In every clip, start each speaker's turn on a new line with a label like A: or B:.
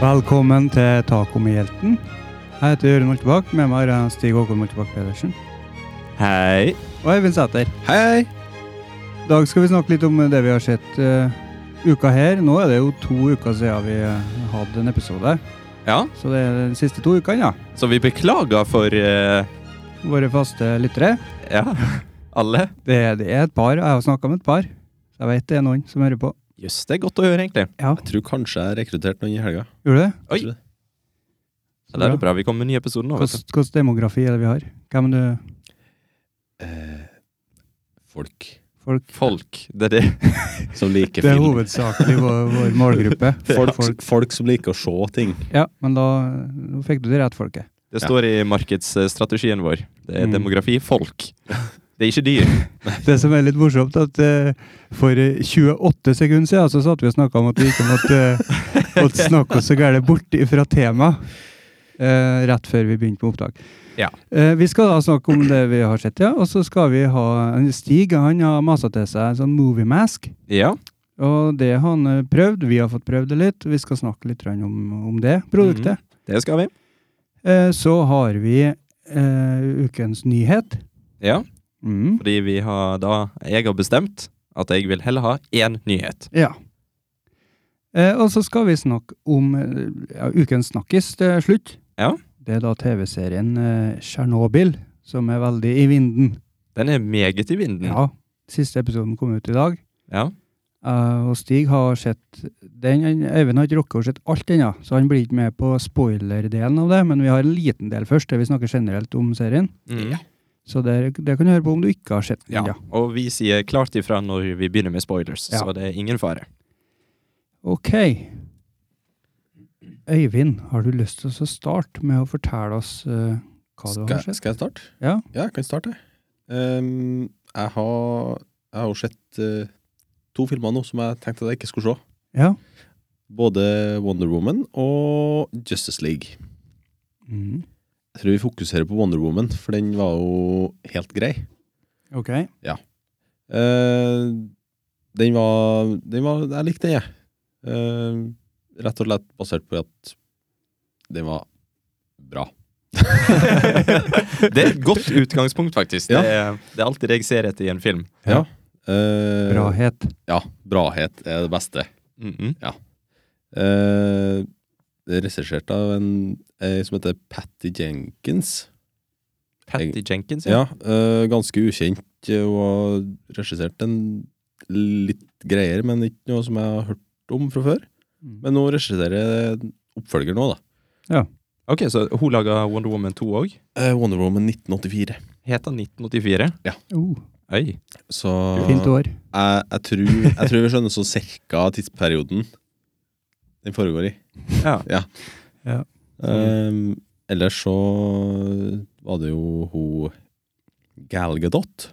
A: Velkommen til Taco med hjelten. Jeg heter Jørund Moltebakk. Med meg har jeg Stig Håkon Moltebakk Pedersen.
B: Hei.
A: Og Eivind Sæter.
B: Hei.
A: I dag skal vi snakke litt om det vi har sett eh, uka her. Nå er det jo to uker siden vi eh, hadde en episode.
B: Ja,
A: Så det er de siste to ukene, ja.
B: så vi beklager for eh,
A: Våre faste lyttere.
B: ja, alle.
A: Det, det er et par, og jeg har snakka med et par. Så jeg vet det er noen som hører på.
B: Jøss, det er godt å høre, egentlig.
A: Ja,
C: Jeg tror kanskje jeg rekrutterte noen i helga.
A: Gjorde du det?
B: Oi.
C: Tror det.
B: Ja, det er jo bra vi kommer med en ny episode nå. Vet du.
A: Hvilken demografi er det vi har? Hvem er det
C: Eh, folk
A: folk?
B: Folk. Det er det.
C: som liker
A: Det er
C: film.
A: hovedsakelig vår, vår målgruppe.
C: Folk, folk. som liker å se ting.
A: Ja, men da, nå fikk du de rett folket.
B: Det står i markedsstrategien vår. Det er
A: Mm.
B: demografi. Folk. Det er ikke dyr.
A: Det som er litt morsomt, at eh, for eh, 28 sekunder siden så satt vi og snakka om at vi ikke måtte, eh, måtte snakke oss så gærent bort fra temaet. eh, rett før vi begynte med opptak.
B: Ja.
A: Eh, vi skal da snakke om det vi har sett, ja. Og så skal vi ha en Stig. Han har masa til seg en sånn movie mask.
B: Ja.
A: Og det har han eh, prøvd. Vi har fått prøvd det litt. Vi skal snakke litt grann om, om det produktet.
B: Det skal vi. Mm.
A: Eh, så har vi eh, ukens nyhet.
B: Ja,
A: Mm.
B: fordi vi har da Jeg har bestemt at jeg vil heller ha én nyhet.
A: Ja. Eh, og så skal vi snakke om eh, ja, ukens snakkis til slutt.
B: Ja.
A: Det er da TV-serien eh, Tsjernobyl som er veldig i vinden.
B: Den er meget i vinden.
A: Ja. Siste episoden kom ut i dag.
B: Ja.
A: Eh, og Stig har sett den. Han- Øyvind har ikke rukket å sett alt ennå, så han blir ikke med på spoiler-delen av det. Men vi har en liten del først, der vi snakker generelt om serien.
B: Mm.
C: Ja.
A: Så det, det kan du høre på om du ikke har sett den.
B: Ja.
A: ja.
B: Og vi sier klart ifra når vi begynner med spoilers,
A: Ja.
B: så det er ingen fare.
A: Ok. Øyvind, har du lyst til å starte med å fortelle oss eh, hva du
C: Skal,
A: har sett?
C: skal jeg starte?
A: Ja.
C: jeg kan starte. Ehm, jeg har Jeg har jo sett eh, to filmer nå som jeg tenkte at jeg ikke skulle se.
A: Ja.
C: Både Wonder Woman og Justice League.
A: Mm.
C: Jeg tror vi fokuserer på Wonder Woman, for den var jo helt grei.
A: Ok.
C: Eh, den var, den var Jeg likte den, jeg. Eh, rett og slett basert på at den var bra.
B: det er et godt utgangspunkt, faktisk.
C: Ja.
B: Det, er, det er alltid det jeg ser etter i en film.
C: Eh,
A: Brahet.
C: Ja, brahet er det beste.
B: Mhm.
C: Eh, det er regissert av en eh, som heter Patty Jenkins.
B: Patty Jenkins, ja.
C: Ja, eh, Ganske ukjent. eh, Hun har regissert en litt greier, men ikke noe som jeg har hørt om fra før.
A: Mm.
C: Men hun regisserer oppfølger nå, da.
B: Ok, så hun laga Wonder Woman 2 òg.
C: Eh, Wonder Woman 1984.
B: Heter 1984.
A: Oh,
B: Oi.
C: Så
A: fint
C: jeg,
A: år.
C: jeg, tror, jeg tror vi skjønner så cirka tidsperioden den foregår i.
B: Ja.
A: Ja.
C: Ehm, ellers så var det jo hun Gal Gadot,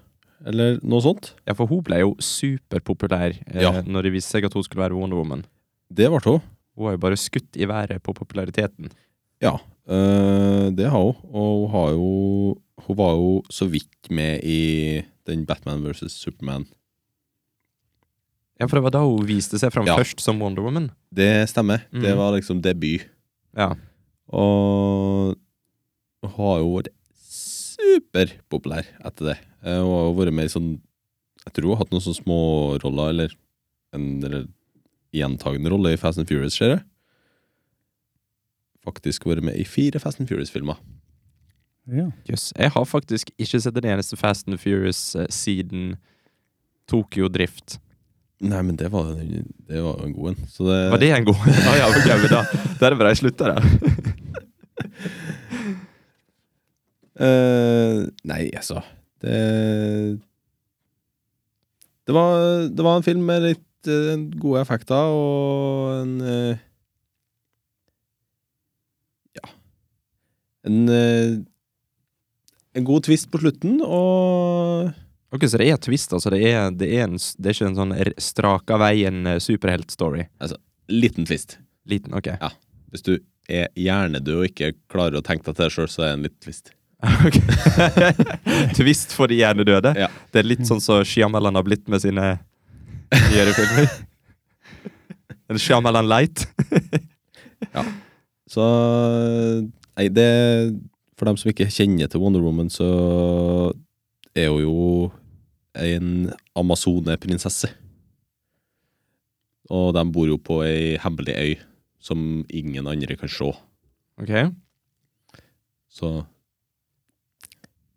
C: eller noe sånt.
B: ja, for hun ble jo superpopulær eh,
C: Ja.
B: når det viste seg at hun skulle være Wonder Woman.
C: Det ble hun.
B: Hun har jo bare skutt i været på populariteten.
C: Eh, det har hun. Og hun har jo Hun var jo så vidt med i den Batman versus Superman.
B: Ja, for det var da hun viste seg fram
C: Ja.
B: først som Wonder Woman.
C: Det stemmer. Det
B: Mhm.
C: var liksom debut.
B: Ja.
C: Og hun har jo vært superpopulær etter det. Eh, Hun har jo vært med i sånn Jeg tror hun har hatt noen sånne små roller, eller en eller gjentagende rolle i Fast and Furious, ser jeg. Faktisk vært med i fire Fast and Furious-filmer.
A: Ja.
B: Jøss. Jeg har faktisk ikke sett den eneste Fast and Furious eh, siden Tokyo Drift.
C: Nei, men det var, det var jo en god en. Så det,
B: Var det en god Ah, Ja, ja, ok, men da da er det bra jeg slutter, da.
C: Eh, nei, altså det, det, var, det var en film med litt eh, gode effekter og en eh, Ja. En, eh, en god twist på slutten, og
B: Ok, Så det er twist, altså. Det er, det er, en, s- det er ikke en sånn r- straka veien eh, superheltstory.
C: liten twist.
B: Liten, ok.
C: Hvis du er hjernedød og ikke klarer å tenke deg til det sjøl, så er det en liten twist.
B: Ok. Twist for de hjernedøde.
C: Ja.
B: Det er litt sånn som Shyamalan har blitt med sine nyere filmer. En Shyamalan Light.
C: Så Nei, det For dem som ikke kjenner til Wonder Woman, så er hun jo en amazoneprinsesse. Og de bor jo på ei hemmelig øy som ingen andre kan se.
B: Ok.
C: Så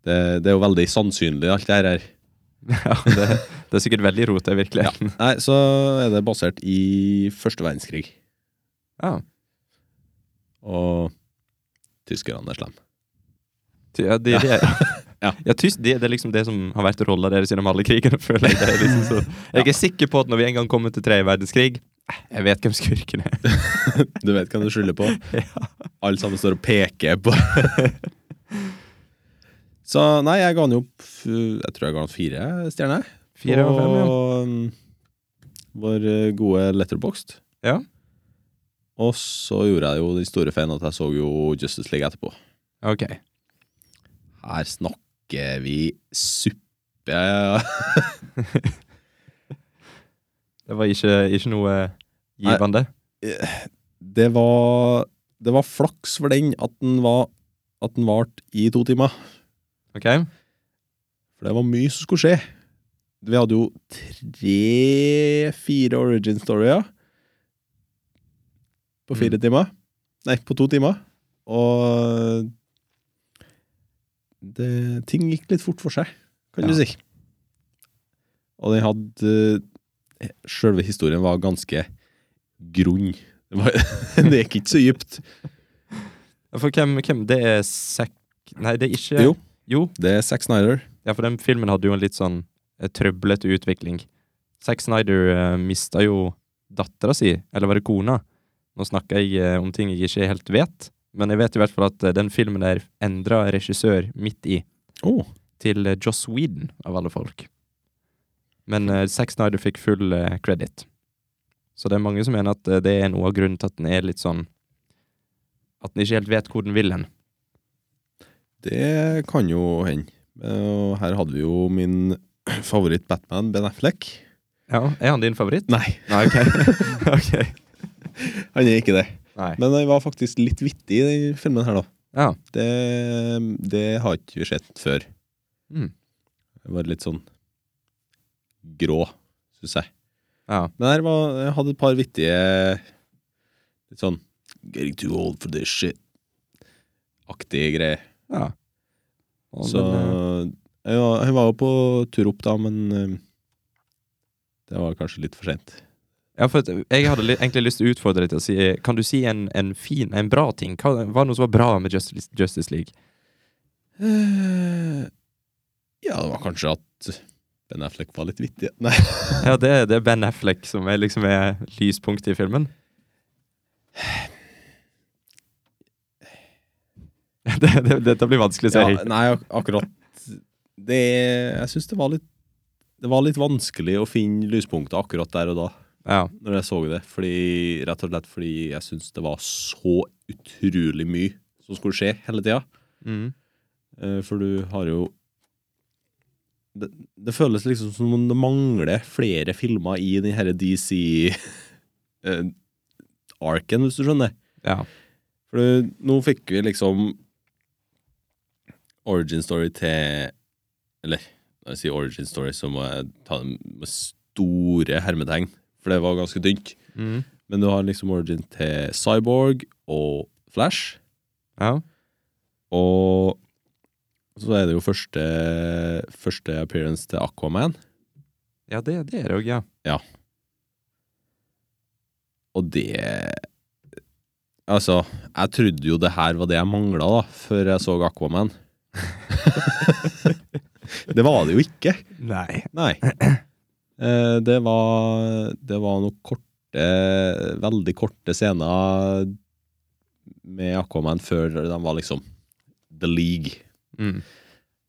C: det, det er jo veldig sannsynlig, alt det her.
B: Ja, det, det er sikkert veldig rot, det, virkelig.
C: Ja. Nei, så er det basert i første verdenskrig.
B: Ja.
C: Og tyskerne er slemme.
B: Ty- Ja, de, de,
C: Ja.
B: ja. tyst, de, det er liksom det som har vært rolla deres gjennom alle krigene, føler jeg. Det er liksom så, jeg er sikker på at når vi en gang kommer til tredje verdenskrig eh, Jeg vet hvem skurken er.
C: Du vet hva du skylder på?
B: Ja.
C: Alle sammen står og peker på Så nei, jeg ga den jo opp f- Jeg tror jeg ga den fire stjerner.
B: Fire og fem, ja.
C: Og mm, vår eh, gode letterboxed.
B: Ja.
C: Og så gjorde jeg jo den store feilen at jeg så jo Justice League etterpå.
B: Ok.
C: Her snakker vi suppe ja, ja.
B: Det var ikke, ikke noe eh, givende.
C: Det var Det var flaks for den at den var At den varte i to timer.
B: Ok?
C: For det var mye som skulle skje. Vi hadde jo tre-fire origin storyer på fire timer. Nei, på to timer. Og det, ting gikk litt fort for seg, kan du
B: Ja.
C: si. Og den hadde Sjølve historien var ganske grunn. Det, var, det gikk ikke så dypt.
B: For hvem, hvem Det er Zack Nei, det er ikke
C: Jo.
B: jo.
C: Det er Zack Snyder.
B: Ja, for den filmen hadde jo en litt sånn eh, trøblete utvikling. Zack Snyder eh, mista jo dattera si, eller var det kona? Nå snakker jeg eh, om ting jeg ikke helt vet, men jeg vet i hvert fall at eh, den filmen der endra regissør midt i
C: Oh.
B: til eh, Joss Whedon, av alle folk. Men eh, Zack Snyder fikk full eh, credit. Så det er mange som mener at eh, det er noe av grunnen til at den er litt sånn At den ikke helt vet hvor den vil hen.
C: Det kan jo hende. Eh, Og her hadde vi jo min favoritt Batman, Ben Affleck.
B: Ja, Er han din favoritt?
C: Nei,
B: Nei, ok. ok.
C: han er ikke det.
B: Nei.
C: Men han var faktisk litt vittig i den filmen her, da.
B: Ja.
C: Det, det har ikke vi sett før.
B: Mm.
C: Det var litt sånn grå, syns jeg.
B: ja.
C: Men her var, jeg hadde et par vittige litt sånn Getting too old for this shit-aktige greier.
B: Ja. Og
C: Så
B: den, eh,
C: jeg var, jeg var jo på tur opp da, men eh, det var kanskje litt for sent.
B: ja, for at jeg hadde li egentlig lyst til å utfordre deg til å si Kan du si en, en fin, en bra ting? Hva hva var det noe som var bra med Justice, Justice League?
C: Eh, Ja, det var kanskje at Ben Affleck var litt vittig. Nei.
B: Ja, det, er- det er Ben Affleck som er, liksom er lyspunktet i filmen. Det, det, dette blir vanskelig å si.
C: Ja, nei, ak akkurat det, Jeg syns det var litt Det var litt vanskelig å finne lyspunkter akkurat der og da,
B: Ja.
C: når jeg så det. Fordi, rett og slett fordi jeg syns det var så utrolig mye som skulle skje hele tida.
B: Mm.
C: Eh, For du har jo det, det føles liksom som om det mangler flere filmer i den herre DC-arken, eh, hvis du skjønner.
B: ja.
C: For du, nå fikk vi liksom origin story til Eller når jeg sier origin story, så må jeg ta den med store hermetegn, for det var ganske dynt.
B: Mm.
C: Men du har liksom origin til Cyborg og Flash.
B: ja.
C: Og så er det jo første, første appearance til Aquaman.
B: Ja, det, det er det òg, ja.
C: Og det Altså, jeg trodde jo det her var det jeg mangla, da, før jeg så Aquaman. det var det jo ikke.
B: Nei.
C: Nei. Eh, Det var, det var noen korte, veldig korte scener med Aquaman før de var liksom The League.
B: Mm.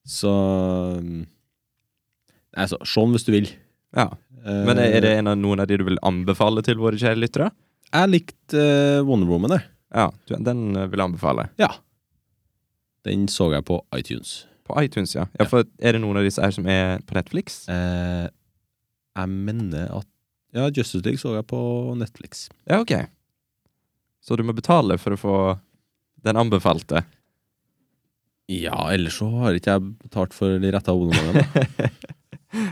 C: Så mm, Altså, se den hvis du vil.
B: Ja.
C: Eh,
B: Men er det en av, noen av de du vil anbefale til våre kjære lyttere?
C: Jeg likte eh, Wonder Woman, jeg.
B: Ja, du- den eh, vil jeg anbefale.
C: Ja. Den så jeg på iTunes.
B: På iTunes, ja. ja for Er det noen av disse her som er på Netflix?
C: Eh, jeg mener at Ja, Justice League så jeg på Netflix.
B: Ja, ok. Så du må betale for å få den anbefalte.
C: Ja, ellers så har ikke jeg betalt for de rette abonnementene. da.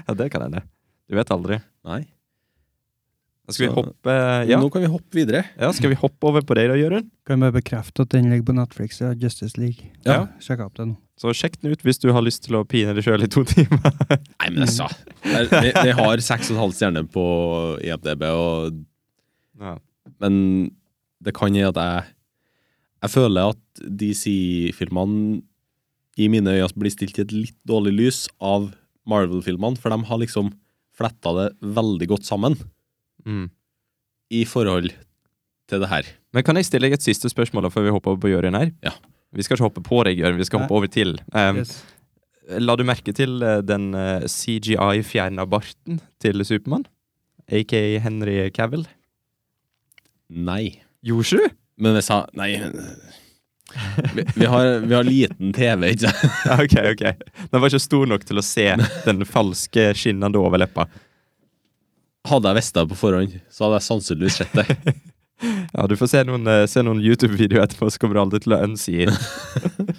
B: Ja, det kan hende. Du vet aldri.
C: Nei.
B: Skal vi
C: Så-
B: hoppe ja.
C: Nå kan vi hoppe videre.
B: ja, skal vi hoppe over på deg da, Jørund?
A: Kan bare bekrefte at den ligger på Netflix, ja, Justice League.
B: Ja.
A: Sjekk opp den.
B: Så sjekk den ut hvis du har lyst til å pine deg sjøl i to timer.
C: Nei, men altså. Det, det, det har seks og en halv stjerne på IMDb, og,
B: Ja.
C: men det kan gjøre at jeg Jeg føler at DC-filmene i mine øyne blir stilt i et litt dårlig lys av Marvel-filmene, for de har liksom fletta det veldig godt sammen
B: Mm.
C: i forhold til det her.
B: Men kan jeg stille deg et siste spørsmål da, før vi hopper over på Jørund her?
C: Ja.
B: Vi skal ikke hoppe på deg, Jørund. Vi skal
A: Nei.
B: hoppe over til. Um,
A: Yes.
B: La du merke til eh, den CGI-fjerna barten til Supermann? Aka Henry Cavill?
C: Nei.
B: Gjorde du?
C: Men hvis jeg Nei. Vi, vi, har, vi har liten TV, ikke sant?
B: ok, ok. Den var ikke stor nok til å se den falske, skinnende overleppa.
C: Hadde jeg visst det på forhånd, så hadde jeg sannsynligvis sett det.
B: Ja, Du får se noen, eh, se noen YouTube-videoer etterpå, så kommer du aldri til å unsee.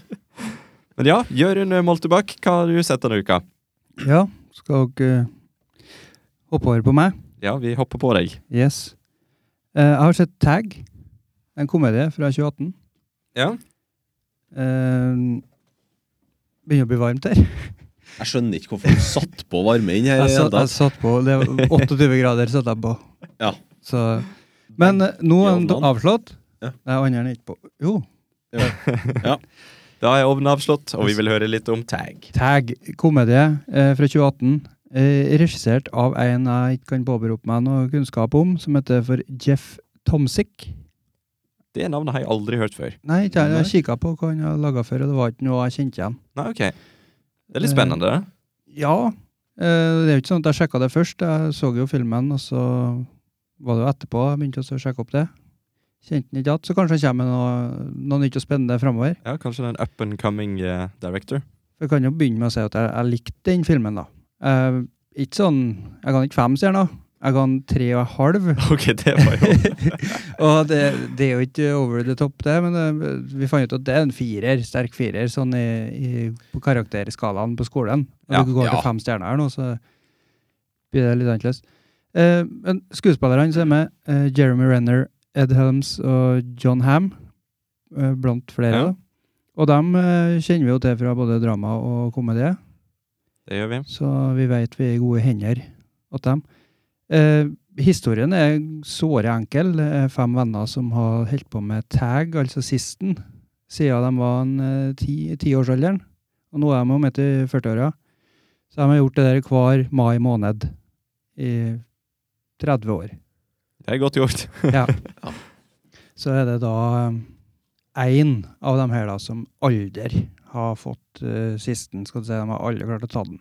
B: Men ja, Jørund Moltebakk, hva har du sett denne uka?
A: Ja, skal dere eh, hoppe over på meg?
B: Ja, vi hopper på deg.
A: Yes. Eh, jeg har sett Tag, en komedie fra 2018.
B: Ja.
A: Eh, begynner å bli varmt her.
C: Jeg skjønner ikke hvorfor du satt på varme inn her.
A: Jeg,
C: i det hele
A: satt, jeg
C: tatt.
A: satt på det var 28 grader. satt jeg på.
C: Ja.
A: Så, men eh, nå er den
C: Jovnan.
A: avslått.
C: Ja.
A: Nei, andre er ikke på. Jo,
B: Da er ovnen avslått, og vi vil høre litt om tag.
A: Tag, komedie eh, fra 2018. Eh, regissert av en jeg ikke kan påberope meg noe kunnskap om, som heter for Jeff Tomsick.
B: Det navnet har jeg aldri hørt før.
A: Nei, ikke jeg, jeg
C: Nei.
A: kikka på hva han hadde laga før, og det var ikke noe jeg kjente igjen.
B: Nei, ok. Det er litt spennende. da.
A: Ja, eh, det er jo ikke sånn at jeg sjekka det først. Jeg så jo filmen, og så var det jo etterpå jeg begynte også å sjekke opp det. Kjente den ikke igjen, så kanskje han kommer med noe, noe nytt og spennende framover.
B: Ja, Kanskje det er en up and coming eh, director.
A: Jeg kan jo begynne med å si at jeg, jeg likte den filmen, da. Eh, ikke sånn Jeg ga den ikke fem stjerner. Jeg ga den tre og en halv.
B: Ok, det var jo
A: og det, det er jo ikke over the top, det, men eh, vi fant ut at det er en firer, sterk firer, sånn i, i, på karakterskalaen på skolen. Når
B: Ja,
A: du går
C: ja.
A: til fem stjerner her nå, så blir det litt annerledes. Eh, men skuespillerne som er med, eh, Jeremy Renner, Ed Helms og John Ham, eh, blant flere.
B: Ja.
A: da. Og dem eh, kjenner vi jo til fra både drama og komedie.
B: Det gjør vi.
A: Så vi vet vi er i gode hender åt dem. Eh, historien er såre enkel. Det er fem venner som har holdt på med tag, altså sisten, siden de var en, eh, ti, tiårsalderen. Og nå er de midt i 40-åra. Så de har gjort det der hver mai måned i 30 år.
B: Det er godt gjort.
A: Ja.
C: Ja.
A: Så er det da én av dem her da som aldri har fått eh, sisten. Skal du si, De har aldri klart å ta den.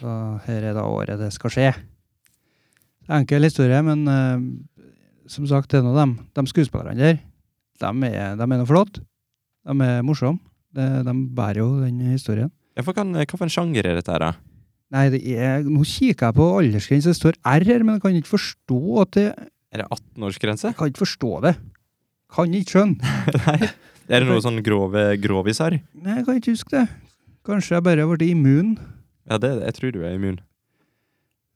A: Så her er da året det skal skje. Enkel historie, men eh, som sagt, det er nå dem. De skuespillerne der, de er, de er noe flott. De er morsomme. De, de bærer jo den historien.
B: Ja, for kan, hva for en sjanger er dette her, da?
A: Nei, det er, nå kikker jeg på aldersgrense, det står R her, men jeg kan ikke forstå at det
B: Er det 18-årsgrense?
A: Jeg kan ikke forstå det. Kan ikke skjønne.
B: Nei. Er det noe sånn grove grovis her?
A: Nei, jeg kan ikke huske det. Kanskje jeg bare har blitt immun.
B: Ja, det, jeg tror du er immun.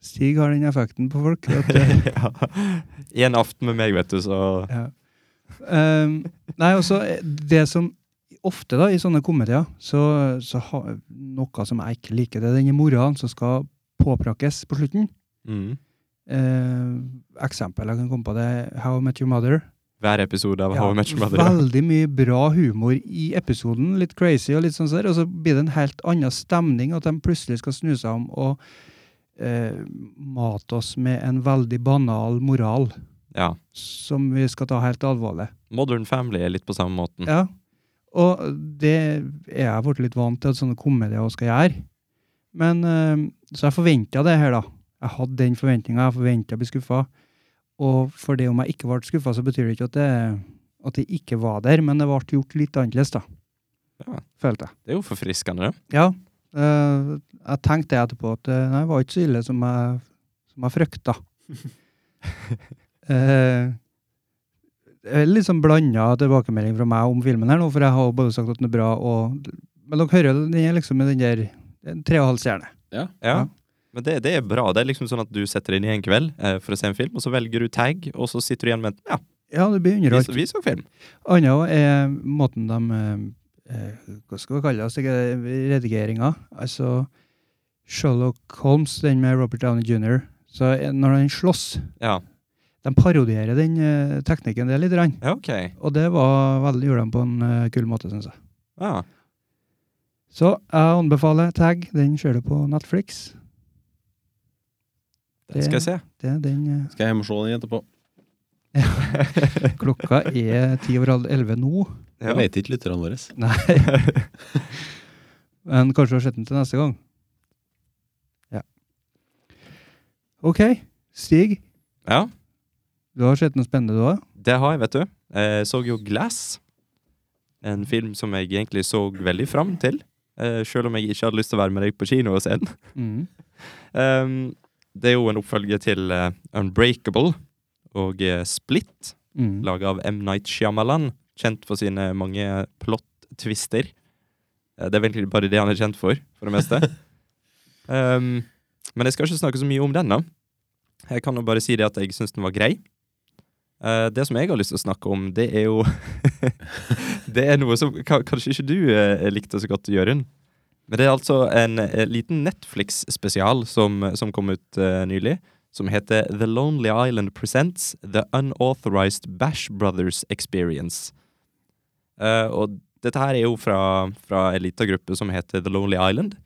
A: Stig har den effekten på folk. At, eh,
B: ja. En aften med meg, vet du, så
A: ja. Ehm, nei, også eh, det som ofte da, i sånne komedier, så, så har noe som jeg ikke liker, det er denne moralen som skal påprakkes på slutten.
B: mm.
A: Eh, eksempel jeg kan komme på det, er How I Met Your Mother.
B: Hver episode av How I Met Your Mother.
A: Veldig mye bra humor i episoden, litt crazy og litt sånn der, og så blir det en helt annen stemning at de plutselig skal snu seg om og eh, mate oss med en veldig banal moral
B: Ja.
A: som vi skal ta helt alvorlig.
B: Modern Family er litt på samme måten.
A: Ja. Og det er jeg blitt litt vant til at sånne komedier også skal gjøre. Men eh, Så jeg forventa det her, da. Jeg hadde den forventninga. Jeg forventa å bli skuffa. Og for det om jeg ikke ble skuffa, så betyr det ikke at det, at det ikke var der, men det ble gjort litt annerledes, da.
B: Ja.
A: Følte jeg.
B: Det er jo forfriskende, det.
A: Ja. eh, jeg tenkte etterpå at eh, nei, det var ikke så ille som jeg, som jeg frykta. Eh, eh, litt sånn blanda tilbakemelding fra meg om filmen her nå, for jeg har jo både sagt at den er bra og Men dere hører jo, den er liksom med den der en tre og en halv stjerne.
B: Ja.
A: Ja.
B: Men det, det er bra. Det er liksom sånn at du setter deg inn i en kveld eh, for å se en film, og så velger du tag, og så sitter du igjen med Ja,
A: Ja, det blir
B: vi,
A: underholdt.
B: så- vi så film.
A: Annet er måten de eh, eh, Hva skal vi kalle det? Redigeringa. Altså Sherlock Holmes, den med Robert Downey jr. Så eh, når han slåss
B: Ja,
A: De parodierer den eh, teknikken det lite grann.
B: ja ok.
A: Og det var veldig gjorde de på en eh, kul måte, syns jeg.
B: Ja.
A: Så jeg anbefaler Tag. Den ser du på Netflix.
B: Den skal jeg se.
A: Det er den eh,
C: Skal jeg hjem og se den etterpå?
A: Klokka er ti over halv elleve nå.
C: Jeg vet ikke lytterne våre.
A: Nei. Men kanskje du har sett den til neste gang. Ja. OK. Stig,
B: ja.
A: du har sett noe spennende du òg?
B: Det har jeg, vet du. Jeg så jo Glass. En film som jeg egentlig så veldig fram til. eh, Selv om jeg ikke hadde lyst til å være med deg på kino og se den.
A: Mm.
B: Ehm, Det er jo en oppfølge til eh, Unbreakable og eh, Split,
A: Mm.
B: laget av M. Night Shyamalan. Kjent for sine mange plot-twister. Eh, Det er egentlig bare det han er kjent for, for det meste. Ehm, men jeg skal ikke snakke så mye om den, da. Jeg kan jo bare si det at jeg syns den var grei. Eh, det som jeg har lyst til å snakke om, det er jo Det er noe som ka kanskje ikke du eh, likte så godt, Jørund. Men det er altså en eh, liten Netflix-spesial som, som kom ut eh, nylig, som heter The Lonely Island Presents The Unauthorized Bash Brothers Experience. Eh, og dette her er jo fra, fra en liten gruppe som heter The Lonely Island.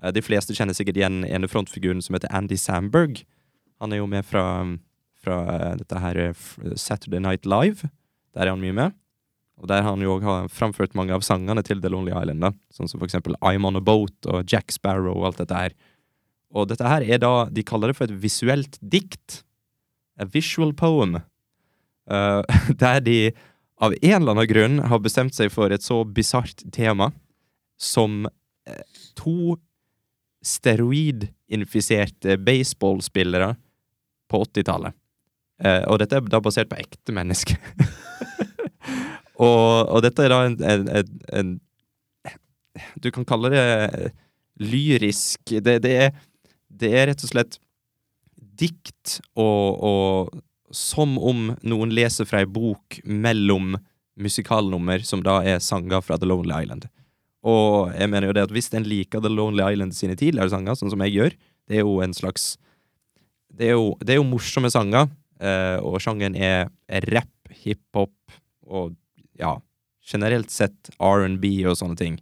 B: Eh, de fleste kjenner sikkert igjen ene frontfiguren som heter Andy Samberg. Han er jo med fra, fra eh, dette her eh, f- Saturday Night Live. Der er han mye med. Og der han jo også har framført mange av sangene til The Lonely Island. da. Sånn som for eksempel I'm On A Boat og Jack Sparrow og alt dette her. Og dette her er da De kaller det for et visuelt dikt. A visual poem. Eh, der de av en eller annen grunn har bestemt seg for et så bisart tema som eh, to steroidinfiserte baseballspillere på 80-tallet. Eh, og dette er da basert på ekte mennesker. og, og dette er da en, en, en, en Du kan kalle det eh, lyrisk. Det, det, er, det er rett og slett dikt og, og som om noen leser fra ei bok mellom musikalnummer, som da er sanger fra The Lonely Island. Og jeg mener jo det at hvis en liker The Lonely Island sine tidligere sanger, sånn som jeg gjør, det er jo en slags Det er jo, det er jo morsomme sanger, eh, og sjangeren er er rap, hiphop og ja, generelt sett R&B og sånne ting.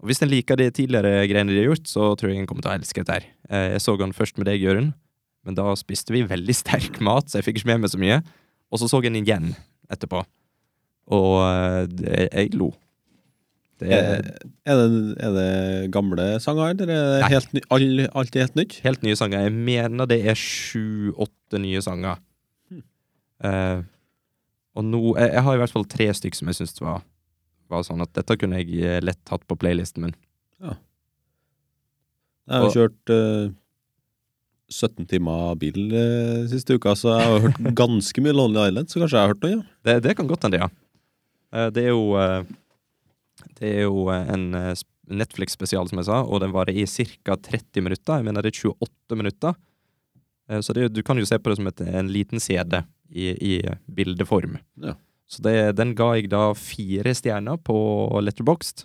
B: Og Hvis en liker de tidligere greiene de har gjort, så tror jeg en kommer til å elske dette. her. Eh, Jeg så den først med deg, Jørund, men da spiste vi veldig sterk mat, så jeg fikk ikke med meg så mye. Og så så jeg den igjen etterpå, og eh, det- jeg lo. Det
C: Er,
B: er
C: er, det, er det gamle sanger, eller er det
B: Nei.
C: helt ny, all, alt er helt nytt?
B: helt nye sanger. Jeg mener det er sju-åtte nye sanger. Eh, og nå jeg, jeg har i hvert fall tre stykker som jeg syns var, var sånn at dette kunne jeg eh, lett hatt på playlisten min.
C: Jeg har jo kjørt eh, 17 timer bil eh, siste uka, så jeg har hørt ganske mye Lonely Island, så kanskje jeg har hørt noe, ja.
B: Det, det kan godt hende, ja. Eh, Det er jo eh, Det er jo eh, en eh, sp- Netflix-spesial, som jeg sa, og den varer i ca. 30 minutter. Jeg mener det er 28 minutter. Eh, Så det, er jo- du kan jo se på det som et, en liten CD i, i bildeform.
C: Ja.
B: Så det, den ga jeg da fire stjerner på Letterboxd,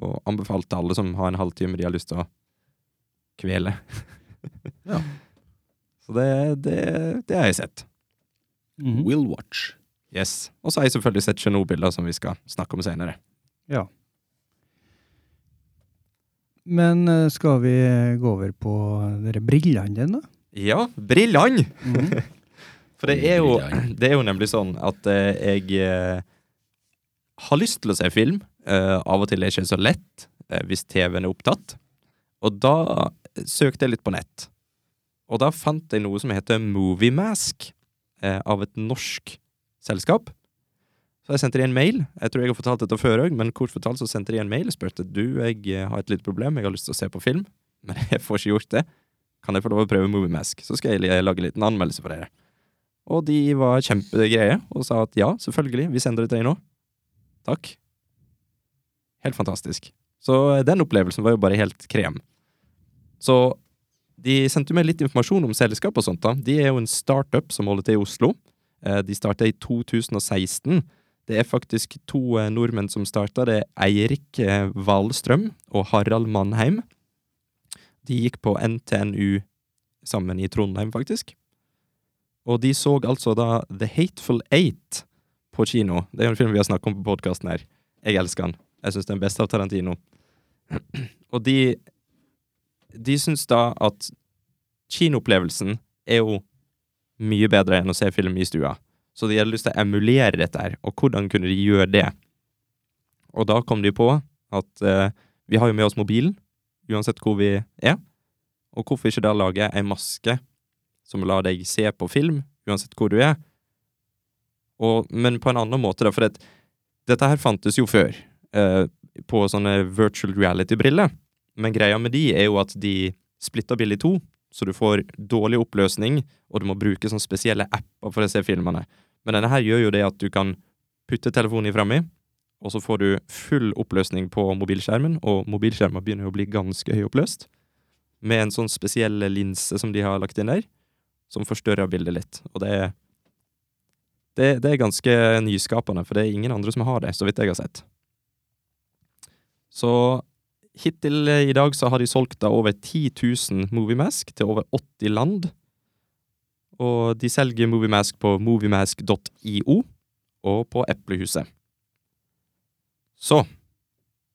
B: og anbefalte alle som har en halvtime de har lyst til å kvele.
C: Ja.
B: Så det, det, det har jeg sett.
A: Mhm.
C: Will Watch.
B: Yes. Og så har jeg selvfølgelig sett Tsjernobyl, da, som vi skal snakke om senere.
A: Men eh, skal vi gå over på dere brillene dine, da?
B: Ja, briljant!
A: Mhm.
B: For det er, jo,
C: Briljant.
B: det er jo nemlig sånn at eh, jeg eh, har lyst til å se film. Eh, av og til er det ikke så lett eh, hvis TV-en er opptatt. Og da søkte jeg litt på nett. Og da fant jeg noe som heter Moviemask, eh, av et norsk selskap. Så jeg sendte de en mail. Jeg tror jeg har fortalt dette før òg, men kort fortalt så sendte de en mail og spurte du, jeg eh, har et lite problem, jeg har lyst til å se på film, men jeg får ikke gjort det. Kan jeg få lov å prøve Moviemask? Så skal jeg lage en liten anmeldelse for dere. Og de var kjempegreie og sa at ja, selvfølgelig, vi sender det til deg nå. Takk. Helt fantastisk. Så eh, den opplevelsen var jo bare helt krem. Så de sendte meg litt informasjon om selskap og sånt. da. De er jo en startup som holder til i Oslo. Eh, De starta i 2016. Det er faktisk to eh, nordmenn som starta. Det er Eirik eh, Wahlstrøm og Harald Mannheim. De gikk på NTNU sammen i Trondheim, faktisk. Og de så altså da The Hateful Eight på kino. Det er jo en film vi har snakket om på podkasten her. Jeg elsker den. Jeg syns den er best av Tarantino. Og de De syns da at kinoopplevelsen er jo mye bedre enn å se film i stua. Så de hadde lyst til å emulere dette her, og hvordan kunne de gjøre det? Og da kom de på at eh, vi har jo med oss mobilen, uansett hvor vi er, og hvorfor ikke da lage ei maske som lar deg se på film, uansett hvor du er, og, men på en annen måte, da, for at dette her fantes jo før, eh, på sånne virtual reality-briller, men greia med de er jo at de splitter bildet i to, så du får dårlig oppløsning, og du må bruke sånne spesielle apper for å se filmene. Men denne her gjør jo det at du kan putte telefonen i fremme, og så får du full oppløsning på mobilskjermen, og mobilskjermen begynner jo å bli ganske høyoppløst, med en sånn spesiell linse som de har lagt inn der, som forstørrer bildet litt. Og det er, det, det er ganske nyskapende, for det er ingen andre som har det, så vidt jeg har sett. Så hittil i dag så har de solgt da over 10 000 Moviemask til over 80 land. Og de selger Moviemask på moviemask.io og på Eplehuset. Så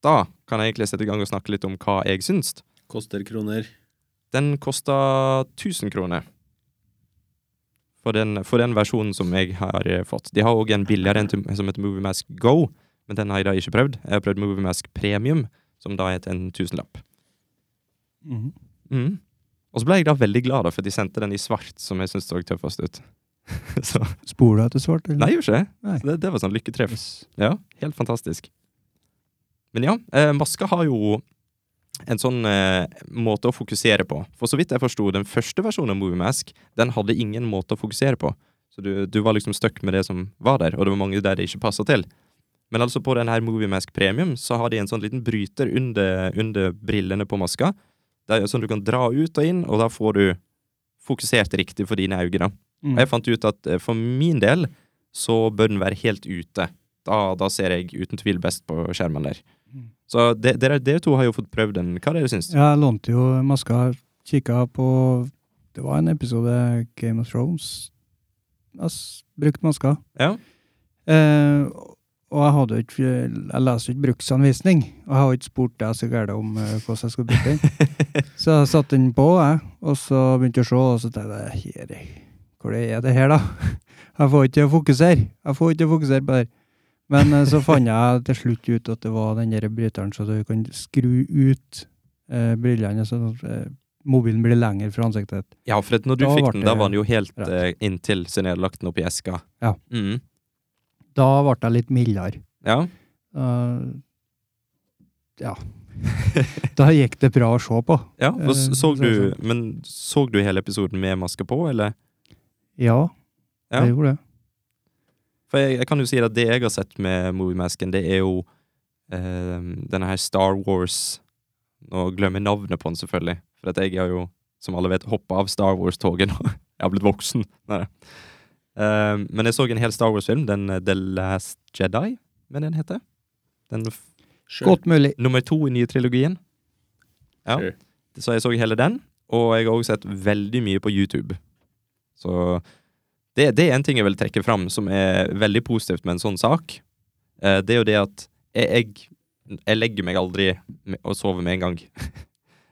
B: da kan jeg egentlig sette i gang og snakke litt om hva jeg syns.
C: Koster kroner.
B: Den kosta 1000 kroner. For den, for den versjonen som jeg har eh, fått. De har òg en billigere en til- som heter Moviemask Go, men den har jeg da ikke prøvd. Jeg har prøvd Moviemask Premium, som da er til en tusenlapp. Mm. Og så ble jeg da veldig glad, da, for de sendte den i svart, som jeg syntes så tøffest ut. så,
A: Spoler du etter svart? Eller?
B: nei, gjorde ikke det.
A: Nei.
B: Så det. Det var sånn lykketreff.
A: Yes.
B: Ja, helt fantastisk. Men ja, eh, maska har jo en sånn eh, måte å fokusere på. For så vidt jeg forsto, den første versjonen av Movie Mask, den hadde ingen måte å fokusere på. Så du, du var liksom stuck med det som var der, og det var mange der det ikke passa til. Men altså på den her Movie Mask Premium så har de en sånn liten bryter under, under brillene på maska. Det er jo sånn du kan dra ut og inn, og da får du fokusert riktig for dine øyne. da.
A: Mm.
B: Og jeg fant ut at eh, for min del så bør den være helt ute. Da, da ser jeg uten tvil best på skjermen der.
A: Mm.
B: Så de- dere, dere to har jo fått prøvd den. Hva er det dere syns?
A: Jeg lånte jo maska, kikka på Det var en episode Game of Thrones. Jeg s- brukte maska.
B: Ja.
A: Eh, og jeg hadde jo ikke Jeg leste jo ikke bruksanvisning, og jeg har jo ikke spurt deg så gærent om eh, hvordan jeg skulle bruke den. så jeg satte den på, jeg, og så begynte jeg å se, og så tenkte jeg her, er- Hvor er det her, da? Jeg får ikke til å fokusere. Jeg får ikke til å fokusere på det her. Men eh, så fant jeg til slutt ut at det var den der bryteren, så du kan skru ut eh, brillene, så eh, mobilen blir lenger fra ansiktet ditt.
B: Ja, for at når du
A: Da
B: fikk
A: ble
B: den,
A: det
B: da var den jo helt
A: rett.
B: eh, inntil siden jeg hadde lagt den opp i eska.
A: Ja.
B: Mm.
A: Da ble jeg litt mildere.
B: ja.
A: Eh, ja. da gikk det bra å se på.
B: ja for s-
A: Eh, så
B: såg
A: er
B: du,
A: det
B: men så du hele episoden med maske på, eller?
A: Ja,
B: Ja.
A: det gjorde det.
B: For jeg, jeg kan jo si at det jeg har sett med Moviemasken, det er jo eh, denne her Star Wars Nå glemmer jeg navnet på den, selvfølgelig. For at jeg har jo, som alle vet, hoppa av Star Wars-toget nå. Jeg har blitt voksen. Nei, nei. Eh, men jeg så en hel Star Wars-film, den eh, The Last Jedi, men den heter. Den f
C: Sure.
A: Godt mulig.
B: nummer to i nye trilogien. Ja.
C: Sure.
B: Så jeg så hele den, og jeg har også sett veldig mye på YouTube. Så det, det er en ting jeg vil trekke fram som er veldig positivt med en sånn sak. Eh, det er jo det at jeg, jeg, jeg legger meg aldri med- og sover med en gang.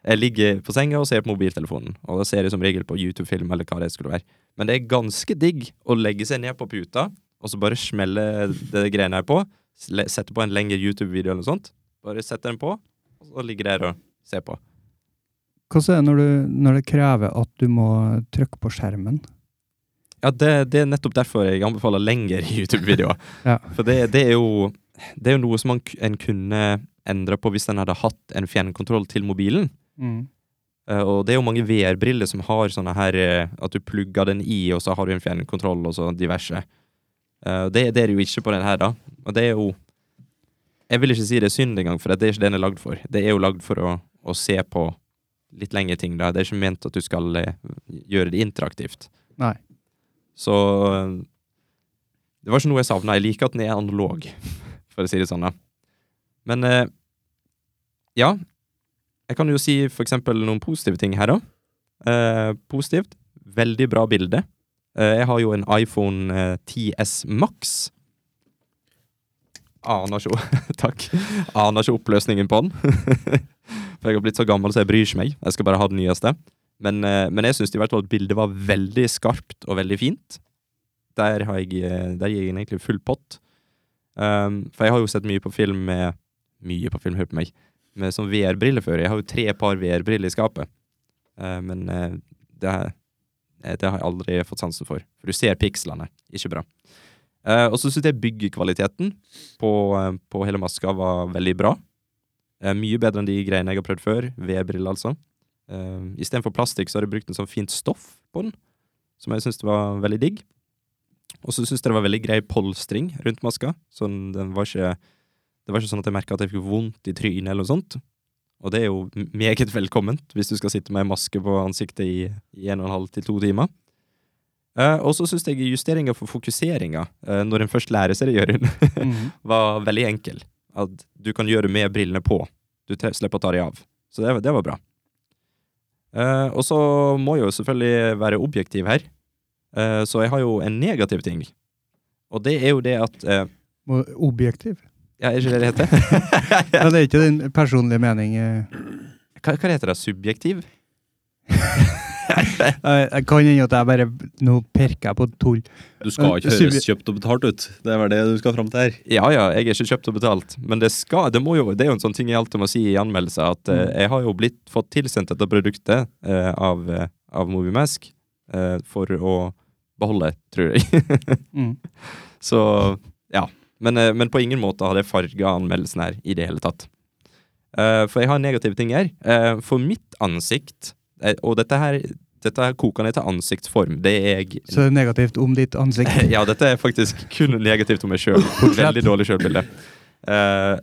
B: Jeg ligger på senga og ser på mobiltelefonen, og da ser jeg som regel på YouTube-film eller hva det skulle være. Men det er ganske digg å legge seg ned på puta, og så bare smelle det greiene her på, sle- sette på en lengre YouTube-video eller noe sånt, bare setter den på, og så ligger der og ser på.
A: Hvordan er det når, du, når det krever at du må trykke på skjermen?
B: Ja, det, det er nettopp derfor jeg anbefaler lengre YouTube-videoer.
A: Ja.
B: For det, det, er jo, det er jo noe som man, k- en kunne endre på hvis en hadde hatt en fjernkontroll til mobilen. Eh, og det er jo mange VR-briller som har sånne her eh, At du plugger den i, og så har du en fjernkontroll og så diverse. Eh, det, det er det jo ikke på den her, da. Og det er jo Jeg vil ikke si det er synd engang, for det er ikke det den er lagd for. Det er jo lagd for å, å se på litt lengre ting, da. Det er ikke ment at du skal eh, gjøre det interaktivt.
A: Nei.
B: Så eh, Det var ikke noe jeg savna. Jeg liker at den er analog, for å si det sånn. da. Men eh, ja. Jeg kan jo si for eksempel noen positive ting her, da. Eh, positivt. Veldig bra bilde. Eh, jeg har jo en iPhone eh, 10S Max. Aner ikke o- Takk. Aner ikke oppløsningen på den. For jeg har blitt så gammel, så jeg bryr ikke meg. Jeg skal bare ha den nyeste. Men, eh, men jeg syns i hvert fall at bildet var veldig skarpt og veldig fint. Der, har jeg, eh, der gir jeg den egentlig full pott. Um, for jeg har jo sett mye på film med Mye på film, hør på meg. Med sånn VR-briller før. Jeg har jo tre par VR-briller i skapet. Eh, men eh, det, er- eh, det har jeg aldri fått sansen for. For du ser pikslene. Ikke bra. Eh, og så syns jeg byggekvaliteten på, eh, på hele maska var veldig bra. Eh, mye bedre enn de greiene jeg har prøvd før. VR-briller, altså. Uh, Istedenfor plastikk så har de brukt en sånn fint stoff på den, som jeg syns var veldig digg. Og så syns jeg det var veldig grei polstring rundt maska. Sånn, den var ikke, det var ikke sånn at jeg merka at jeg fikk vondt i trynet eller noe sånt. Og det er jo m- meget velkomment hvis du skal sitte med en maske på ansiktet i, i en og en halv til to timer. Eh, og så syns jeg justeringa for fokuseringa, eh, når en først lærer seg det, Jørund,
A: Mhm.
B: var veldig enkel. At du kan gjøre det med brillene på. Du tre- slipper å ta dem av. Så det, var- det var bra. Eh, og så må jeg jo selvfølgelig være objektiv her. Eh, så jeg har jo en negativ ting. Og det er jo det at eh,
A: Må- Objektiv.
B: Ja, er ikke det det heter?
A: Ja, det er ikke din personlige mening. eh.
B: hva, hva heter det? Subjektiv?
A: Jeg jeg kan hende at jeg bare Nå perker jeg på tull.
C: Du skal ikke
A: Subje-
C: høres kjøpt og betalt ut. Det er vel det du skal fram til her.
B: Ja ja, jeg er ikke kjøpt og betalt, men det skal Det, må jo, det er jo en sånn ting jeg alltid må si i anmeldelser, at eh, jeg har jo blitt fått tilsendt dette produktet eh, av, eh, av Moviemask eh, for å beholde, tror jeg.
A: Mm.
B: Så ja. Men, eh, men på ingen måte har det farga anmeldelsen her i det hele tatt. Eh, for jeg har negative ting her. Eh, for mitt ansikt eh, Og dette her, dette her koker ned til ansiktsform. Det er jeg
A: Så det er negativt om ditt ansikt.
B: ja, dette er faktisk kun negativt om meg sjøl. Veldig dårlig sjølbilde. Eh,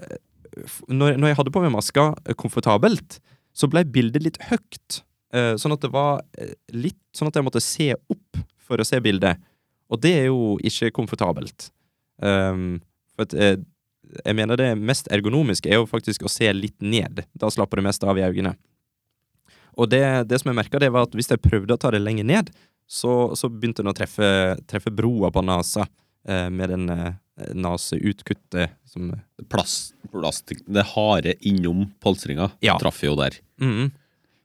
B: f- når, når jeg hadde på meg maska eh, komfortabelt, så ble bildet litt høyt. Eh, sånn at det var eh, litt Sånn at jeg måtte se opp for å se bildet. Og det er jo ikke komfortabelt. Ehm, for at, eh, jeg mener det mest ergonomiske er jo faktisk å se litt ned. Da slapper det meste av i øynene. Og det, det som jeg merka, det var at hvis jeg prøvde å ta det lenger ned, så, så begynte den å treffe, treffe broa på nesa eh, med den eh, naseutkuttet som
C: Plast, plastikk Det harde innom polstringa
B: Ja.
C: traff jo der.
B: Mhm.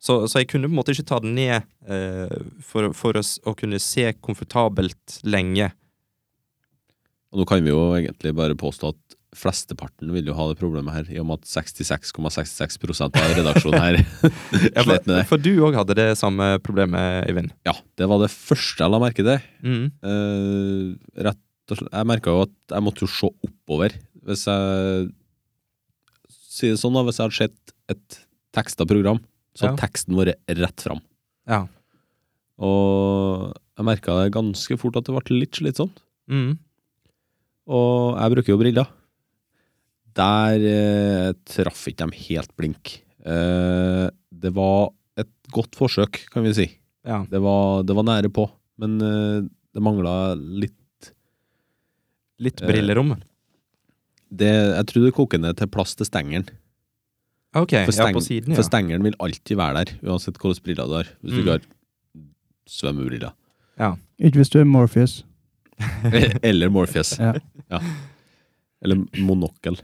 B: så, så jeg kunne på en måte ikke ta den ned eh, for, for å, s- å kunne se komfortabelt lenge.
C: Og nå kan vi jo egentlig bare påstå at flesteparten vil jo ha det problemet her, i og med at 66,66 av redaksjonen her
B: for,
C: slet med det.
B: for du òg hadde det samme problemet, Øyvind.
C: Ja, det var det første jeg la merke til.
B: Mhm.
C: Eh, rett og slett Jeg merka jo at jeg måtte jo se oppover. Hvis jeg Si det sånn, da. Hvis jeg hadde sett et teksta program, så hadde
B: Ja.
C: teksten vært rett fram.
B: Ja.
C: Og jeg merka det ganske fort at det ble litt slitsomt.
B: Mhm.
C: Og jeg bruker jo briller. Der eh, traff ikke de helt blink. Eh, det var et godt forsøk, kan vi si.
B: ja.
C: Det var, det var nære på, men eh, det mangla litt
B: Litt
C: Eh.
B: brillerom.
C: det, Jeg tror det koker ned til plass til stengelen.
B: Ok,
C: For,
B: ja,
C: steng,
B: på siden, ja.
C: for stengelen vil alltid være der, uansett hvilke briller du har. Hvis du
B: Mm.
C: ikke har svømmebriller.
A: Ikke hvis du er Morpheus.
C: Eller Morpheus.
A: Ja.
C: Eller monokkel.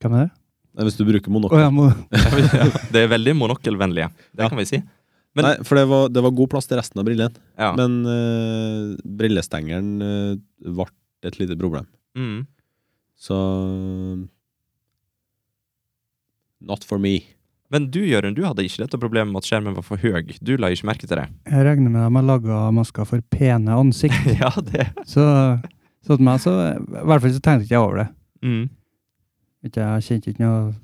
A: Hvem er det?
C: Nei, hvis du bruker
A: Å
C: monokkel.
A: ja, må
B: ja. Det er veldig monokkelvennlige, det
C: Ja.
B: kan vi si. men-
C: Nei, for det var, det var god plass til resten av brillen.
B: Ja.
C: Men eh, brillestengelen eh, ble et lite problem.
B: Mhm.
C: Så Not for me.
B: Men du, Jørund, du hadde ikke dette problemet med at skjermen var for høy. Du la ikke merke til det.
A: Jeg regner med de har laga masker for pene ansikt.
B: ja, det.
A: Så sånn til meg, så I hvert fall så tenkte ikke jeg over det.
B: Mhm.
A: Vet ikke, Jeg kjente ikke noe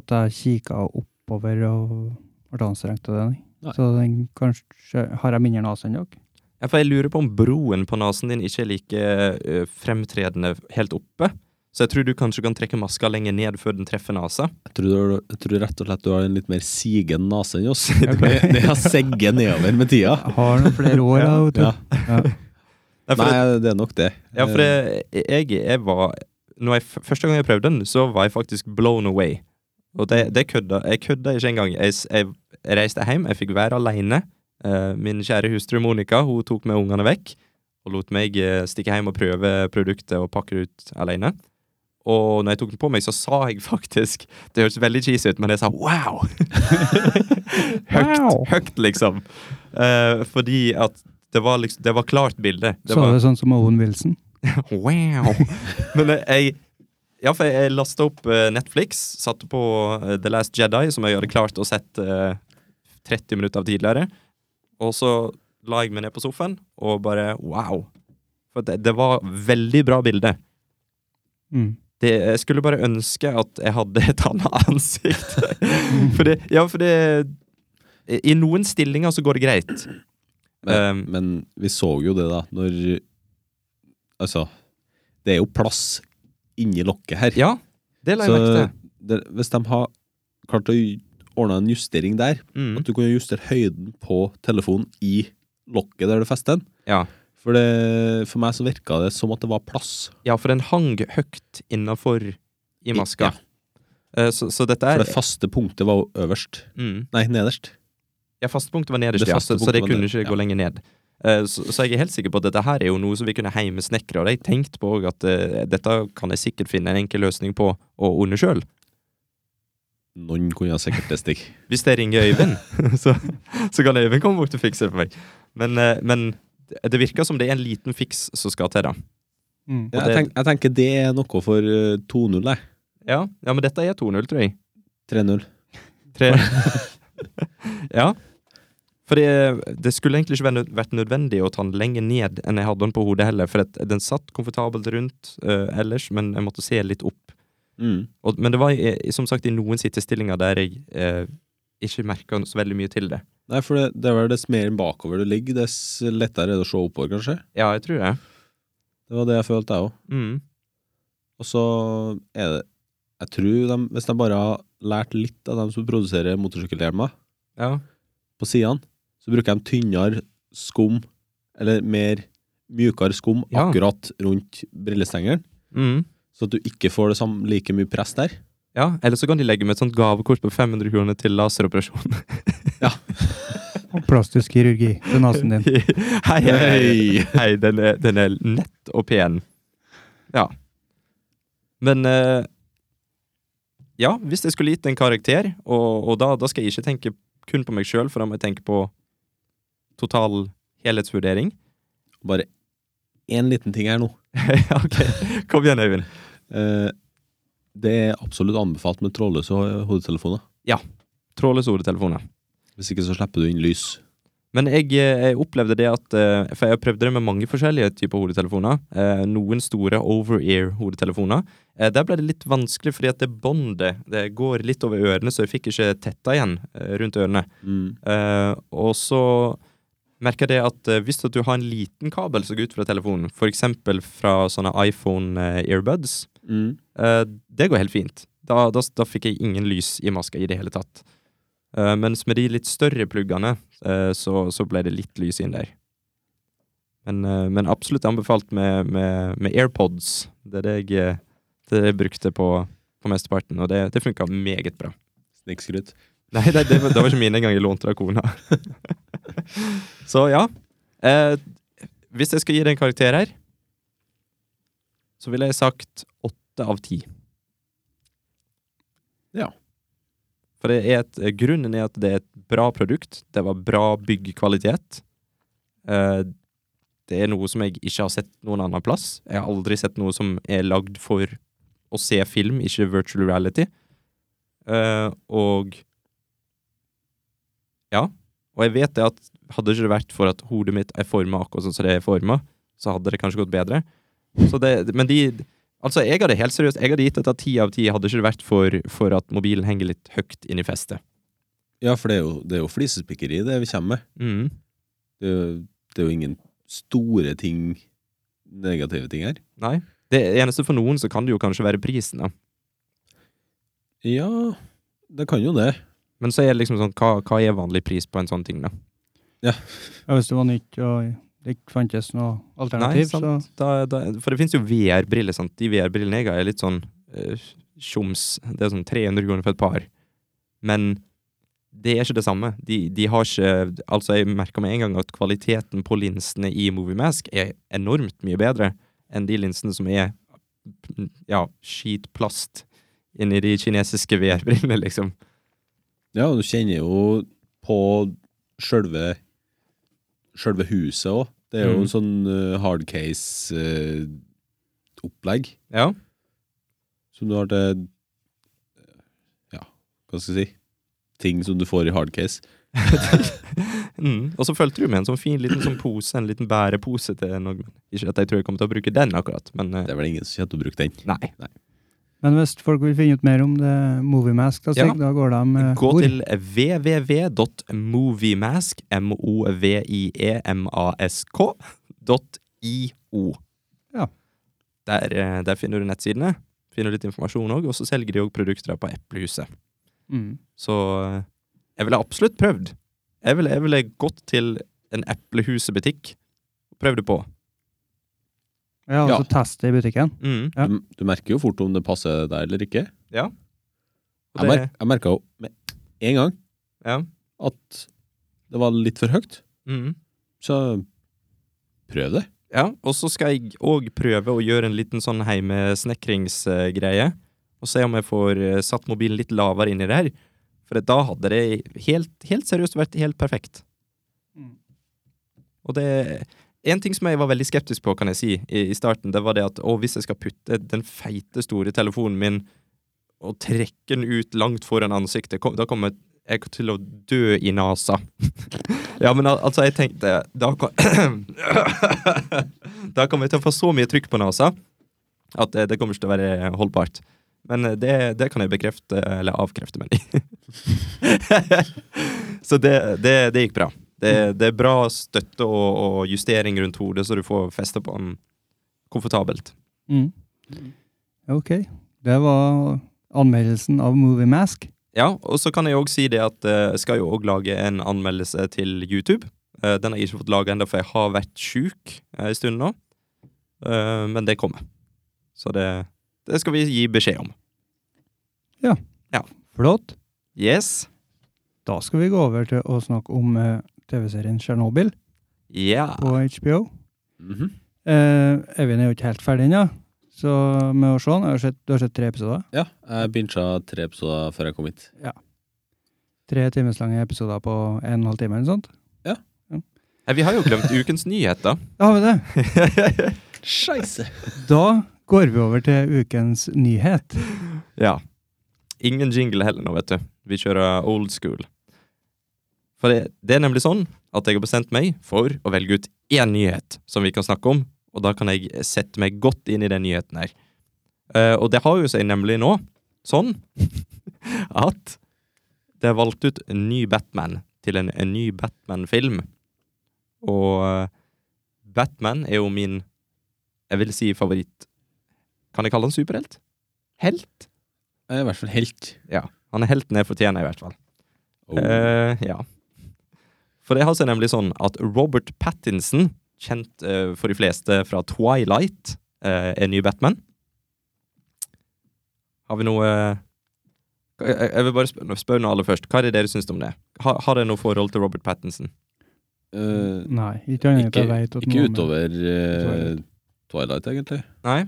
A: at jeg kikka oppover og ble anstrengt av det. nei.
D: Nei.
A: Så den kanskje har jeg mindre nese enn dere.
B: Ja, for jeg lurer på om broen på nesen din ikke er like eh, fremtredende helt oppe. Så jeg tror du kanskje kan trekke maska lenger ned før den treffer nesa.
C: Jeg tror, du- jeg tror rett og slett du har en litt mer sigen nese enn oss.
A: Ok.
C: Det, det har segget nedover med tida.
A: Jeg har noen flere år, jeg, vet du.
C: Ja.
A: Ja.
B: Nei, for,
C: Nei, det er nok det.
B: ja, for jeg, jeg, jeg var når jeg, f- Første gang jeg prøvde den, så var jeg faktisk blown away. Og det, det kødda jeg kødda ikke engang. Jeg, s- jeg reiste hjem, jeg fikk være aleine. Eh, min kjære hustru Monica hun tok med ungene vekk og lot meg eh, stikke hjem og prøve produktet og pakke det ut aleine. Og når jeg tok den på meg, så sa jeg faktisk Det høres veldig cheesy ut, men jeg sa wow! høgt,
A: Wow.
B: høgt, liksom. Eh, fordi at det var, liksom, det var klart bilde. Det
A: Så
B: var,
A: er det sånn som Owen Wilson.
B: Wow! Men eh, jeg ja, for jeg- jeg lasta opp eh, Netflix, satte på eh, The Last Jedi, som jeg hadde klart å sett eh, 30 minutter av tidligere. Og så la jeg meg ned på sofaen og bare wow. For det, det var veldig bra bilde.
A: Mm.
B: Det, jeg skulle bare ønske at jeg hadde et annet ansikt. for det, ja, for det I noen stillinger så går det greit.
C: Men,
B: Ehm.
C: Eh, men vi så jo det, da, når Altså, det er jo plass inni lokket her.
B: Ja, det la jeg merke til.
C: det, hvis de har klart å ordne en justering der,
B: Mm.
C: at du kunne justere høyden på telefonen i lokket der du fester den
B: Ja.
C: For, det, for meg så virka det som at det var plass.
B: Ja, for den hang høyt innafor i maska.
C: Ja.
B: Eh, Så, så dette
C: For
B: er
C: det faste punktet var jo øverst.
B: mm.
C: Nei, nederst.
B: Ja, fastepunktet var nederst,
C: Det
B: ja,
C: faste
B: så, så det
C: punktet var
B: kunne
C: ned-
B: ikke gå
C: ja.
B: lenger ned. Eh, Så, så jeg er helt sikker på at dette her er jo noe som vi kunne heimesnekre. Og det har jeg tenkt på også, at eh, dette kan jeg sikkert finne en enkel løsning på å ordne sjøl.
C: Noen kunne ha sikkert det stikk.
B: Hvis jeg ringer Øyvind, så, så kan Øyvind komme bort og fikse det for meg. Men, eh, men det virker som det er en liten fiks som skal til, da.
A: Mm.
C: Ja,
B: det-
C: jeg, tenk, jeg tenker det er noe for eh, 2-0, jeg.
B: Ja, ja men dette er 2-0, tror jeg.
C: 3-0.
B: Tre. ja. For det, det skulle egentlig ikke være nød- vært nødvendig å ta den lenger ned enn jeg hadde den på hodet heller, for at den satt komfortabelt rundt eh, ellers, men jeg måtte se litt opp.
C: Mm.
B: Og, men det var i, i- som sagt i noen sittestillinger der jeg eh, ikke merka så veldig mye til det.
C: Nei, for det, det er vel dess mer bakover du ligger, dess lettere er det å se oppover, kanskje.
B: Ja, jeg tror det.
C: Det var det jeg følte, jeg òg.
B: Mm.
C: Og så er det Jeg tror de, hvis de bare har lært litt av dem som produserer motorsykkelhjelmer
B: Ja.
C: på sidene, så bruker de tynnere skum, eller mer mjukere skum,
B: Ja.
C: akkurat rundt brillestengelen.
B: Mm.
C: Så at du ikke får det samme, like mye press der.
B: ja. Eller så kan de legge med et sånt gavekort på 500 kroner til laseroperasjon.
A: Og plastisk kirurgi til nesen din.
B: hei, hei, hei. hei den, er, den er nett og pen. Ja. Men eh, Ja, hvis jeg skulle gitt en karakter, og, og da, da skal jeg ikke tenke kun på meg sjøl, for da må jeg tenke på total helhetsvurdering.
C: Bare én liten ting her nå.
B: ok, kom igjen, Øyvind.
C: Eh, det er absolutt anbefalt med trådløse ho- hodetelefoner.
B: Trådløse hodetelefoner.
C: Hvis ikke så slipper du inn lys.
B: Men jeg, eh, jeg opplevde det at eh, For jeg prøvde det med mange forskjellige typer hodetelefoner. Eh, Noen store over-ear-hodetelefoner. Eh, Der ble det litt vanskelig, fordi at det båndet det går litt over ørene, så jeg fikk ikke tetta igjen eh, rundt ørene.
C: Mm.
B: Eh, Og så merka jeg det at eh, hvis at du har en liten kabel som går ut fra telefonen, f.eks. fra sånne eh, iPhone-earbuds,
C: Mm.
B: Eh, det går helt fint. Da, da, da fikk jeg ingen lys i maska i det hele tatt. Eh, mens med de litt større pluggene, eh, så, så ble det litt lys inn der. Men, eh, men absolutt anbefalt med, med, med AirPods. Det er det jeg, eh, det er det jeg brukte på, på mesteparten, og det, det funka meget bra.
C: Snikskryt.
B: Nei, det, det, var- det var ikke mine engang. Jeg lånte det av kona. så ja. Eh, hvis jeg skal gi det en karakter her, så ville jeg sagt åtte av ti.
C: Ja.
B: For det er et, eh, grunnen er at det er et bra produkt. Det var bra byggkvalitet. Eh, det er noe som jeg ikke har sett noen annen plass. Jeg har aldri sett noe som er lagd for å se film, ikke virtual reality. Eh, og Ja. Og jeg vet det at hadde ikke det vært for at hodet mitt er forma akkurat sånn som det er forma, så hadde det kanskje gått bedre. Så det, men de Altså, jeg hadde helt seriøst Jeg hadde gitt dette ti av ti, hadde ikke det vært for, for at mobilen henger litt høyt inn i festet.
C: Ja, for det er jo, det er jo flisespikkeri det vi kommer med.
B: Mm.
C: Det, er jo- det er jo ingen store ting, negative ting her.
B: Nei. Det eneste for noen så kan det jo kanskje være prisen, da.
C: Ja, det kan jo det.
B: Men så er det liksom sånn, hva, hva er vanlig pris på en sånn ting, da?
A: Ja, hvis det var nytt og det ikke fantes noe
B: Nei,
A: alternativ, så
B: sant. Da, da, for det finnes jo VR-briller, sant. De VR-brillene jeg har, er litt sånn eh, tjoms. Det er sånn 300 kroner for et par. Men det er ikke det samme. De, de har ikke Altså, jeg merka med en gang at kvaliteten på linsene i Moviemask er enormt mye bedre enn de linsene som er ja, skitplast inni de kinesiske VR-brillene, liksom.
C: Ja, og du kjenner jo på sjølve Sjølve huset òg. Det er jo
B: Mm.
C: en sånn eh, hard eh, case-opplegg
B: Ja.
C: som du har til eh, Ja, hva skal jeg si? Ting som du får i hard case.
B: Mm. Og så fulgte du med en sånn fin liten sånn pose, en liten bærepose til noen. Ikke at jeg tror jeg kommer til å bruke den akkurat, men eh,
C: Det er vel ingen som kommer til å bruke den.
B: nei.
A: Men hvis folk vil finne ut mer om det Moviemask, da, Stig,
B: Ja.
A: da går de eh,
B: Gå
A: hvor?
B: til www.moviemask E M-O-V-I-E-M-A-S-K dot I-O.
A: Ja.
B: Der, eh, der finner du nettsidene, finner du litt informasjon òg, og så selger de òg produkter på Eplehuset.
A: Mm.
B: Så eh, jeg ville absolutt prøvd. Jeg ville, jeg ville gått til en Eplehuset-butikk og prøvd det på.
A: Ja, og
C: Ja.
A: så teste i butikken.
B: Mm.
A: Ja.
C: Du, du merker jo fort om det passer deg eller ikke.
B: Og
C: Jeg,
B: det-
C: mer, jeg merka jo med en gang
B: ja.
C: at det var litt for høyt,
B: Mm.
C: så prøv det.
B: Ja, og så skal jeg òg prøve å gjøre en liten sånn heimesnekringsgreie. Og se om jeg får eh, satt mobilen litt lavere inni der. For da hadde det helt, helt seriøst vært helt perfekt.
A: Mm.
B: Og det En ting som jeg var veldig skeptisk på, kan jeg si, i, i starten, det var det at å, hvis jeg skal putte den feite, store telefonen min og trekke den ut langt foran ansiktet, kom, da kommer jeg til å dø i nesa. ja, men al altså, jeg tenkte Da kom Da kommer jeg til å få så mye trykk på nesa at eh, det kommer ikke til å være holdbart. Men eh, det, det kan jeg bekrefte, eller avkrefte, mener jeg. så det, det, det gikk bra. Det, det er bra støtte og, og justering rundt hodet, så du får feste på den komfortabelt.
A: Mm. Ok. Det var anmeldelsen av Moviemask.
B: Ja, og så kan jeg òg si det at eh, jeg skal jo òg lage en anmeldelse til YouTube. Eh, Den har jeg ikke fått laga ennå, for jeg har vært sjuk eh, en stund nå. Eh, Men det kommer. Så det, det skal vi gi beskjed om.
A: Flott.
B: Yes.
A: Da skal vi gå over til å snakke om eh, TV-serien Tsjernobyl
B: Ja.
A: på HBO.
B: Mhm.
A: Eh, Evin er jo ikke helt ferdig ennå, så med å se den jeg har sett, Du har sett tre episoder?
C: Ja, jeg bincha tre episoder før jeg kom hit.
A: Tre timeslange episoder på en og en halv time eller noe sånt?
B: Nei, Vi har jo glemt ukens nyheter.
A: Da har vi det!
C: Scheisse.
A: Da går vi over til ukens nyhet.
B: ja. Ingen jingle heller nå, vet du. Vi kjører old school. For det, det er nemlig sånn at jeg har bestemt meg for å velge ut én nyhet som vi kan snakke om, og da kan jeg sette meg godt inn i den nyheten her. Eh, og det har jo seg nemlig nå sånn at det er valgt ut en ny Batman til en, en ny Batman-film. Og eh, Batman er jo min, jeg vil si favoritt Kan jeg kalle han superhelt? Helt?
C: Jeg er i hvert fall helt.
B: Ja. Han er helten jeg fortjener, i hvert fall.
C: Oh.
B: Eh, ja. For det har seg nemlig sånn at Robert Pattinson, kjent eh, for de fleste fra Twilight, eh, er ny Batman. Har vi noe Hva- Jeg jeg vil bare spørre spør nå alle først. Hva er det dere syns om det? Har, har dere noe forhold til Robert Pattinson?
C: Eh,
A: Nei, ikke annet enn at
C: ikke
A: jeg vet at
C: ikke
A: noe med-
C: utover eh, Twilight, egentlig.
B: Nei.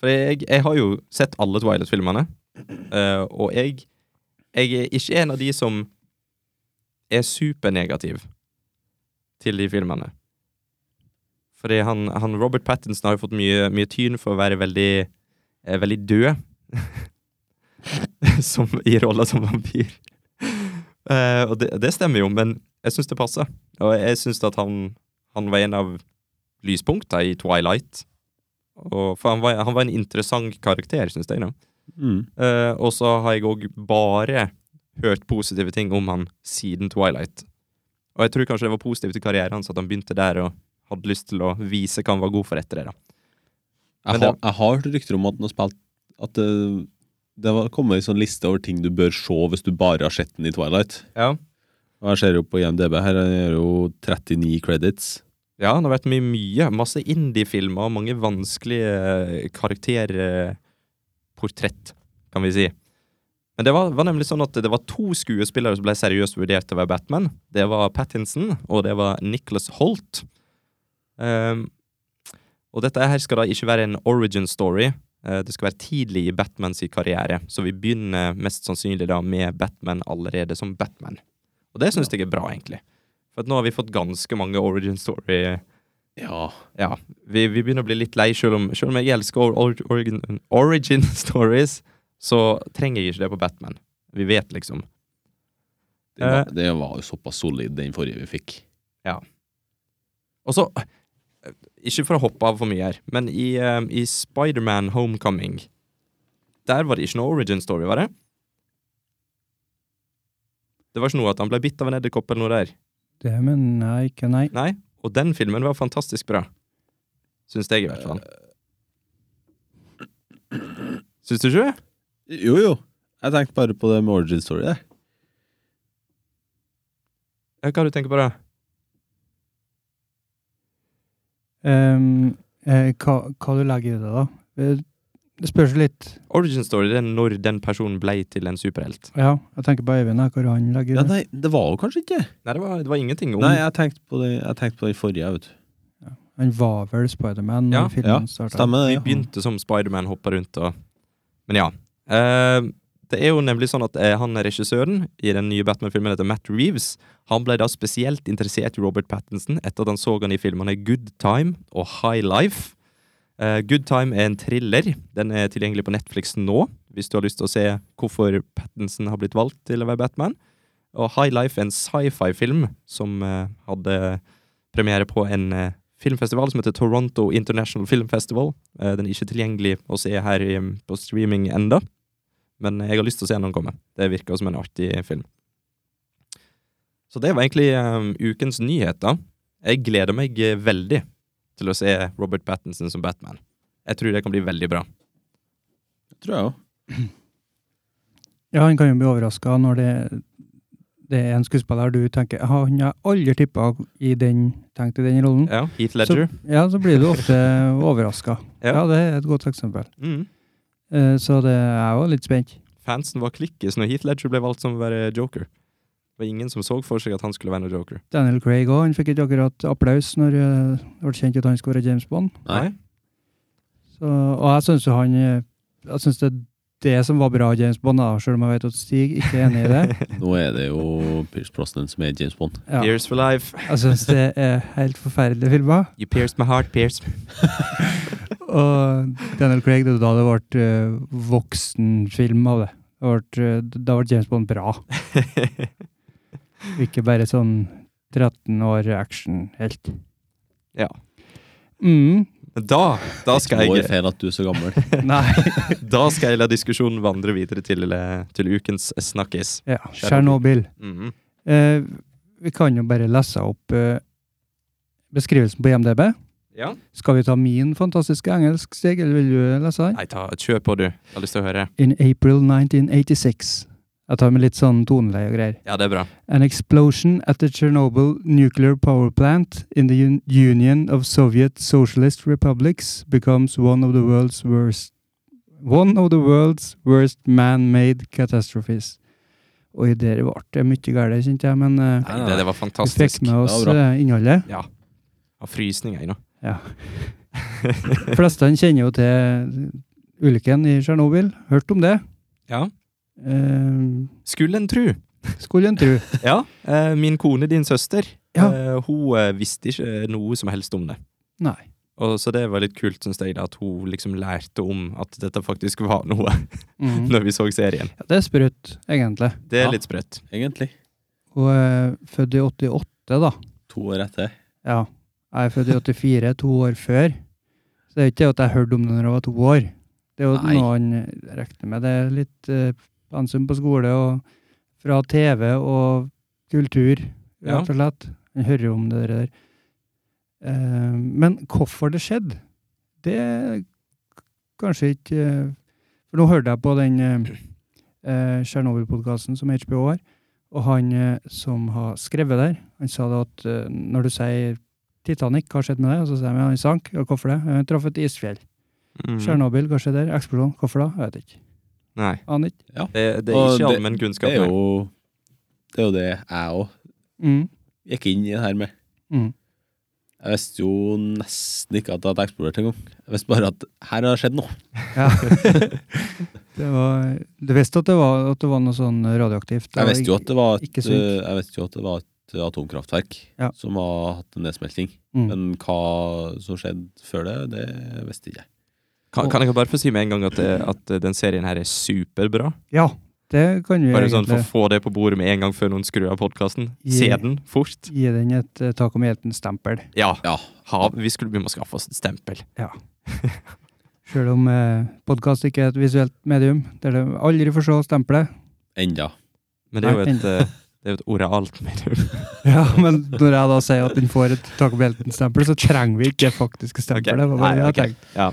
B: For jeg, jeg har jo sett alle Twilight-filmene. eh, og jeg, jeg er ikke en av de som er supernegativ til de filmene. Fordi han, han Robert Pattinson har jo fått mye, mye tyn for å være veldig, eh, veldig død. som, I rolla som vampyr. Eh, og det, det stemmer jo, men jeg syns det passer. Og jeg syns at han, han var en av lyspunktene i Twilight. Og, for han var, han var en interessant karakter, syns jeg. nå.
C: Mm.
B: Eh, og så har jeg òg bare hørt positive ting om han siden Twilight. Og jeg tror kanskje det var positivt i karrieren hans at han begynte der og hadde lyst til å vise hva han var god for etter det. da.
C: Jeg,
B: Men
C: har, jeg har hørt rykter om at den har spilt At det, det var kommet en sånn liste over ting du bør se hvis du bare har sett den i Twilight.
B: Ja.
C: Og jeg ser jo på IMDb her, han gjør jo 39 credits.
B: Ja, han har vært med i mye. Masse indie-filmer og mange vanskelige karakterportrett, kan vi si. Men det var, var nemlig sånn at det var to skuespillere som ble seriøst vurdert til å være Batman. Det var Pattinson, og det var Nicholas Holt. Ehm, og dette her skal da ikke være en origin story. Eh, Det skal være tidlig i Batmans karriere, så vi begynner mest sannsynlig da med Batman allerede som Batman. Og det syns jeg er bra, egentlig. For at nå har vi fått ganske mange origin story.
C: Ja.
B: Ja, vi, vi begynner å bli litt lei, selv om, selv om jeg elsker or, or, origin, origin stories, så trenger jeg ikke det på Batman. Vi vet liksom.
C: Det
B: Eh.
C: var, det var jo såpass solid, den forrige vi fikk.
B: Og så, eh, ikke for å hoppe av for mye her, men i, eh, i Spiderman Homecoming, der var det ikke noe origin story, var det? Det var ikke noe at han ble bitt av en edderkopp eller noe der.
A: Det mener jeg ikke, nei.
B: Nei, og den filmen var fantastisk bra. Syns jeg, i hvert
C: Eh.
B: fall. Syns du ikke det?
C: Jo, jo. Jeg tenkte bare på det med origin story. Jeg.
B: Ja, Hva har du tenker på da?
A: Ehm, eh, hva, hva du legger i det, da? Eh, Det spørs jo litt.
B: Origin story det er når den personen ble til en superhelt.
A: Ja, jeg tenker på Øyvind, jeg, hva han legger i
C: Ja,
A: det.
C: nei, det var jo kanskje ikke
B: Nei, det var, det var ingenting om
C: Nei, jeg tenkte på det, jeg tenkte på det forrige, vet du.
A: Han var vel Spiderman da
B: Ja,
A: filmen
C: ja,
A: startet.
C: Stemmer det?
B: Vi
C: Ja.
B: begynte som Spiderman, hoppa rundt og Men ja. Eh, det er jo nemlig sånn at eh, han regissøren i den nye Batman-filmen heter Matt Reeves. Han ble da spesielt interessert i Robert Pattinson etter at han så han i filmene Good Time og High Life. Eh, Good Time er en thriller. Den er tilgjengelig på Netflix nå, hvis du har lyst til å se hvorfor Pattinson har blitt valgt til å være Batman. Og High Life er en sci-fi-film som eh, hadde premiere på en eh, filmfestival som heter Toronto International Film Festival. Eh, den er ikke tilgjengelig å se her i, på streaming enda, men jeg har lyst til å se den komme. Det virker som en artig film. Så det var egentlig eh, ukens nyheter. Jeg gleder meg eh, veldig til å se Robert Pattinson som Batman. Jeg tror det kan bli veldig bra.
C: Tror jeg òg.
A: Ja, han kan jo bli overraska når det, det er en skuespiller du tenker «Ah, Han har aldri tippa i den, tenkt i den rollen.
B: Ja, Heath Ledger.
A: Mm. Så, ja, så blir du ofte overraska.
B: Ja.
A: ja. det er et godt eksempel.
B: Mm.
A: Eh, så det, jeg var litt spent.
B: Fansen var klikkes når Heath Ledger ble valgt som å være Joker. Det var ingen som så for seg at han skulle være noen Joker.
A: Daniel Craig òg, han fikk ikke akkurat applaus når eh, det ble kjent at han skulle være James Bond.
C: Nei.
A: Så, og jeg syns jo han eh, Jeg syns det er det som var bra James Bond, da, selv om jeg vet at Stig ikke er enig i det.
C: Nå er det jo Pierce Brosnan som er James Bond.
A: Ja.
B: Pierce for life.
A: Jeg syns det er helt forferdelige filmer.
B: You pierced my heart, Pierce.
A: Og Daniel Craig, det var da det ble eh, voksenfilm av det. det ble, eh, da ble James Bond bra, ikke bare sånn 13 år actionhelt.
B: Ja.
A: Mm,
B: Da, da, skal
C: Må jo
B: jeg,
C: feil at du er så gammel.
A: nei.
B: da skal jeg la diskusjonen vandre videre til, eh, til ukens snakkis.
A: Ja, Tsjernobyl.
B: Mhm.
A: Eh, vi kan jo bare lese opp eh, beskrivelsen på IMDb.
B: Ja.
A: Skal vi ta min fantastiske engelsk, Stig, eller vil du lese den?
B: Nei, ta, kjør på, du. Jeg har lyst til å høre.
A: In April 1986. Jeg tar med litt sånn toneleie og greier.
B: Ja, det er bra.
A: An explosion at the Chernobyl nuclear power plant in the un- Union of Soviet Socialist Republics becomes one of the world's worst one of the world's worst man-made catastrophes. Oi, der ble det mye galt, kjente jeg, men eh,
C: Nei, nei,
B: Det, det var
A: vi fikk
B: fantastisk. Jeg
A: med oss
C: Det var bra.
A: eh, innholdet.
B: har frysninger jeg nå.
A: Ja. De fleste kjenner jo til ulykken i Tsjernobyl. Hørt om det?
B: Ja.
A: Eh,
B: Skulle en tru.
A: skulle en tro.
B: Ja. eh, Min kone, din søster,
A: Ja.
B: eh, hun eh, visste ikke noe som helst om det.
A: Nei.
B: Og Så det var litt kult, syns jeg, da, at hun liksom lærte om at dette faktisk var noe,
A: Mhm.
B: når vi så serien.
A: Ja, det er sprøtt, egentlig.
B: Det
C: Ja.
B: er litt sprøtt.
C: Egentlig.
A: Og eh, født i 88, da.
C: To år etter.
A: Ja. Jeg er født i 84, to år før. Så det er ikke det at jeg hørte om det når jeg var to år. Det er jo
C: Nei.
A: noe han regner med. Det er litt eh, pensum på skole og Fra TV og kultur,
B: Ja.
A: rett og slett. Jeg hører jo om det der. Eh, men hvorfor det skjedde, det er kanskje ikke eh, For nå hørte jeg på den Tsjernobyl-podkasten som HBO har, og han eh, som har skrevet der, han sa det at eh, når du sier Titanic, hva skjedde med det? Og så sier han ja, han sank. Ja, hvorfor det? Han traff et isfjell.
B: Mm.
A: Tsjernobyl, hva skjedde der? Eksplosjon. Hvorfor da? Jeg vet ikke.
B: Nei.
A: Aner ikke.
B: Det, det er
C: Og
B: ikke
C: det-
B: allmenn
C: Det
B: kunnskap.
C: er
B: nei.
C: jo det, er jo det jeg òg
A: Mm.
C: gikk inn i det her med.
A: Mm.
C: Jeg visste jo nesten ikke at jeg hadde eksplodert engang. Jeg visste bare at her har det skjedd noe.
A: Ja. det var, du visste at det var, at det var noe sånn radioaktivt?
C: Jeg visste jo at det var et,
A: ikke synk.
C: eh, jeg visste jo at det var et atomkraftverk
A: Ja.
C: som har hatt en nedsmelting.
A: mm.
C: Men hva som skjedde før det, det visste ikke jeg.
B: Kan, kan jeg bare få si med en gang at, det, at eh, den serien her er superbra?
A: Ja, det kan vi
B: Bare sånn for
A: egentlig
B: å få det på bordet med en gang før noen skrur av podkasten. Se
A: Yeah.
B: den fort.
A: gi den et eh, tak om hjelten-stempel.
B: Ja.
C: Ja.
B: Ha, vi skulle begynne å skaffe oss et stempel.
A: Selv om eh, podkast ikke er et visuelt medium, der du aldri får se stempelet.
C: Enda.
B: Men det er jo
A: Nei,
B: et, eh, det er jo et oralt medium.
A: Ja, men når jeg da sier at den får et tak om hjelten-stempel, så trenger vi ikke det faktiske
B: Ok.
A: stempelet. Det var bare det
B: Nei,
A: jeg
B: ok.
A: tenkte.
B: Ja.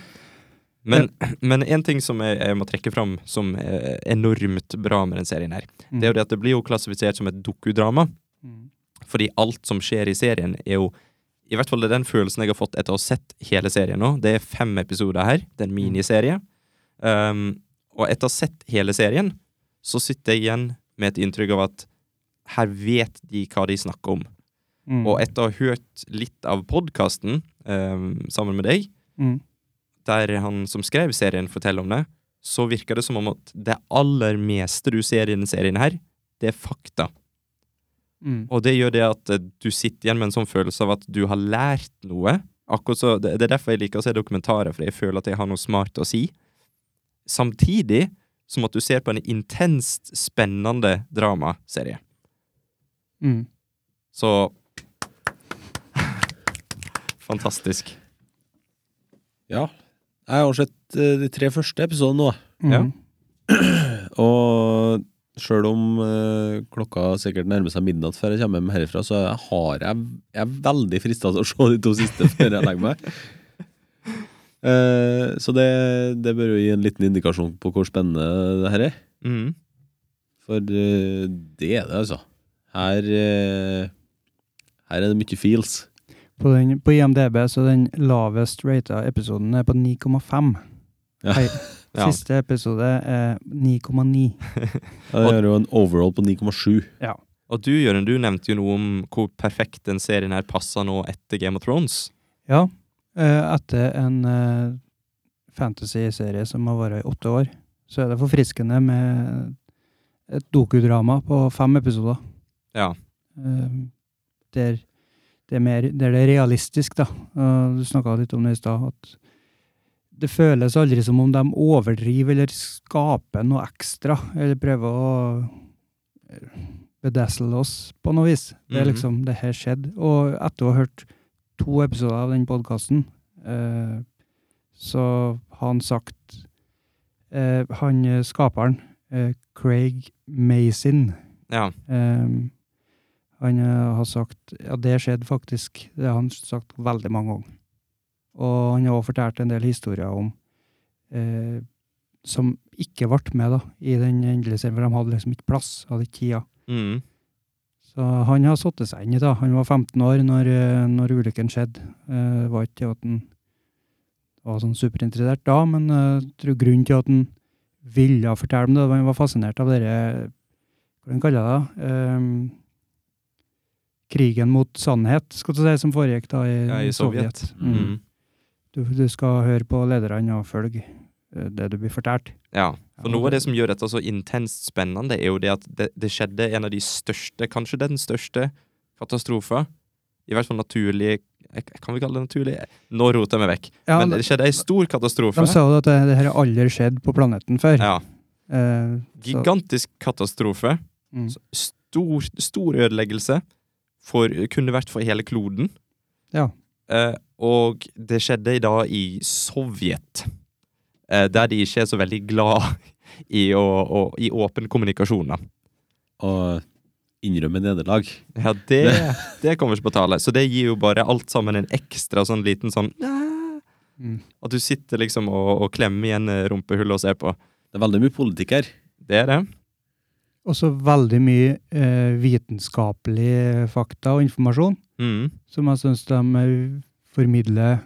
B: Men, men en ting som jeg, jeg må trekke fram som er enormt bra med den serien her,
A: Mm.
B: det er jo det at det blir jo klassifisert som et dokudrama.
A: Mm.
B: Fordi alt som skjer i serien, er jo I hvert fall det er den følelsen jeg har fått etter å ha sett hele serien nå. Det er fem episoder her. Det er en miniserie. Um, og etter å ha sett hele serien, så sitter jeg igjen med et inntrykk av at her vet de hva de snakker om.
A: Mm.
B: Og etter å ha hørt litt av podkasten sammen med deg,
A: Mm.
B: der han som skrev serien forteller om det, så virker det som om at det aller meste du ser i denne serien her, det er fakta.
A: Mm.
B: Og det gjør det at eh, du sitter igjen med en sånn følelse av at du har lært noe. Akkurat så, det, det er derfor jeg liker å se dokumentarer, for jeg føler at jeg har noe smart å si. Samtidig som at du ser på en intenst spennende dramaserie.
A: Mm.
B: Så Fantastisk.
C: Ja. Jeg har sett eh, de tre første episodene nå.
A: Mm.
B: Ja.
C: Og sjøl om eh, klokka sikkert nærmer seg midnatt før jeg kommer hjem herifra, så har jeg, jeg er veldig frista til å se de to siste før jeg legger meg. Eh, så det, det bør jo gi en liten indikasjon på hvor spennende det her er.
B: Mm.
C: For eh, det er det, altså. Her, eh, her er det mye feels.
A: På, den, på IMDb så er den lavest rata episoden er på 9,5.
C: Ja.
A: Hei,
B: Ja.
A: Siste episode er 9,9.
C: Ja, Det gjør jo en overall på 9,7.
B: Og du, Jørgen, du nevnte jo noe om hvor perfekt den serien her passer nå etter Game of Thrones.
A: Ja, eh, etter en eh, fantasy-serie som har vært i åtte år, så er det forfriskende med et dokudrama på fem episoder.
B: Ja.
A: Eh, der, det er mer, der det er realistisk, da. Eh, du snakka litt om det i stad. at det føles aldri som om de overdriver eller skaper noe ekstra, eller prøver å eh, bedazzle oss på noe vis. Det er
B: Mhm.
A: liksom det her skjedde. Og etter å ha hørt to episoder av den podkasten, eh, så har han sagt eh, Han eh, skaperen, eh, Craig Mason,
B: Ja.
A: Ehm, han eh, har sagt Ja, det skjedde faktisk. Det har han sagt veldig mange ganger. Og han har også fortalt en del historier om eh, som ikke ble med da, i den endelige serien, for de hadde liksom ikke plass, hadde ikke tida.
B: Mm.
A: Så han har satt seg inn i det. Han var 15 år når, eh, når ulykken skjedde. Eh, Det var ikke det at han var sånn superinteressert da, men eh, jeg tror grunnen til at han ville fortelle om det, var han var fascinert av dere, hva han kaller det, Ehm, krigen mot sannhet, skal du si, som foregikk da i,
B: Ja, i Sovjet.
A: Mm.
B: Mm.
A: Du, du skal høre på lederne og følge eh, det du blir fortalt.
B: Ja. For noe av det som gjør dette så intenst spennende, er jo det at det, det skjedde en av de største, kanskje den største, katastrofa. I hvert fall naturlig eh, Kan vi kalle det naturlig? Nå roter jeg meg vekk.
A: ja,
B: Men
A: de,
B: det skjedde ei stor katastrofe.
A: de sa jo at det, det her har aldri skjedd på planeten før.
B: Ja.
A: Eh, så-
B: Gigantisk katastrofe.
A: mm.
B: Så Stor, stor ødeleggelse. For, kunne vært for hele kloden.
A: Ja.
B: Eh, og det skjedde i dag i Sovjet. Eh, der de ikke er så veldig glad i, å, å, i åpen kommunikasjon. da.
C: å innrømme nederlag.
B: Ja, det, det kommer ikke på tale. Så det gir jo bare alt sammen en ekstra sånn liten sånn
A: Mm.
B: At du sitter liksom og, og klemmer igjen eh, rumpehullet og ser på.
C: Det er veldig mye politikk her.
B: Det er det.
A: Også veldig mye eh, vitenskapelig fakta og informasjon
B: Mm.
A: som jeg syns de eh, formidler.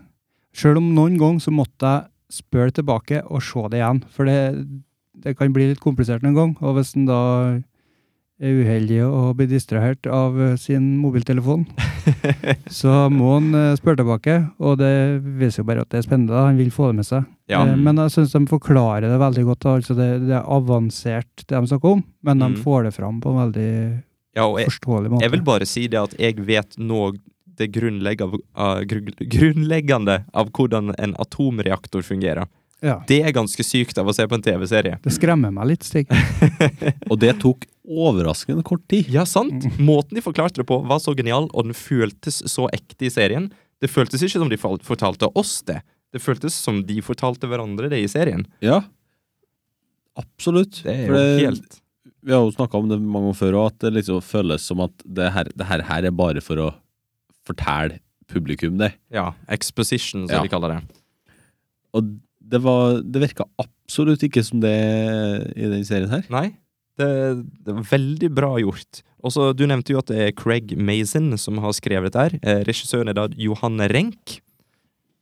A: Sjøl om noen ganger så måtte jeg spørre tilbake og se det igjen, for det, det kan bli litt komplisert noen gang. Og hvis en da er uheldig og blir distrahert av eh, sin mobiltelefon, så må han eh, spørre tilbake, og det viser jo bare at det er spennende. da. Han vil få det med seg.
B: Ja.
A: Eh, Men jeg syns de forklarer det veldig godt. da. Altså det, det er avansert, det de snakker om, men
B: Mm.
A: de får det fram på en veldig
B: ja, og jeg,
A: forståelig måte.
B: Jeg vil bare si det at jeg vet nå det grunnlegg av, av, grunn- grunnleggende av hvordan en atomreaktor fungerer.
A: ja.
B: Det er ganske sykt av å se på en TV-serie.
A: Det skremmer meg litt, Stig.
C: Og det tok overraskende kort tid.
B: Ja, sant? Måten de forklarte det på, var så genial, og den føltes så ekte i serien. Det føltes ikke som de fal- fortalte oss det. Det føltes som de fortalte hverandre det i serien.
C: Ja. Absolutt.
B: Det er
C: For
B: jo
C: det-
B: helt
C: Vi har jo snakka om det mange ganger før òg, at det liksom føles som at det her, det her, her er bare for å fortelle publikum det.
B: Ja, exposition, som
C: Ja.
B: de kaller det.
C: Og det, var, det virka absolutt ikke som det i den serien her.
B: Nei, det, det er veldig bra gjort. Og så, Du nevnte jo at det er Craig Mason som har skrevet dette. her. Eh, regissøren er da Johan Renk.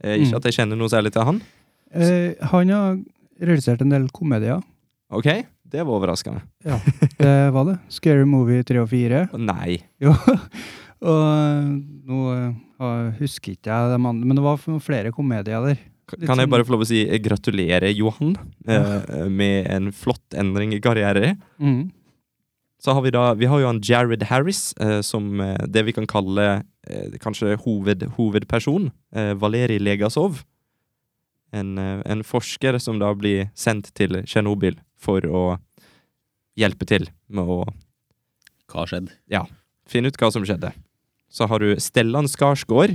B: Eh, ikke
A: Mm.
B: at jeg kjenner noe særlig til han.
A: Eh, han har realisert en del komedier.
B: Ok, Det var overraskende.
A: Det var det. Scary Movie 3 og 4.
B: Nei.
A: Jo. Og eh, nå eh, husker ikke jeg de andre, men det var flere komedier der.
B: K-
A: Litt
B: Kan jeg
A: sånn-
B: bare få lov å si eh, gratulerer, Johan, eh, med en flott endring i karriere.
A: Mm.
B: Så har vi da Vi har jo han Jared Harris, eh, som eh, det vi kan kalle eh, kanskje hoved, hovedperson. Eh, Valerij Legasov. En, eh, en forsker som da blir sendt til Tsjernobyl for å hjelpe til med å
C: Hva skjedde?
B: finne ut hva som skjedde. Så har du Stellan Skarsgård,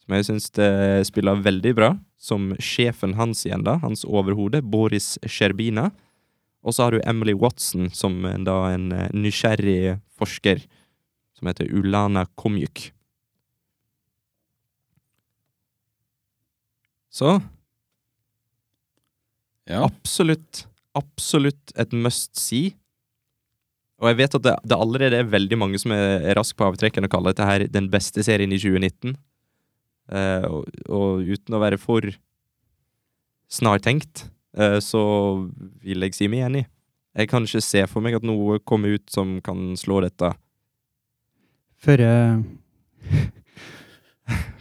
B: som jeg syns det spiller veldig bra, som sjefen hans igjen, da, hans overhode, Boris Sherbina. Og så har du Emily Watson, som en- da en eh, nysgjerrig forsker, som heter Ulana Komjuk. Så
C: Ja.
B: absolutt, absolutt et must see. Og jeg vet at det, det allerede er veldig mange som er er rask på avtrekken og kaller dette her den beste serien i 2019. Eh, og, og uten å være for snartenkt, eh, så vil jeg si meg enig. Jeg kan ikke se for meg at noe kommer ut som kan slå dette
A: Før eh,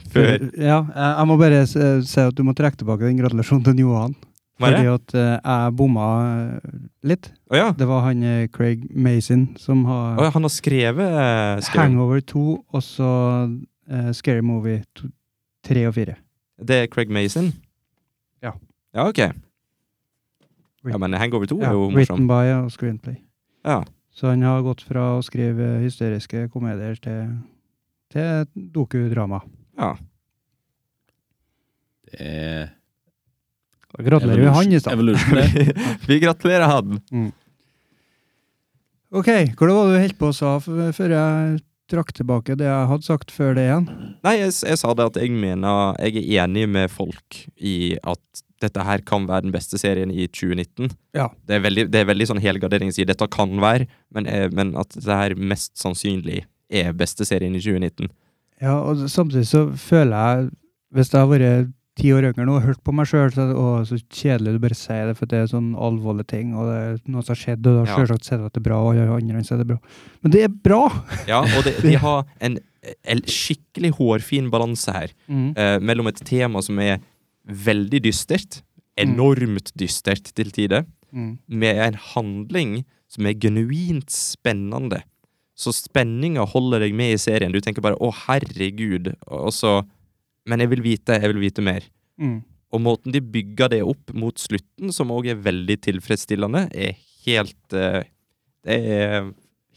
B: før.
A: Ja, jeg jeg må bare s- eh, si at du må trekke tilbake den gratulasjonen til Johan.
B: Var
A: Fordi
B: det?
A: at eh, jeg bomma eh, litt.
B: Å ja.
A: Det var han eh, Craig Mason som har
B: Å ja, han har skrevet, eh, skrevet.
A: Hangover 2 og så eh, Scary Movie 2, 3 og 4.
B: Det er Craig Mason?
A: Ja.
B: Ja, ok. Ja, men Hangover 2
A: Ja,
B: er jo morsom.
A: written by og screenplay.
B: Ja.
A: Så han har gått fra å skrive hysteriske komedier til, til dokudrama.
B: Ja.
C: Det er
A: Gratulerer med han i stad.
C: Evolution, det.
B: Vi gratulerer han!
A: Ok, hva det var det du holdt på å sa f- før jeg trakk tilbake det jeg hadde sagt før det igjen?
B: Nei, jeg, s- jeg sa det at jeg mener Jeg er enig med folk i at dette her kan være den beste serien i 2019.
A: Ja.
B: Det er veldig, det er veldig sånn helgardering å si dette kan være, men, eh, men at dette her mest sannsynlig er beste serien i 2019.
A: Ja, og samtidig så føler jeg, hvis jeg har vært ti år yngre nå og hørt på meg sjøl, så er det å, så kjedelig du bare sier det, for det er sånn alvorlige ting, og det er noe som har skjedd, og du har
B: Ja.
A: sjølsagt sett at det er bra, og alle andre sier det er bra. Men det er bra!
B: Ja, og det, de har en, eh, en skikkelig hårfin balanse her. eh, mellom et tema som er veldig dystert,
A: Mm.
B: enormt dystert til tider,
A: Mm.
B: med en handling som er genuint spennende. Så spenninga holder deg med i serien. Du tenker bare 'Å, herregud', og så Men jeg vil vite, jeg vil vite mer.
A: Mm.
B: Og måten de bygger det opp mot slutten, som òg er veldig tilfredsstillende, er helt eh, Det er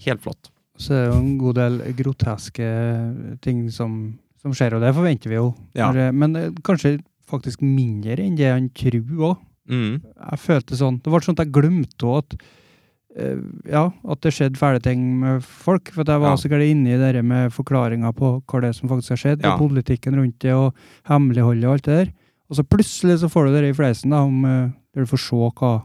B: helt flott.
A: Så er det jo en god del groteske ting som, som skjer, og det forventer vi jo. Når
B: Ja.
A: det- men eh, kanskje faktisk mindre enn det han tror òg.
B: Mm.
A: Jeg følte sånn, Det ble sånn at jeg glemte også at eh, ja, at det skjedde fæle ting med folk. For at jeg var
B: Ja.
A: så gærent inne i det der med forklaringa på hva det er som faktisk har skjedd,
B: Ja.
A: og politikken rundt det, og hemmeligholdet og alt det der. Og så plutselig så får du det i fleisen, da, om eh, der du får se hva, hva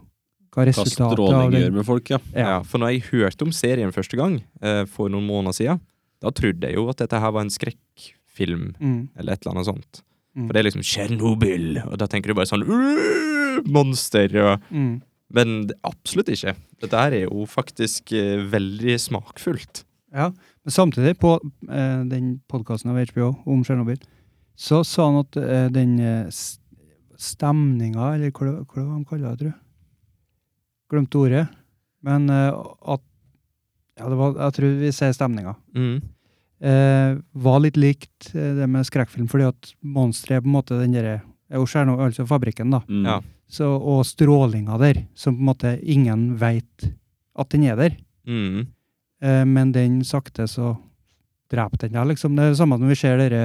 C: Hva
A: resultatet av
C: stråling gjør
A: den
C: med folk, ja.
A: Ja.
B: Ja, for når jeg hørte om serien første gang, eh, for noen måneder siden, da trodde jeg jo at dette her var en skrekkfilm,
A: Mm,
B: eller et eller annet sånt.
A: Mm.
B: For det er liksom Tsjernobyl, og da tenker du bare sånn «Øh, monster, og...
A: mm.
B: Men det, absolutt ikke. Dette her er jo faktisk eh, veldig smakfullt.
A: Ja, men samtidig, på eh, den podkasten av HBO om Tsjernobyl, så sa han at eh, den eh, stemninga, eller hva, det- hva det var han kaller det, tror jeg Glemte ordet. Men eh, at Ja, det var, jeg tror vi sier stemninga.
B: Mm.
A: Eh, var litt likt eh, det med skrekkfilm, fordi at monsteret er på en måte den derre og Tsjernobyl, altså fabrikken, da.
C: Mm.
B: Ja.
A: Så, og strålinga der, som på en måte ingen veit at den er der.
B: Mm.
A: Eh, men den sakte så dreper den deg, liksom. Det er det samme når vi ser dere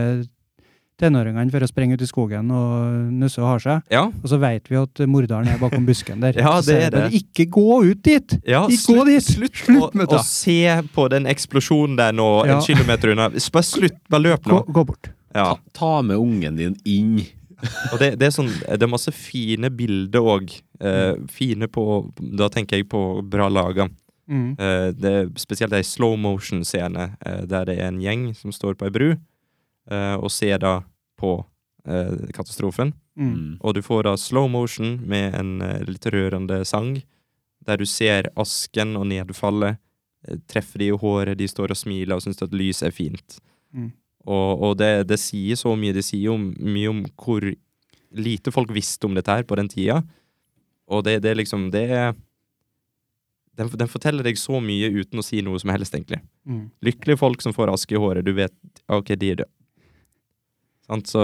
A: tenåringene for å sprenge ut i skogen og nusse og har seg,
B: Ja,
A: og så vet vi at morderen er bakom busken der.
B: Ja,
A: Så sier
B: det er
A: jeg bare,
B: det.
A: Ikke gå ut dit!
B: ja
A: Ikke gå dit!
B: Slutt,
A: Slutt
B: å,
A: med
B: å
A: det.
B: se på den eksplosjonen der nå,
A: Ja.
B: en kilometer unna. Bare slutt, bare løp
A: Gå,
B: nå.
A: gå bort.
B: Ja.
C: Ta, ta med ungen din inn.
B: Og det, det, er sånn, det er masse fine bilder òg. Eh, fine på Da tenker jeg på bra laga.
A: Mm.
B: Eh, det, er spesielt ei slow motion-scene eh, der det er en gjeng som står på ei bru eh, og ser da på eh, katastrofen.
A: Mm.
B: Og du får da slow motion med en eh, litt rørende sang der du ser asken og nedfallet. eh, treffer de i håret, de står og smiler og syns at lys er fint.
A: Mm.
B: Og, og det, det sier så mye. Det sier jo mye om hvor lite folk visste om dette her på den tida. Og det, det er liksom Det er den, den forteller deg så mye uten å si noe som helst, egentlig.
A: Mm.
B: Lykkelige folk som får aske i håret. Du vet OK, de er døde. Sant, så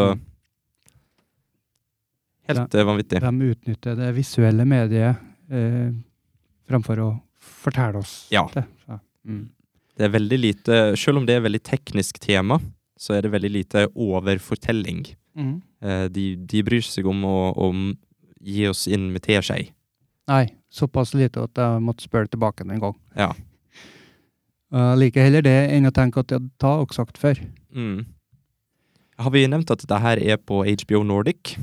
B: Helt eh, vanvittig.
A: De utnytter det visuelle mediet eh, framfor å fortelle oss
B: Ja.
A: det. Ja. Mm.
B: Det er veldig lite Selv om det er veldig teknisk tema, så er det veldig lite overfortelling.
A: Mm.
B: Eh, de, de bryr seg om å om gi oss inn med teskje.
A: Nei, såpass lite at jeg måtte spørre tilbake en gang. Eh,
B: Ja.
A: Jeg liker heller det enn å tenke at jeg har også sagt før.
B: Mm. Har vi nevnt at dette her er på HBO Nordic?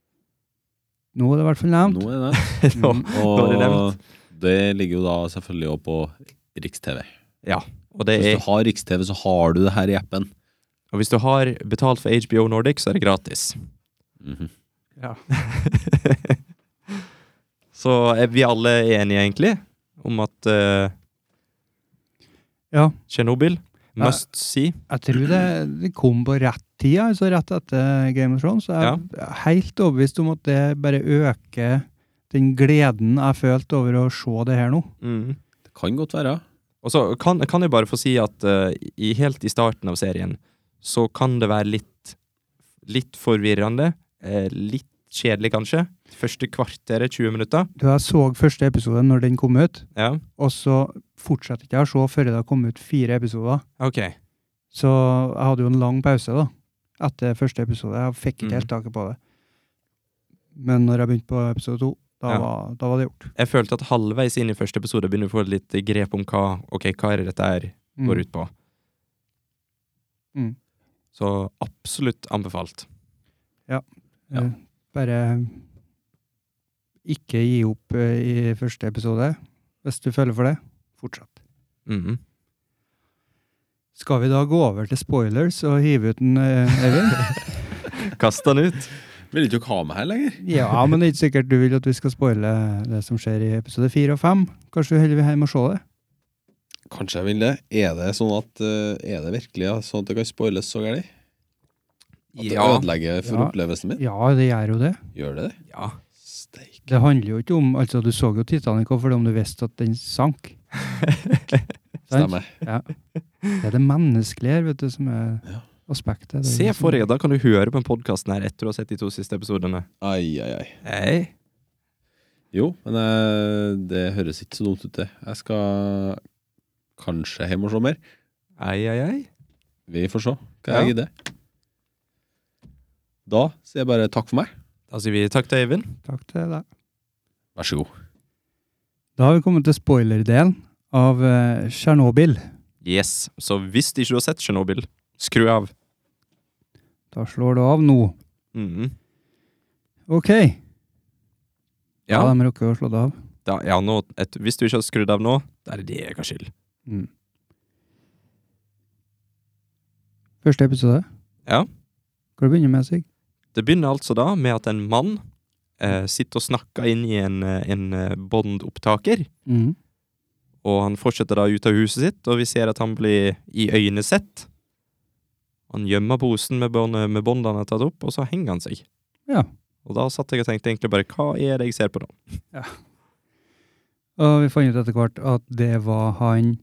A: Nå er det i hvert fall nevnt.
C: Nå Mm. er det det.
B: Nå- nå er det nevnt.
C: Og det ligger jo da selvfølgelig også på Riks-TV.
B: Og, det
C: Hvis
B: er,
C: du har Riks-TV, så har du det her i appen.
B: og hvis du har betalt for HBO Nordic, så er det gratis.
C: Mhm.
B: så er vi alle enige, egentlig, om at eh,
A: Ja.
B: Tsjernobyl must see.
A: Jeg tror det, det kom på rett tid, altså rett etter Game of Thrones. så Jeg er helt overbevist om at det bare øker den gleden jeg følte over å se det her nå.
B: Mm.
C: Det kan godt være.
B: Og så kan, kan jeg bare få si at eh, i, helt i starten av serien så kan det være litt, litt forvirrende. eh, litt kjedelig, kanskje. Første kvarteret, 20 minutter.
A: Da jeg så første episode når den kom ut,
B: Ja,
A: og så fortsatte jeg ikke å se før det hadde kommet ut fire episoder.
B: ok.
A: Så jeg hadde jo en lang pause da, etter første episode. Jeg fikk
B: Mhm.
A: ikke helt taket på det. Men når jeg begynte på episode to, da,
B: Ja.
A: var, da var det gjort.
B: Jeg følte at halvveis inn i første episode begynner å få litt grep om hva Ok, hva er det dette her
A: Mm.
B: går ut på.
A: Mm.
B: Så absolutt anbefalt. Ja.
A: Eh, Bare ikke gi opp eh, i første episode. Hvis du føler for det, fortsett.
B: Mhm.
A: Skal vi da gå over til spoilers og hive ut en eh, Eivind?
B: Kast den ut!
C: Vil ikke dere ha meg her lenger?
A: ja, men det er ikke sikkert du vil at vi skal spoile det som skjer i episode fire og fem. Kanskje du heller vil hjem og se det?
C: Kanskje jeg vil det. Er det sånn at eh, Er det virkelig ja, sånn at det kan spoiles så gærent? At det
B: Ja.
C: ødelegger for
A: Ja.
C: opplevelsen min?
A: Ja, det gjør jo det.
C: Gjør det det?
B: ja.
C: Steik.
A: Det handler jo ikke om Altså, du så jo Titanic også, fordi om du visste at den sank. Sant?
C: Stemmer.
A: Det er det menneskelige her, vet du, som er
C: Ja.
A: aspektet. Det er
B: Se
A: det som-
B: for deg, da kan du høre på podkasten her etter du har sett de to siste episodene.
C: Ai, ai, ai.
B: Hey.
C: Jo, men eh, det høres ikke så dumt ut, det. Jeg skal kanskje hjem og se mer.
B: Ei, ei, ei.
C: Vi får se hva jeg gidder. Da sier jeg bare takk for meg.
B: Da sier vi takk til Eivind.
A: Takk til deg.
C: Vær så god.
A: Da har vi kommet til spoilerdelen av eh, Tsjernobyl.
B: Yes. Så hvis ikke du har sett Tsjernobyl, skru av.
A: Da slår du av nå.
B: Mhm.
A: Ok. Ja,
B: Ja,
A: de rekker å slå det av.
B: da, ja nå, et, hvis du ikke har skrudd av nå, da er det det jeg har skyld.
A: Mm. Første episode.
B: Ja.
A: Hva begynner med seg?
B: Det begynner altså da med at en mann eh, sitter og snakker inn i en, eh, en eh, båndopptaker,
A: Mm.
B: og han fortsetter da ut av huset sitt, og vi ser at han blir iøynesett. Han gjemmer posen med, bånd, med båndene han har tatt opp, og så henger han seg.
A: Ja.
B: Og da satt jeg og tenkte egentlig bare, hva er det jeg ser på nå?
A: Og vi fant ut etter hvert at det var han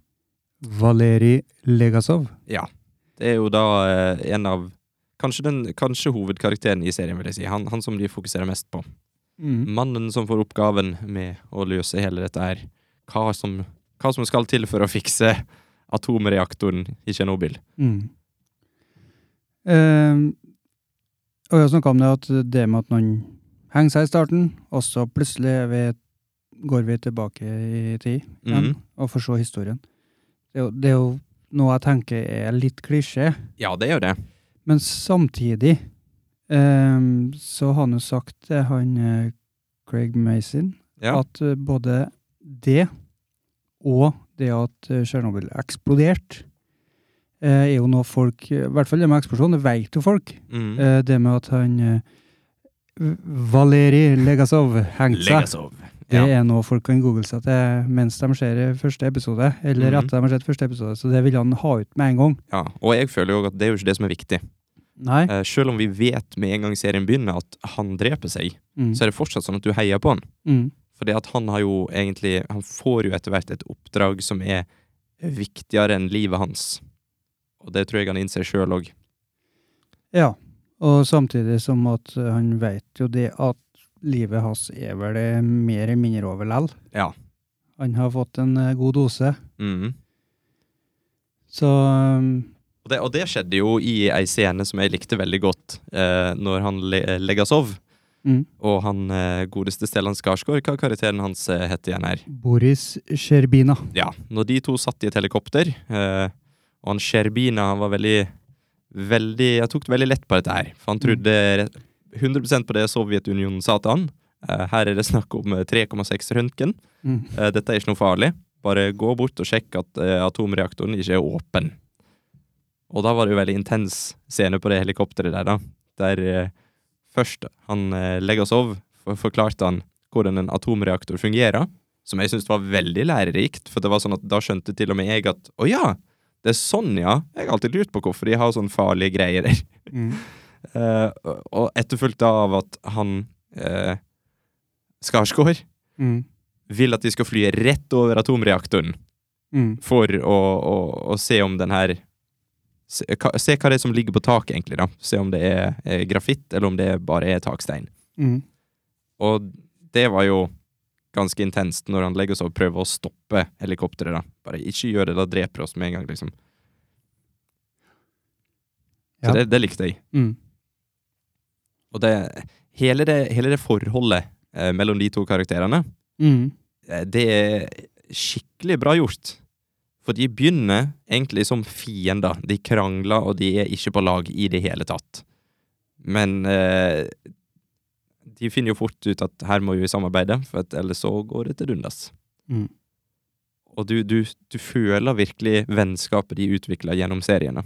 A: Valeri Legasov.
B: Det er jo da eh, en av, kanskje, den, kanskje hovedkarakteren i serien, vil jeg si. Han, han som de fokuserer mest på.
A: Mm.
B: Mannen som får oppgaven med å løse hele dette her. Hva som, hva som skal til for å fikse atomreaktoren i Tsjernobyl.
A: Mm. Eh, og jeg snakka om det at det med at noen henger seg i starten, og så plutselig er vi, går vi tilbake i tid igjen
B: Mhm.
A: og får se historien. Det er, jo, det er jo noe jeg tenker er litt klisjé,
B: Ja, det gjør det.
A: men samtidig eh, så har han jo sagt det, han eh, Craig Mason,
B: Ja.
A: at eh, både det og det at eh, Tsjernobyl eksploderte, eh, er jo noe folk I hvert fall det med eksplosjon, det vet jo folk.
B: Mm.
A: Eh, det med at han eh, Valeri Legasov hengte seg,
B: Legasov.
A: det
B: Ja.
A: er noe folk kan google seg til mens de ser eh, første episode, eller
B: Mhm.
A: etter de har sett første episode, så det vil han ha ut med en gang.
B: ja. Og jeg føler jo at det er jo ikke det som er viktig.
A: Nei.
B: Eh, selv om vi vet med en gang serien begynner at han dreper seg,
A: Mm.
B: så er det fortsatt sånn at du heier på han.
A: Mm.
B: Fordi at han har jo egentlig Han får jo etter hvert et oppdrag som er viktigere enn livet hans. Og det tror jeg han innser sjøl òg.
A: Ja, og samtidig som at eh, han vet jo det at livet hans er vel det mer eller mindre over lell.
B: Ja.
A: Han har fått en eh, god dose,
B: Mm.
A: så um,
B: Og det, og det skjedde jo i ei scene som jeg likte veldig godt, eh, når han le Legasov
A: mm.
B: og han eh, godeste Stellan Skarsgård, hva karakteren hans eh, heter igjen her?
A: Boris Sjerbina.
B: Ja, når de to satt i et helikopter, eh, og han Sherbina han var veldig, veldig Jeg tok det veldig lett på dette her, for han trodde re- 100 på det Sovjetunionen sa til han. Eh, her er det snakk om eh, 3,6 røntgen.
A: Mm.
B: Eh, dette er ikke noe farlig. Bare gå bort og sjekk at eh, atomreaktoren ikke er åpen. Og da var det jo veldig intens scene på det helikopteret der, da. Der eh, først han eh, Legasov for forklarte han hvordan en atomreaktor fungerer, som jeg syntes var veldig lærerikt, for det var sånn at da skjønte til og med jeg at å ja, det er sånn, ja. Jeg har alltid lurt på hvorfor de har sånne farlige greier der.
A: Mm.
B: Eh, og etterfulgt av at han eh, Skarsgård
A: Mm.
B: vil at de skal fly rett over atomreaktoren
A: Mm.
B: for å, å, å se om den her se, hva, se hva det er som ligger på taket, egentlig. da. Se om det er, er grafitt, eller om det bare er takstein.
A: Mm.
B: Og det var jo ganske intenst når han legger seg og prøver å stoppe helikopteret. da. Bare ikke gjør det, da dreper det oss med en gang, liksom. Så
A: Ja.
B: det, det likte jeg.
A: Mm.
B: Og det, hele, det, hele det forholdet eh, mellom de to karakterene,
A: Mm.
B: eh, det er skikkelig bra gjort. For de begynner egentlig som fiender. De krangler, og de er ikke på lag i det hele tatt. Men eh, de finner jo fort ut at her må vi samarbeide, for at ellers så går det til dundas.
A: Mm.
B: Og du, du, du føler virkelig vennskapet de utvikler gjennom seriene.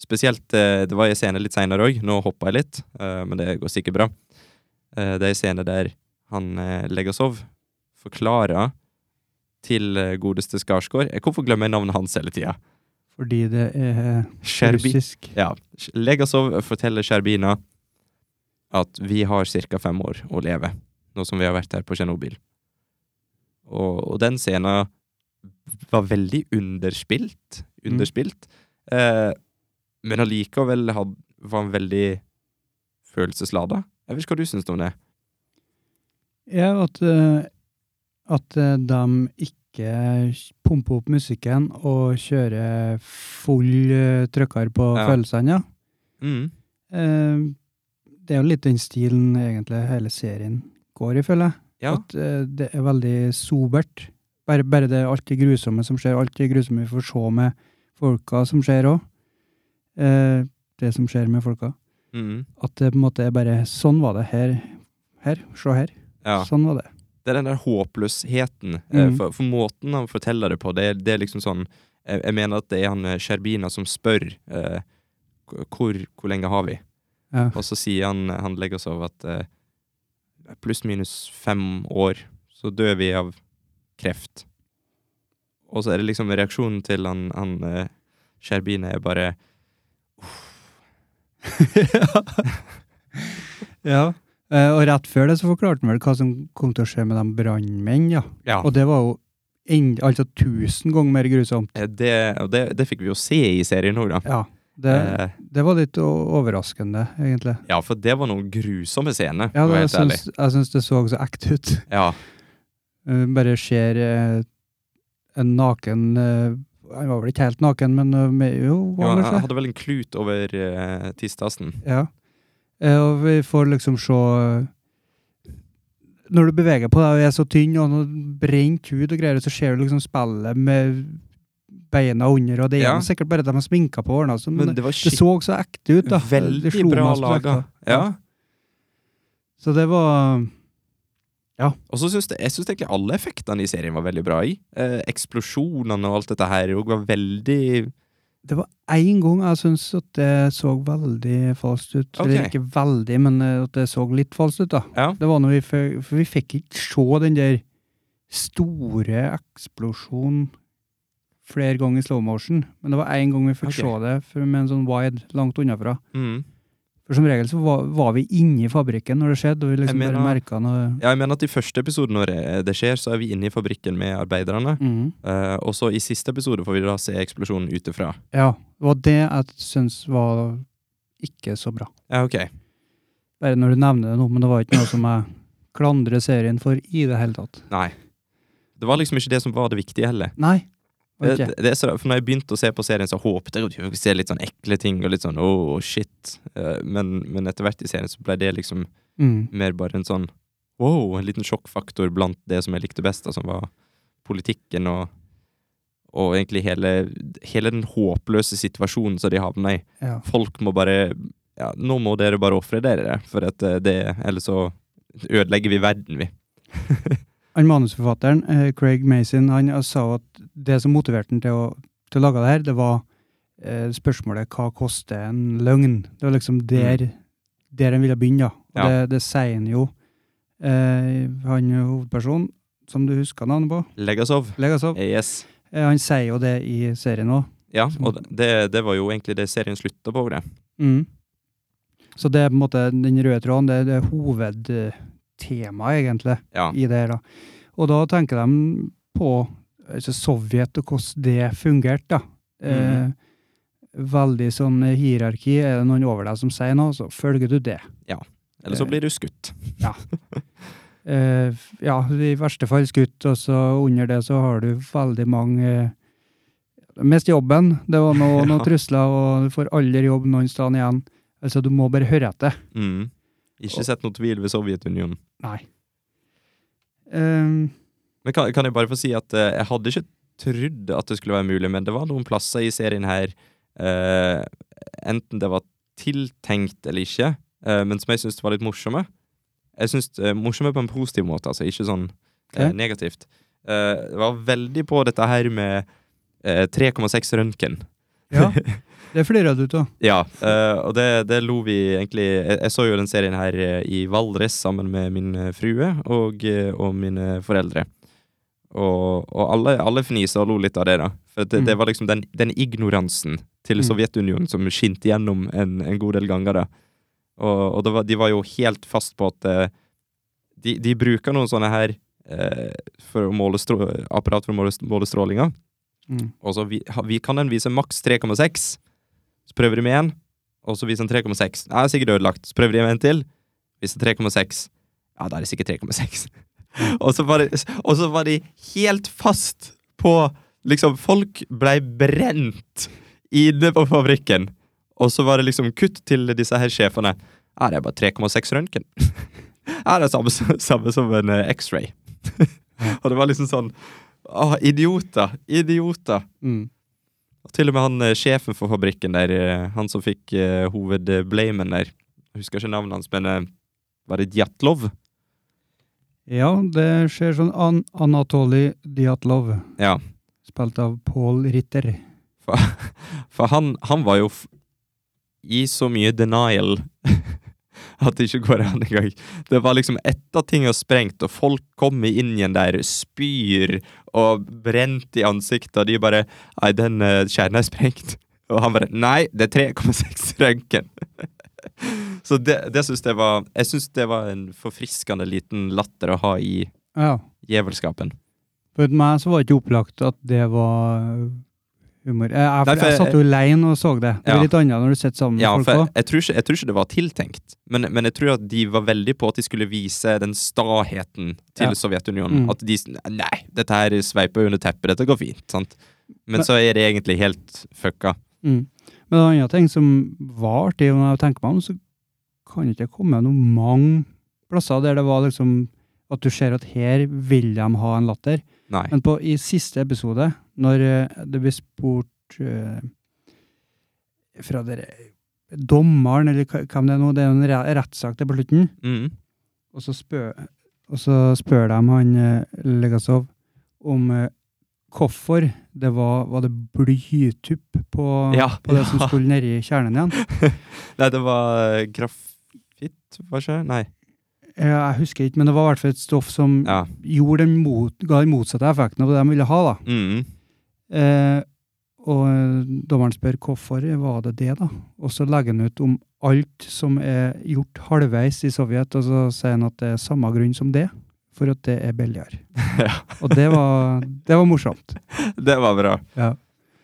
B: Spesielt eh, Det var en scene litt seinere òg, nå hoppa jeg litt, eh, men det går sikkert bra. Eh, det er en scene der han eh, Legasov forklarer til eh, godeste Skarsgård Eh, Hvorfor glemmer jeg navnet hans hele tida?
A: Fordi det er
B: Sherbi...
A: russisk.
B: Ja. Legasov forteller Sherbina at vi har ca. fem år å leve, nå som vi har vært her på Tsjernobyl. Og, og den scenen var veldig underspilt. Underspilt. Eh, men allikevel had, var han veldig følelseslada. Jeg vet ikke hva du syns om det.
A: Ja, at, eh, at eh, de ikke pumper opp musikken og kjører full eh, trøkker på
B: Ja.
A: følelsene, ja.
B: Mm.
A: Eh, det er jo litt den stilen egentlig hele serien går i, føler jeg.
B: Ja.
A: At eh, det er veldig sobert. Bare, bare det er alt det grusomme som skjer, alt det grusomme vi får se med folka som skjer òg. Eh, det som skjer med folka.
B: Mhm.
A: At det på en måte er bare Sånn var det her. Her. Se her.
B: ja.
A: Sånn var det.
B: Det er den der håpløsheten. eh,
A: Mhm.
B: For, for måten han forteller det på, det, er- det er liksom sånn jeg, jeg mener at det er han eh, Sherbina som spør eh, hvor, hvor lenge har vi?
A: Ja.
B: Og så sier han, han legger oss over at eh, pluss minus fem år, så dør vi av kreft. Og så er det liksom reaksjonen til han, han eh, Sherbine er bare
A: ja. Eh, og rett før det så forklarte han vel hva som kom til å skje med de brannmenn, ja.
B: Ja,
A: Og det var jo en, altså tusen ganger mer grusomt.
B: eh, det, og det, det fikk vi jo se i serien nå, da.
A: Ja. Det,
B: Eh,
A: det var litt o- overraskende, egentlig.
B: ja, for det var noen grusomme scener,
A: Ja,
B: for å være
A: det, jeg,
B: helt ærlig.
A: syns, jeg syns det så så ekte ut.
B: Ja,
A: Eh, bare ser eh, en naken eh, Han var vel ikke helt naken, men eh, med, jo,
B: jo,
A: var
B: han
A: kanskje.
B: hadde vel en klut over uh, tistassen.
A: Ja. Eh, Og vi får liksom se eh, Når du beveger på deg og er så tynn og har brent hud og greier, så ser du liksom spillet med beina under, og det er
B: Ja.
A: jo sikkert bare de har sminka på og ordna sånn, men
B: Men
A: det,
B: det var
A: det
B: skikkelig
A: så så ekte ut, da. Det- det
B: veldig
A: slo
B: bra
A: meg som ekte.
B: laga. Ja.
A: Så det var
B: Og så syns det- jeg syns egentlig alle effektene i serien var veldig bra i. Eh, eksplosjonene og alt dette her òg var veldig
A: Det var én gang jeg syns at det så veldig falskt ut. Eller
B: Ok.
A: ikke veldig, men eh, at det så litt falskt ut, da.
B: Ja.
A: Det var når vi, fø- for vi fikk ikke se den der store eksplosjonen flere ganger i slow motion. Men det var én gang vi fikk
B: Ok.
A: se det for- med en sånn wide langt unnafra.
B: Mm.
A: For som regel så var, var vi inni fabrikken når det skjedde, og vi liksom
B: Jeg mener-
A: bare merka noe
B: Ja, jeg mener at i første episode, når eh, det skjer, så er vi inne i fabrikken med arbeiderne.
A: Mhm.
B: Eh, og så i siste episode får vi da se eksplosjonen utefra.
A: Ja. Det var det jeg syns var ikke så bra.
B: Ja, ok.
A: Bare når du nevner det nå, men det var ikke noe som jeg klandrer serien for i det hele tatt.
B: Nei. Det var liksom ikke det som var det viktige heller.
A: Nei.
B: Det-
A: Ok.
B: Det, det er så, for når jeg begynte å se på serien, så håpet jeg at jeg skulle se litt sånn ekle ting og litt sånn oh, shit. Eh, men, men etter hvert i serien så ble det liksom
A: Mm.
B: mer bare en sånn wow, en liten sjokkfaktor blant det som jeg likte best, da, som var politikken og, og egentlig hele, hele den håpløse situasjonen som de havna i.
A: Ja.
B: Folk må bare ja, Nå må dere bare ofre dere, for at eh, det Ellers så ødelegger vi verden, vi.
A: Han manusforfatteren, eh, Craig Mason, han eh, sa at det som motiverte han til å, til å lage det her, det var eh, spørsmålet hva koster en løgn? Det var liksom der, der han ville begynne, da. Og
B: Mm. Ja.
A: det, det sier han jo. Eh, han er hovedpersonen, som du husker navnet på,
B: Legg oss av.
A: Legasov,
B: Eh, Yes.
A: eh, han sier jo det i serien òg.
B: Ja, og det, det var jo egentlig det serien slutta på, det.
A: Mm. Så det er på en måte den røde tråden, det er det er hovedtemaet, egentlig.
B: Ja.
A: i det her, da. Og da tenker de på altså Sovjet og hvordan det fungerte, da.
B: Mhm.
A: eh, veldig sånn hierarki. Er det noen over deg som sier noe, så følger du det.
B: Eller så blir du skutt.
A: Eh, ja, i verste fall skutt, og så under det så har du veldig mange eh, Mest jobben. Det var noe, noen
B: Ja.
A: trusler, og du får aldri jobb noen sted igjen. Altså, du må bare høre etter.
B: Mm. Ikke sett noe tvil ved Sovjetunionen.
A: Nei. Eh,
B: Men kan, kan jeg bare få si at eh, jeg hadde ikke trodd at det skulle være mulig, men det var noen plasser i serien her, eh, enten det var tiltenkt eller ikke, eh, men som jeg syntes var litt morsomme. Jeg syns eh, morsomme på en positiv måte, altså, ikke sånn eh,
A: Ok.
B: negativt. Eh, det var veldig på dette her med eh, 3,6 røntgen.
A: ja, det flirer du av.
B: Ja, eh, og det, det lo vi egentlig jeg, jeg så jo den serien her eh, i Valdres sammen med min eh, frue og, eh, og mine foreldre. Og, og alle, alle fnisa og lo litt av det, da. For det, det
A: Mm.
B: var liksom den, den ignoransen til
A: Mm.
B: Sovjetunionen som skinte gjennom en, en god del ganger, da. Og, og det var, de var jo helt fast på at eh, de, de bruker noen sånne her eh, for å måle strå, apparat for å måle, måle strålinga.
A: Mm.
B: Og så vi, ha- vi kan den vise maks 3,6. Så prøver de med en, og så viser den 3,6. Nei, det er sikkert ødelagt. Så prøver de med en til, viser 3,6. Ja, da er det sikkert 3,6. og, så var det- og så var de helt fast på Liksom, folk blei brent inne på fabrikken. Og så var det liksom kutt til disse her sjefene. Ja, det er bare 3,6 røntgen. Ja, det er samme, som- samme som en eh, X-ray. og det var liksom sånn Å, idioter! Idioter!
A: Mm.
B: Og til og med han eh, sjefen for fabrikken der, eh, han som fikk eh, hovedblamen der Jeg husker ikke navnet hans, men eh, var det Djatlov?
A: Ja, det ser sånn An Anatoly Diatlov,
B: Ja.
A: spilt av Paul Ritter.
B: For han, han var jo f i så mye denial at det ikke går an engang. Det var liksom etter ting er sprengt, og folk kommer inn igjen der, spyr og brent i ansiktet, og de bare Nei, den eh, kjernen er sprengt. Og han bare Nei, det er 3,6 røntgen. så det, det syns jeg var Jeg syns det var en forfriskende liten latter å ha i
A: Ja.
B: djevelskapen.
A: For meg så var det ikke opplagt at det var eh, humor. Jeg, jeg,
B: Nei,
A: jeg,
B: for jeg-
A: satt jo alene og så det. Det
B: Ja.
A: blir litt annet når du sitter sammen med
B: Ja,
A: folk
B: for jeg,
A: også.
B: jeg, tror ikke, jeg tror ikke det var tiltenkt, men, men jeg tror at de var veldig på at de skulle vise den staheten til
A: Ja.
B: Sovjetunionen.
A: Mm.
B: At de s- Nei, dette her sveiper under teppet, dette går fint. sant? Men
A: Men-
B: så er det egentlig helt fucka.
A: Mm. Men en annen ting som var artig, når jeg tenker meg om, så kan ikke jeg komme med noen mange plasser der det var liksom at du ser at her vil de ha en latter.
B: Nei.
A: Men på, i siste episode, når eh, det blir spurt eh, fra dere dommeren, eller hva- hvem det er nå, det er jo en re- rettssak til på slutten,
B: Mm.
A: og så, spør, og så spør de han eh, Legasov om eh, hvorfor det var, var det blytupp på,
B: Ja,
A: på det som
B: ja.
A: skulle nedi kjernen igjen.
B: Nei, det var eh, grafitt, var ikke det? Nei.
A: Eh, Jeg husker ikke, men det var i hvert fall et stoff som
B: Ja.
A: gjorde den mot, ga den motsatte effekten av det de ville ha. da.
B: Mm.
A: Eh, og eh, dommeren spør hvorfor var det det, da? Og så legger han ut om alt som er gjort halvveis i Sovjet, og så sier han at det er samme grunn som det, for at det er billigere.
B: ja.
A: Og det var, det var morsomt.
B: Det var bra.
A: Ja.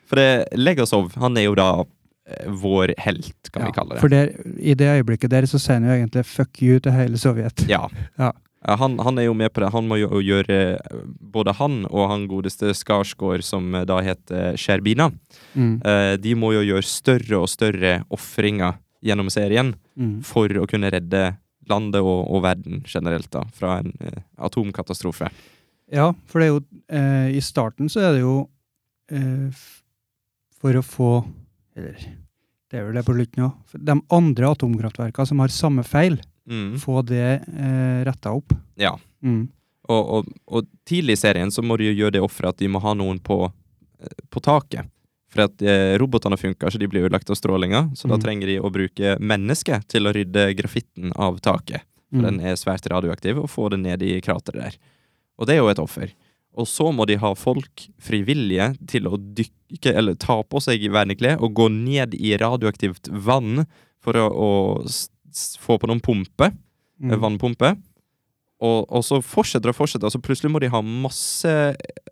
B: For det, Legasov, han er jo da eh, vår helt, kan
A: Ja,
B: vi kalle det.
A: For der, i det øyeblikket der så sier han jo egentlig 'fuck you' til hele Sovjet.
B: Ja.
A: Ja.
B: Eh, Han, han er jo med på det. Han må jo gjøre eh, Både han og han godeste Skarsgård, som eh, da heter Sherbina,
A: Mm.
B: eh, de må jo gjøre større og større ofringer gjennom serien
A: Mm.
B: for å kunne redde landet og, og verden generelt da, fra en eh, atomkatastrofe.
A: Ja, for det er jo eh, I starten så er det jo eh, f- for å få Eller det er vel det på slutten òg. De andre atomkraftverkene som har samme feil,
B: Mm.
A: få det eh, retta opp.
B: Ja.
A: Mm.
B: Og, og, og tidlig i serien så må de jo gjøre det offeret at de må ha noen på, eh, på taket. For at eh, robotene funker, så de blir ødelagt av strålinga. Så da
A: Mm.
B: trenger de å bruke mennesket til å rydde grafitten av taket.
A: Mm.
B: for den er svært radioaktiv, og få det ned i krateret der. Og det er jo et offer. Og så må de ha folk frivillige til å dykke, eller ta på seg verneklær og gå ned i radioaktivt vann for å, å s- s- få på noen pumpe, eh,
A: Mm.
B: vannpumpe. Og, og så fortsetter og fortsetter, og så plutselig må de ha masse eh,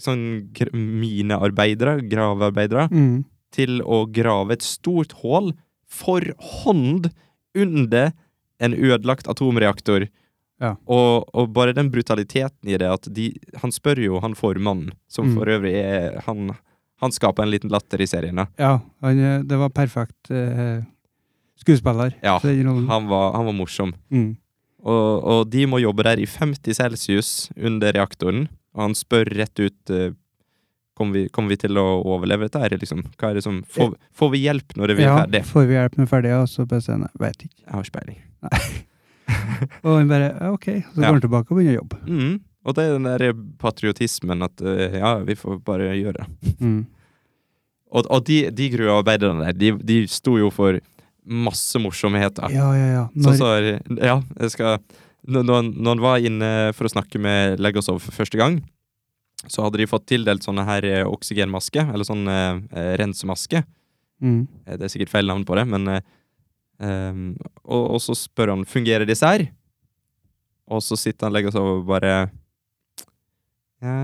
B: sånn gr- minearbeidere, gravearbeidere,
A: Mm.
B: til å grave et stort hål for hånd under en ødelagt atomreaktor.
A: Ja.
B: Og, og bare den brutaliteten i det at de Han spør jo han formannen, som
A: Mm.
B: for øvrig er han, han skaper en liten latter i serien. da.
A: Ja, han, eh, det var perfekt eh, skuespiller.
B: Ja,
A: til den rollen.
B: Han var, han var morsom.
A: Mm.
B: Og, og de må jobbe der i 50 celsius under reaktoren, og han spør rett ut eh, Kommer vi, kommer vi til å overleve dette her, liksom? Hva er det som, får, får vi hjelp når vi er
A: Ja,
B: ferdig?
A: får vi hjelp når vi er ferdige? Og så bare sier han veit ikke.
B: Jeg har ikke peiling.
A: Og han bare ja, ok, så går
B: Ja.
A: han tilbake og begynner å jobbe.
B: Mm. Og det er den der patriotismen at eh, ja, vi får bare gjøre det.
A: Mm.
B: Og, og de, de gruvearbeiderne der, de, de sto jo for masse morsomheter.
A: Ja, ja, ja. Når,
B: Sånn så Ja, jeg skal når, når han- når han var inne for å snakke med Legosov for første gang, så hadde de fått tildelt sånne her eh, oksygenmaske, eller sånn eh, eh, rensemaske.
A: mm.
B: Eh, Det er sikkert feil navn på det, men eh, ehm, og, og så spør han fungerer disse her? Og så sitter han og legger seg over og bare «Ja».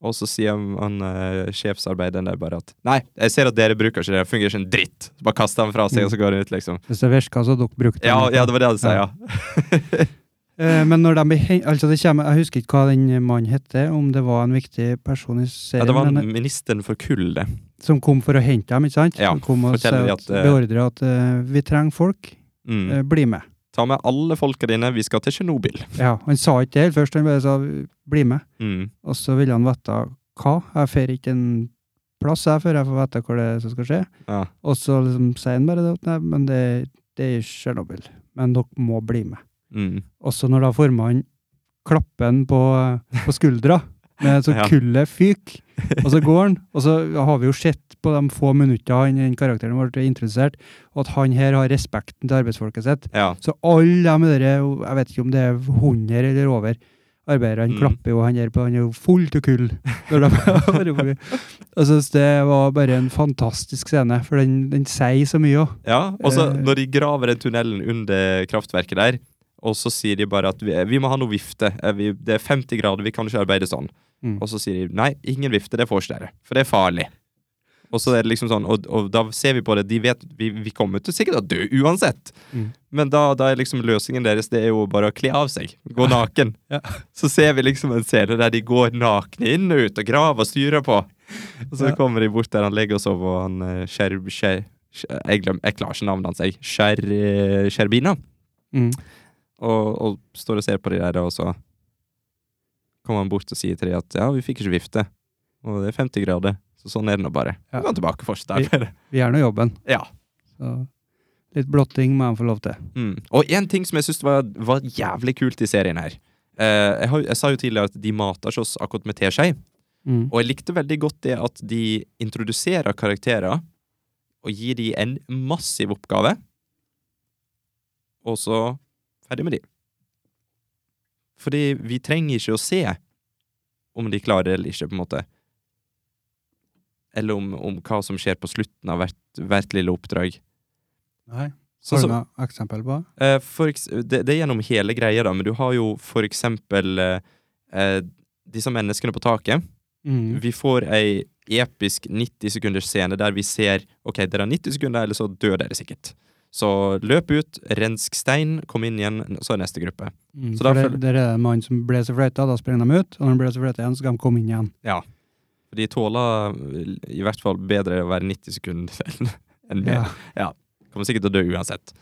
B: Og så sier han, han eh, sjefsarbeideren der bare at Nei, jeg ser at dere bruker ikke det, det fungerer ikke en dritt. Så bare kaster han fra seg, og så går han ut, liksom.
A: Hvis det virka, så dere brukte
B: Ja, ja det var det han sa, ja.
A: Eh, Men når de blir hen- altså det kommer, Jeg husker ikke hva den mannen hette, om det var en viktig person i serien
B: ja. Det var
A: men, eh,
B: han ministeren for kull, det.
A: som kom for å hente dem. ikke sant?
B: Ja,
A: som kom og sa
B: forteller de
A: at,
B: at, eh,
A: beordret at eh, vi trenger folk,
B: Mm.
A: eh, bli med.
B: Ta med alle folka dine, vi skal til Tsjernobyl.
A: Ja, han sa ikke det helt først, han bare sa 'bli med'.
B: Mm.
A: Og så ville han vite hva. Jeg får ikke en plass her før jeg får vite hva det er som skal skje.
B: Ja.
A: Og så liksom sier han bare det, at nei, men det, det er i Tsjernobyl. Men dere må bli med.
B: Mm.
A: Og så når da formannen klapper han på, på skuldra, med så
B: Ja.
A: kullet fyk, og så går han, og så har vi jo sett på de få minutter han, den karakteren ble introdusert, at han her har respekten til arbeidsfolket sitt.
B: ja.
A: Så alle de der, jeg vet ikke om det er 100 eller over, arbeidere, han
B: Mm.
A: klapper jo, han der på, han er jo full til kull. Når de er oppe. jeg synes det var bare en fantastisk scene, for den, den sier så mye også.
B: Ja, og så
A: Eh.
B: når de graver den tunnelen under kraftverket der, og så sier de bare at vi, vi må ha noe vifte. Eh, Vi, det er 50 grader, vi kan ikke arbeide sånn.
A: Mm.
B: Og så sier de nei, ingen vifte, det får ikke dere, for det er farlig. Og så er det liksom sånn, og, og da ser vi på det, de vet vi, vi kommer til sikkert å dø uansett.
A: Mm.
B: Men da, da er liksom løsningen deres det er jo bare å kle av seg, gå naken.
A: Ja.
B: Så ser vi liksom en scene der de går nakne inn og ut og graver og styrer på. Og så
A: Ja.
B: kommer de bort der han ligger og sover, og han eh, skjer, skjer, skjer, jeg, glem, jeg klarer ikke navnet hans, jeg. Skjer, eh, Skjerbina.
A: Mm.
B: Og, og står og ser på de der, og så kommer han bort og sier til de at ja, vi fikk ikke vifte. Og det er 50 grader, så sånn er det nå bare.
A: Ja.
B: Gå tilbake fortsatt arbeide.
A: Vi gjør nå jobben.
B: Ja.
A: Så litt blotting må jeg få lov til.
B: Mm. Og en ting som jeg syns var, var jævlig kult i serien her eh, jeg, har, jeg sa jo tidligere at de mater ikke oss akkurat med teskje,
A: Mm.
B: og jeg likte veldig godt det at de introduserer karakterer og gir de en massiv oppgave, og så ferdig med de. Fordi vi trenger ikke å se om de klarer det eller ikke, på en måte. Eller om, om hva som skjer på slutten av hvert, hvert lille oppdrag.
A: Nei.
B: Sånn
A: Har du
B: som,
A: noe eksempel på?
B: eh, for eks det, det er gjennom hele greia, da, men du har jo for eksempel eh, eh, disse menneskene på taket.
A: Mm.
B: Vi får ei episk 90 sekunders scene der vi ser Ok, dere har 90 sekunder, eller så dør dere sikkert. Så løp ut, rensk stein, kom inn igjen, så er neste gruppe.
A: Mm.
B: så
A: For
B: da
A: det,
B: føler-
A: det er en mann som ble så fløyta, da sprenger de ut, og når han ble så fløyta igjen, så skal de komme inn igjen.
B: De tåler eh, i hvert fall bedre å være 90 sekunder enn- enn mer.
A: Ja.
B: Kommer sikkert til å dø uansett.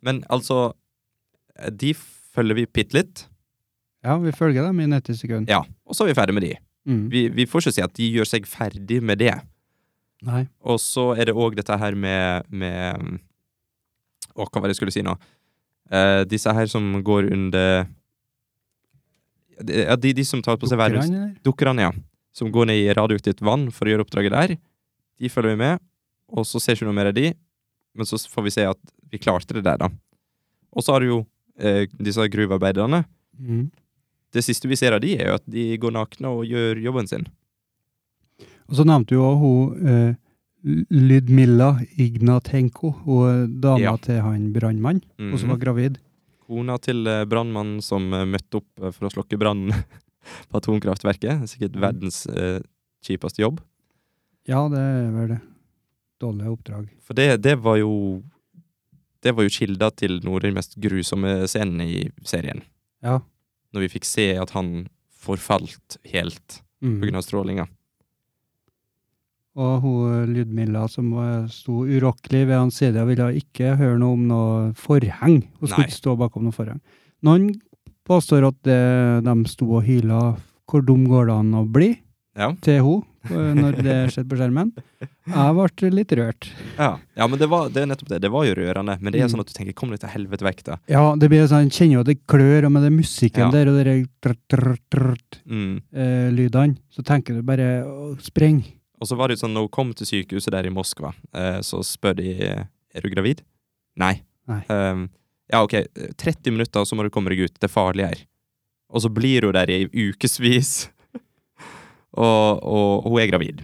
B: Men altså eh, De følger vi bitte litt,
A: ja, vi følger dem i 90 sekunder.
B: ja, og så er vi ferdig med de.
A: Mm.
B: Vi, vi får ikke si at de gjør seg ferdig med det.
A: Nei.
B: Og så er det òg dette her med, med um, Å, hva var det jeg skulle si nå? Eh, disse her som går under de, Ja, de, de som tar på seg
A: Dukker
B: værhus...
A: han, eller?
B: Dukkerne, ja. Som går ned i radioaktivt vann for å gjøre oppdraget der. De følger vi med, og så ser vi ikke noe mer av de. Men så får vi se at vi klarte det der, da. Og så har du jo eh, disse gruvearbeiderne.
A: Mm.
B: Det siste vi ser av de, er jo at de går nakne og gjør jobben sin.
A: Og så nevnte jo også hun eh, Lydmilla Ignatenko, hun eh, dama
B: Ja.
A: til han brannmannen, hun som
B: Mhm.
A: var gravid.
B: Kona til eh, brannmannen som eh, møtte opp eh, for å slokke brannen på atomkraftverket. Sikkert verdens eh, kjipeste jobb.
A: Ja, det er vel det. Dårlig oppdrag.
B: For det, det var jo Det var jo kilda til noe av de mest grusomme scenene i serien.
A: Ja.
B: Når vi fikk se at han forfalt helt
A: Mm.
B: pga. strålinga.
A: Og hun Lydmilla som var- sto urokkelig ved hans side og ville ikke høre noe om noe forheng. Hun
B: Nei.
A: skulle ikke stå bakom noe forheng. Noen påstår at det, de sto og hyla hvor dum går det an å bli
B: Ja.
A: til hun eh, når det skjedde på skjermen. Jeg ble litt rørt.
B: Ja. ja, men det var det er nettopp det. Det var jo rørende. Men det er
A: Mm.
B: sånn at du tenker 'kom deg til helvete vekk', da.
A: Ja, det blir sånn, kjenner jo at det klør, og med den musikken
B: Ja.
A: der og de tr tr tr tr-
B: Mm.
A: eh, lydene, så tenker du bare å, spreng.
B: Og så var det jo sånn, når hun kom til sykehuset der i Moskva, eh, så spør de Er du gravid? Nei.
A: Nei.
B: Ehm, ja, OK, 30 minutter, og så må du komme deg ut. Det er farlig her. Og så blir hun der i ukevis. og, og hun er gravid.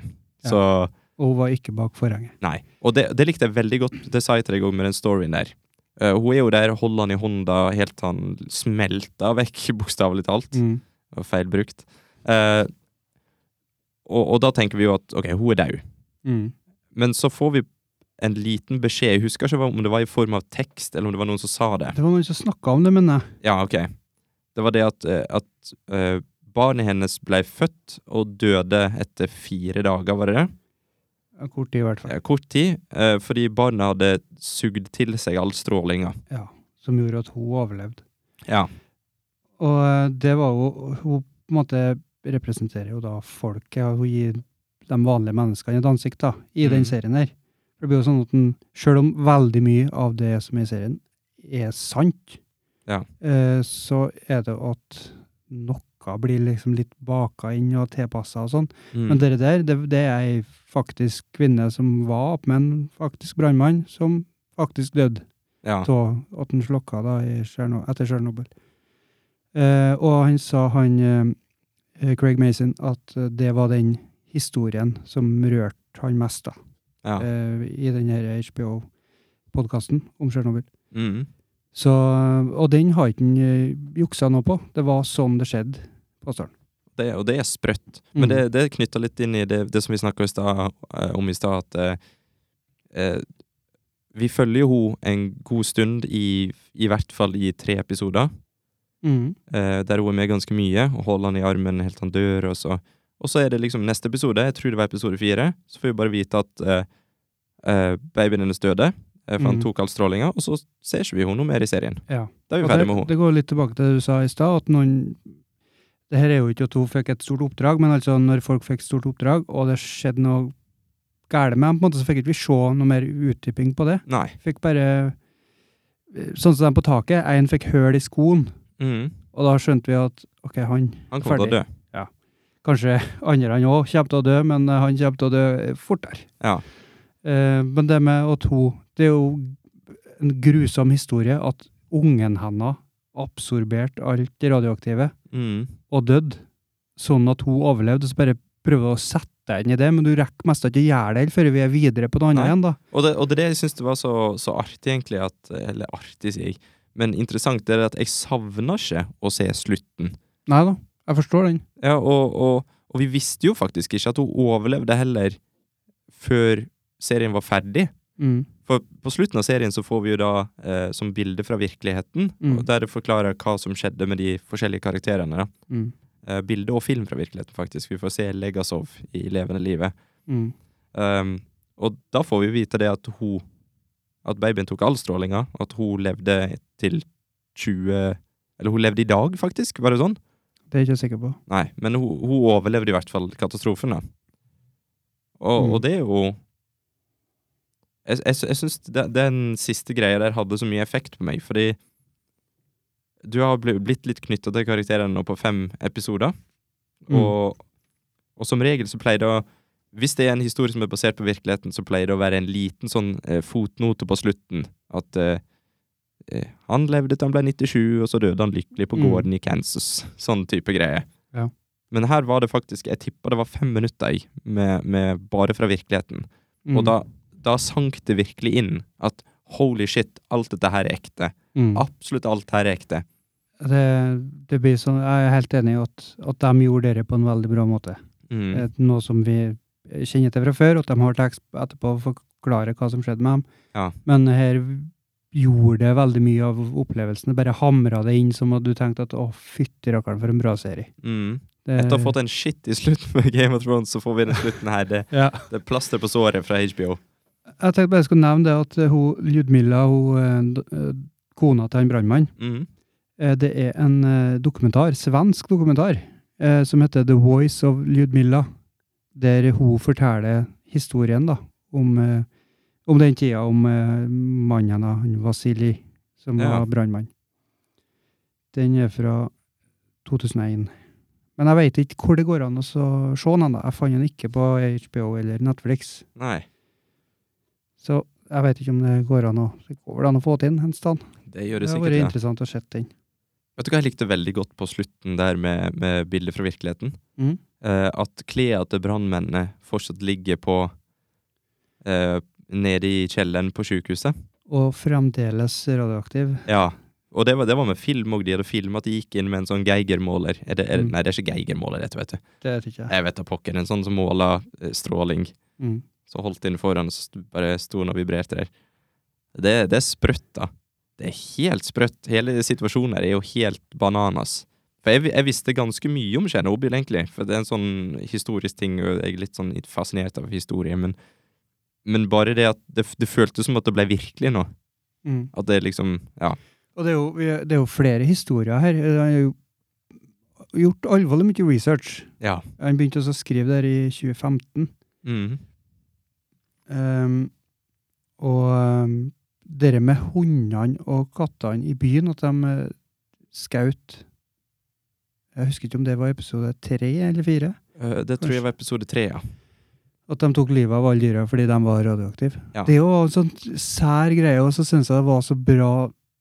A: Ja.
B: Så
A: Og hun var ikke bak forhenget.
B: Nei. Og det, det likte jeg veldig godt. Det sa jeg til deg òg med den storyen der. Eh, hun er jo der, holder han i hånda helt til han smelter vekk, bokstavelig talt.
A: Mm.
B: Og feil brukt. Eh, og, og da tenker vi jo at OK, hun er daud.
A: Mm.
B: Men så får vi en liten beskjed. Jeg husker ikke hva- om det var i form av tekst, eller om det var noen som sa det.
A: Det var noen som snakka om det, men jeg.
B: Ja, ok. Det var det at, eh, at eh, barnet hennes ble født og døde etter fire dager, var det det?
A: Ja, Kort tid, i hvert fall.
B: Eh, Kort tid, eh, fordi barnet hadde sugd til seg all strålinga.
A: Ja. som gjorde at hun overlevde.
B: Ja.
A: Og eh, det var jo Hun på en måte representerer jo da folket, og hun gir de vanlige menneskene et ansikt da, i
B: Mm.
A: den serien her. For det blir jo sånn at den, Selv om veldig mye av det som er i serien, er sant,
B: Ja.
A: eh, så er det at noe blir liksom litt baka inn og tilpassa og sånn.
B: Mm.
A: Men dere der, det, det er ei faktisk kvinne som var oppmenn, faktisk brannmann, som faktisk døde
B: ja.
A: av at han slokka da i Tsjerno- etter Tsjernobyl. Eh, og han sa, han eh, Craig Mason, at eh, det var den historien som rørte han mest, da.
B: Ja.
A: Eh, I den her HBO-podkasten om Tsjernobyl.
B: Mm.
A: Så, og den har ikke han eh, juksa noe på. Det var sånn det skjedde, påstår han.
B: Det, og det er sprøtt.
A: Mm.
B: Men det, det knytter litt inn i det, det som vi snakka om i stad, at eh, eh, vi følger jo hun en god stund, i, i hvert fall i tre episoder,
A: Mm.
B: eh, der hun er med ganske mye, og holder han i armen helt til han dør, og så Og så er det liksom neste episode, jeg tror det var episode fire, så får vi bare vite at eh, eh, babyen hennes døde, eh, for han
A: Mm.
B: tok all strålinga, og så ser ikke vi henne noe mer i serien.
A: Ja.
B: Da er vi
A: Og
B: ferdig
A: det,
B: med henne.
A: det går litt tilbake til det du sa i stad, at noen det her er jo ikke at hun fikk et stort oppdrag, men altså når folk fikk stort oppdrag, og det skjedde noe galt med dem, på en måte, så fikk ikke vi se noe mer utdyping på det.
B: Nei.
A: Fikk bare Sånn som dem på taket. Én fikk høl i skoen,
B: Mm.
A: og da skjønte vi at OK, han
B: Han kommer til å dø.
A: Kanskje andre han òg kommer til å dø, men eh, han kommer til å dø eh, fortere.
B: Ja.
A: Eh, men det med at hun Det er jo en grusom historie at ungen hennes absorberte alt det radioaktive
B: Mm.
A: og døde, sånn at hun overlevde. Så bare prøvde å sette deg inn i det, men du rekker mest ikke å gjøre det helt før vi er videre på noe annet
B: Nei.
A: igjen, da.
B: Og det, og det er det jeg syns var så, så artig, egentlig, at Eller artig, sier jeg. Men interessant er det at jeg savner ikke å se slutten.
A: Nei da, jeg forstår den.
B: Ja, og, og, og vi visste jo faktisk ikke at hun overlevde heller før serien var ferdig.
A: Mm.
B: For på slutten av serien så får vi jo da eh, som bilde fra virkeligheten,
A: Mm.
B: og der det forklarer hva som skjedde med de forskjellige karakterene. da.
A: Mm.
B: Eh, bilde og film fra virkeligheten, faktisk. Vi får se Legasov i levende livet.
A: Mm.
B: Um, og da får vi vite det at hun At babyen tok all strålinga, at hun levde til 20 Eller hun levde i dag, faktisk, var det sånn?
A: Det er jeg ikke sikker på.
B: Nei, men hun, hun overlevde i hvert fall katastrofen, da. Og,
A: Mm.
B: og det er jo Jeg, jeg, sy- jeg syns de- den siste greia der hadde så mye effekt på meg, fordi du har bli- blitt litt knytta til karakteren nå på fem episoder,
A: Mm.
B: og, og som regel så pleier det å Hvis det er en historie som er basert på virkeligheten, så pleier det å være en liten sånn eh, fotnote på slutten, at eh, eh, han levde til han ble 97, og så døde han lykkelig på
A: Mm.
B: gården i Kansas. Sånn type greie.
A: Ja.
B: Men her var det faktisk Jeg tippa det var fem minutter jeg, med, med bare fra virkeligheten.
A: Mm.
B: Og da, da sank det virkelig inn at holy shit, alt dette her er ekte.
A: mm.
B: Absolutt alt her er ekte.
A: det, det blir sånn, Jeg er helt enig i at, at de gjorde det på en veldig bra måte.
B: Mm.
A: Eh, Noe som vi kjenner til fra før, at de har tekst etterpå å forklare hva som skjedde med dem.
B: Ja.
A: Men her gjorde det veldig mye av opplevelsen. Det bare hamra det inn som at du tenkte at å, fytti rakkeren, for en bra serie.
B: Mm.
A: Det,
B: Etter å ha fått en shit i slutten med Game of Thrones, så får vi den slutten her. Det,
A: ja.
B: det er plaster på såret fra HBO.
A: Jeg tenkte bare jeg skulle nevne det at eh, hun, Ljudmilla, hun, eh, d- eh, kona til han brannmannen,
B: Mm.
A: eh, det er en eh, dokumentar, svensk dokumentar, eh, som heter The Voice of Ljudmilla, der hun forteller historien da, om, eh, om den tida om eh, mannen hennes, han Vasili, som
B: Ja.
A: var brannmann. Den er fra 2001. Men jeg veit ikke hvor det går an å så- se den. da. Jeg fant den ikke på HBO eller Netflix.
B: Nei,
A: Så jeg veit ikke om det går an å, det går vel an å få det inn en stand.
B: det
A: Det
B: gjør det
A: har
B: sikkert.
A: vært
B: Ja.
A: interessant å se den.
B: Vet du hva jeg likte veldig godt på slutten der med, med bildet fra virkeligheten?
A: Mhm.
B: Eh, at klærne til brannmennene fortsatt ligger på eh, Nede i kjelleren på sykehuset.
A: Og fremdeles radioaktiv.
B: Ja. Og det var, det var med film òg. De hadde filma at de gikk inn med en sånn geigermåler. Er det, er, det-
A: Mhm.
B: Nei, det er ikke geigermåler, dette, vet du.
A: Det vet ikke jeg.
B: Jeg vet da pokker. En sånn som måla eh, stråling.
A: Mm.
B: Så holdt den foran, og så st- bare sto den og vibrerte der. Det, det er sprøtt, da. Det er helt sprøtt. Hele situasjonen her er jo helt bananas. For jeg, vi- jeg visste ganske mye om Tsjernobyl, egentlig. For det er en sånn historisk ting, og jeg er litt sånn fascinert av historie. Men, men bare det at det, f- det føltes som at det ble virkelig nå.
A: Mm.
B: At det liksom Ja.
A: Og det er, jo, vi- det er jo flere historier her. Han har jo gjort alvorlig mye research.
B: Ja.
A: Han begynte også å skrive der i 2015.
B: Mm.
A: Ehm, og um, det med hundene og kattene i byen, at de uh, skjøt Jeg husker ikke om det var episode tre eller fire.
B: Eh, det tror jeg var episode tre, ja.
A: At de tok livet av alle dyra fordi de var radioaktive.
B: Ja.
A: Det er jo en sånn sær greie, og så syns jeg det var så bra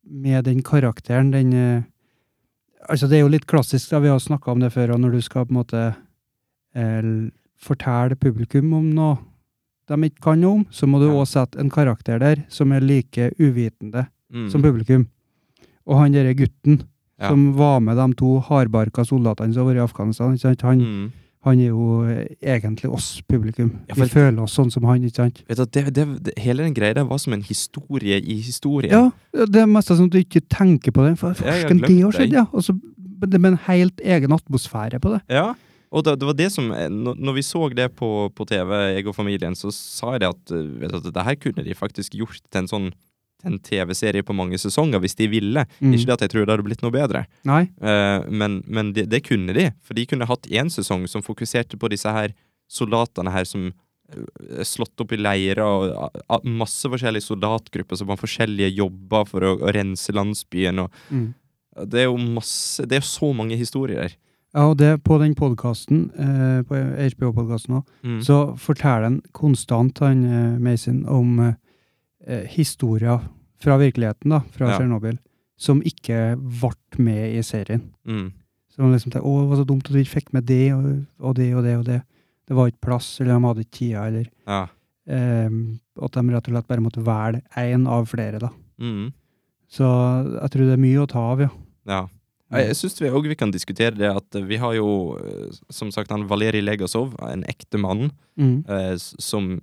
A: med den karakteren. Den eh, Altså, det er jo litt klassisk, da vi har snakka om det før, og når du skal på en måte eh, l- fortelle publikum om noe de ikke kan noe om, så må du
B: Ja.
A: òg sette en karakter der som er like uvitende
B: Mm.
A: som publikum. Og han derre gutten
B: Ja.
A: som var med de to hardbarka soldatene som har vært i Afghanistan, ikke sant? han
B: Mm.
A: han er jo eh, egentlig oss, publikum.
B: Ja,
A: Vi
B: for-
A: føler oss sånn som han, ikke sant?
B: Vet du, at det, det, det, hele den greia der var som en historie i historien.
A: Ja, det er mest sånn at du ikke tenker på det. For
B: Ja, jeg har
A: farsken, det
B: glemt
A: har skjedd,
B: deg.
A: ja! Og så, men det med en helt egen atmosfære på det.
B: Ja, og det, det var det som eh, Når når vi så det på, på TV, jeg og familien, så sa jeg det at eh, vet du, at det her kunne de faktisk gjort til en sånn til en TV-serie på mange sesonger hvis de ville.
A: Mm.
B: Ikke det at jeg tror det hadde blitt noe bedre,
A: Nei.
B: eh, men, men det, det kunne de. For de kunne hatt én sesong som fokuserte på disse her soldatene her som eh, er slått opp i leirer og ah, ah, masse forskjellige soldatgrupper som har forskjellige jobber for å, å rense landsbyen og
A: Mm.
B: Det er jo masse Det er jo så mange historier der.
A: Ja, og det på den podkasten, eh, på HBO-podkasten òg,
B: Mm.
A: så forteller han konstant, han eh, Mason, om eh, eh, historier fra virkeligheten, da, fra
B: Ja.
A: Tsjernobyl, som ikke ble med i serien.
B: Mm.
A: Så man liksom tenker, å, det var så dumt at vi ikke fikk med det og, og det og det og det. Det var ikke plass, eller de hadde ikke tida, eller
B: Ja.
A: ehm, at de rett og slett bare måtte velge én av flere, da.
B: Mm.
A: Så jeg tror det er mye å ta av, ja.
B: Ja. Ja, Jeg syns vi òg kan diskutere det at eh, vi har jo, eh, som sagt, han Valerij Legasov, en ekte mann,
A: Mm,
B: eh, s- som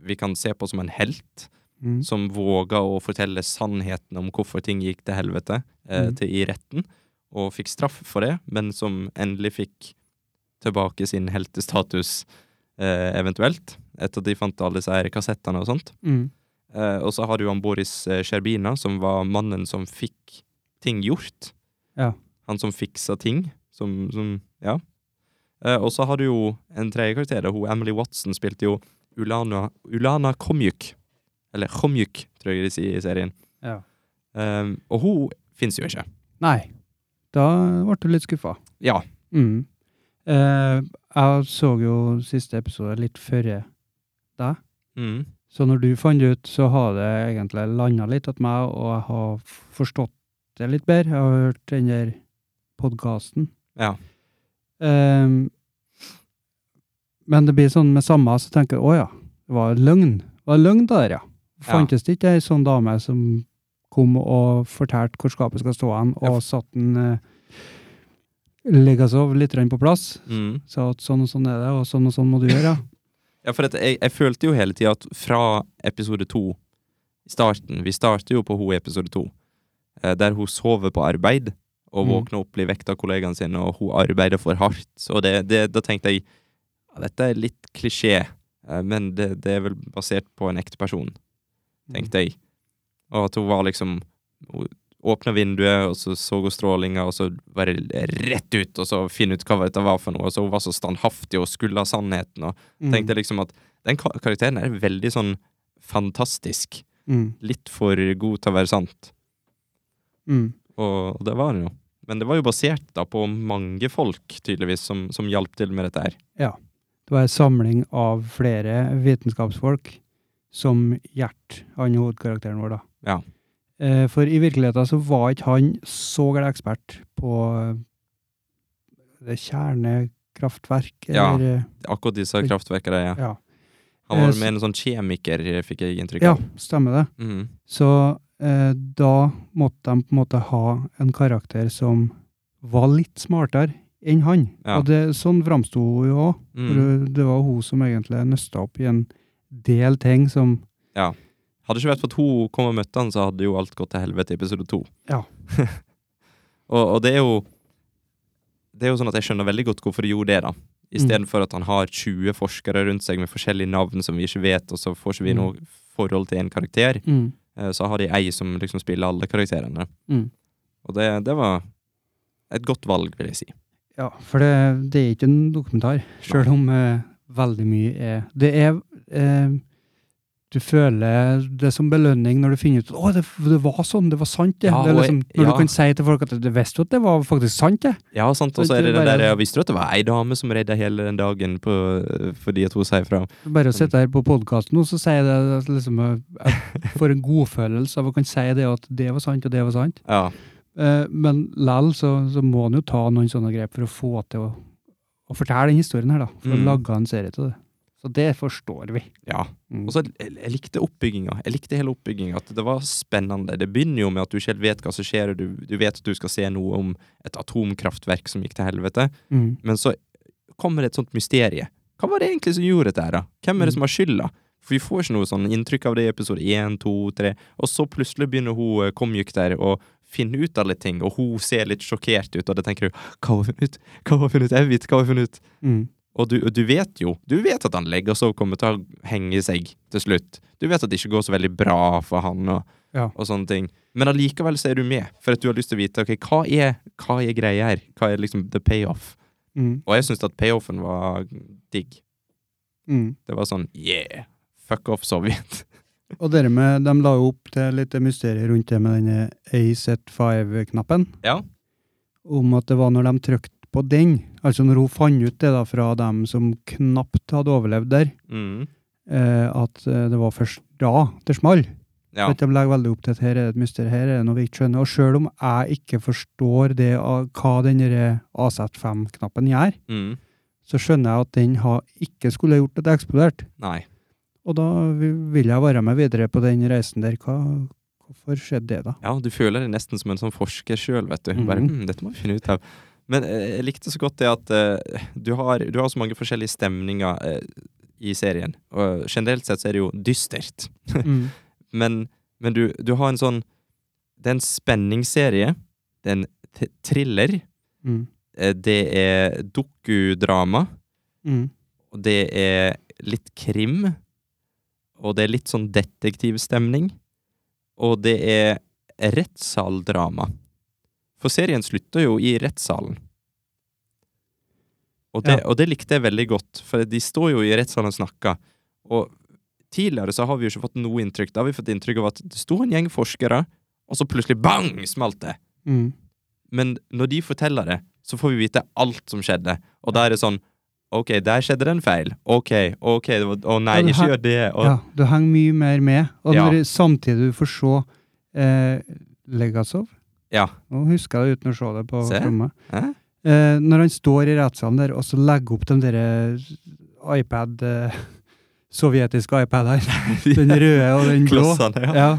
B: vi kan se på som en helt,
A: mm,
B: som våga å fortelle sannheten om hvorfor ting gikk til helvete eh,
A: Mm.
B: til i retten, og fikk straff for det, men som endelig fikk tilbake sin heltestatus, eh, eventuelt, etter at de fant alle disse her kassettene og sånt.
A: mm,
B: Eh, og så har du han Boris eh, Sherbina, som var mannen som fikk ting gjort.
A: Ja.
B: Han som fiksa ting. Som, som Ja. Eh, og så har du jo en tredje karakter. da. Hun Emily Watson spilte jo Ulana, Ulana Komjuk. Eller Komjuk, tror jeg de sier i serien.
A: ja.
B: Eh, og hun fins jo ikke.
A: Nei. Da ble du litt skuffa.
B: Ja.
A: Mm. Eh, jeg så jo siste episode litt før jeg
B: Mm.
A: Så når du fant det ut, så har det egentlig landa litt hos meg, og jeg har forstått det litt bedre. Jeg har hørt den der podkasten.
B: Ja.
A: Ehm, men det blir sånn med samme, så tenker jeg å ja, det var løgn. Det var løgn det der, ja. Fantes det ikke ei sånn dame som kom og fortalte hvor skapet skal stå hen,
B: Ja.
A: og satt en eh, Legasov litt grann på plass?
B: Mm.
A: Sa at sånn og sånn er det, og sånn og sånn må du gjøre, ja.
B: Ja, for at jeg, jeg følte jo hele tida at fra episode to i starten Vi starter jo på hun i episode to, eh, der hun sover på arbeid og
A: Mm.
B: våkner opp, blir vekt av kollegaen sin, og hun arbeider for hardt. Så det, det, da tenkte jeg ja, dette er litt klisjé, eh, men det, det er vel basert på en ekte person, tenkte jeg. Og at hun var liksom Hun åpna vinduet, og så så hun strålinga, og så var det rett ut, og så finne ut hva dette var for noe. Og så hun var så standhaftig og skulle ha sannheten. og
A: Mm.
B: tenkte liksom at den ka- karakteren er veldig sånn fantastisk.
A: Mm.
B: Litt for god til å være sant.
A: Mm.
B: Og, og det var den jo. Men det var jo basert da på mange folk, tydeligvis, som, som hjalp til med dette her.
A: Det var en samling av flere vitenskapsfolk, som Gjert, han hovedkarakteren vår, da.
B: Ja.
A: Eh, For i virkeligheten så var ikke han så gæren ekspert på eh, det kjernekraftverk,
B: Ja.
A: eller eh,
B: Akkurat disse kraftverkene, ja.
A: Ja.
B: Han var
A: Eh,
B: med en sånn kjemiker, fikk jeg inntrykk
A: ja,
B: av.
A: stemmer det.
B: Mm.
A: Så eh, da måtte de på en måte ha en karakter som var litt smartere enn han.
B: Ja.
A: Og det, sånn framsto hun jo òg. For
B: Mm.
A: det- det var hun som egentlig nøsta opp i en del ting som
B: Hadde ikke vært for at hun kom og møtte han, så hadde jo alt gått til helvete i episode to.
A: Ja.
B: og, og det er jo Det er jo sånn at jeg skjønner veldig godt hvorfor de gjorde det, da.
A: Mm.
B: Istedenfor for at han har 20 forskere rundt seg med forskjellige navn som vi ikke vet, og så får ikke vi
A: Mm.
B: noe forhold til en karakter. eh, så har de ei som liksom spiller alle karakterene.
A: Mm.
B: Og det, det var et godt valg, vil jeg si.
A: Ja, for det, det er ikke en dokumentar, sjøl om eh, veldig mye er Det er eh, Du føler det som belønning når du finner ut Å, det, det var sånn, det var sant, det.
B: Ja,
A: det er
B: og-
A: liksom, når
B: ja.
A: du kan si til folk at du visste jo at det var faktisk sant, det.
B: Ja, sant. Og så
A: Det-
B: er det
A: det
B: den
A: bare-
B: der ja, Visste du at det var ei dame som redda hele den dagen på, eh, fordi at hun sier fra?
A: Bare å sitte her på podkasten nå, så sier jeg det at liksom eh, Jeg får en godfølelse av å kan si det at det var sant, og det var sant.
B: Ja.
A: Eh, men likevel så, så må en jo ta noen sånne grep for å få til å, å fortelle den historien her, da. For å
B: Mm.
A: lage en serie til det. Så det forstår vi.
B: ja.
A: Mm.
B: Og så jeg, jeg likte oppbygginga. Jeg likte hele oppbygginga. At det var spennende. Det begynner jo med at du ikke helt vet hva som skjer, og du, du vet at du skal se noe om et atomkraftverk som gikk til helvete,
A: mm.
B: men så kommer det et sånt mysterie. Hva var det egentlig som gjorde dette her, da? Hvem er det som har skylda? For vi får ikke noe sånn inntrykk av det i episode 1, 2, 3, og så plutselig begynner hun eh, Komjuk der og finner ut av litt ting, og hun ser litt sjokkert ut, og da tenker du Hva har hun funnet ut? Hva har hun funnet ut? Jeg vet hva har hun funnet ut?
A: Mm.
B: Og du, og du vet jo Du vet at han legger seg og kommer til å henge seg til slutt. Du vet at det ikke går så veldig bra for han og,
A: Ja.
B: og sånne ting. Men allikevel så er du med, for at du har lyst til å vite ok, hva er, hva er greia her. Hva er liksom the payoff?
A: Mm.
B: Og jeg syns at payoffen var digg.
A: Mm.
B: Det var sånn yeah! Fuck off Sovjet.
A: Og dere med, de la jo opp til litt mysterier rundt det med denne AZ5-knappen.
B: Ja.
A: Om at det var når de trykte på den, altså når hun fant ut det da fra dem som knapt hadde overlevd der,
B: Mm.
A: eh, at eh, det var først da det small.
B: Ja.
A: Vet du, De legger veldig opp til at her er det et mysterium, her er det noe vi ikke skjønner. Og sjøl om jeg ikke forstår det, av hva denne AZ5-knappen gjør,
B: Mm.
A: så skjønner jeg at den har ikke skulle gjort at det eksploderte.
B: Nei.
A: Og da vi- vil jeg være med videre på den reisen der. Hva, hvorfor skjedde det, da?
B: Ja, du føler deg nesten som en sånn forsker sjøl, vet du.
A: Mhm.
B: Bare, mm, dette må vi finne ut av. Men eh, jeg likte så godt det at eh, du, har, du har så mange forskjellige stemninger eh, i serien. Og generelt sett så er det jo dystert. Men, men du, du har en sånn Det er en spenningsserie. Det er en t thriller.
A: Mm.
B: eh, Det er dokudrama.
A: Mm.
B: Og det er litt krim. Og det er litt sånn detektivstemning. Og det er rettssaldrama. For serien slutter jo i rettssalen. Og det, og det likte jeg veldig godt, for de står jo i rettssalen og snakker. Og tidligere så har vi jo ikke fått noe inntrykk. Da har vi fått inntrykk av at det sto en gjeng forskere, og så plutselig bang! smalt det.
A: Mm.
B: Men når de forteller det, så får vi vite alt som skjedde. Og da er det sånn Ok, der skjedde det en feil. Ok, ok, det var, å nei,
A: Ja, det
B: ikke
A: her-
B: gjør det. Og,
A: Ja, du henger mye mer med. Og
B: Ja.
A: når, samtidig du får se eh, Legasov
B: Ja.
A: Nå husker jeg det uten å se det på
B: Se.
A: rommet.
B: Hæ?
A: Eh, når han står i rettssalen der og så legger opp den derre iPad eh, Sovjetiske iPad her. Den røde og den blå.
B: Klossene, ja.
A: Ja.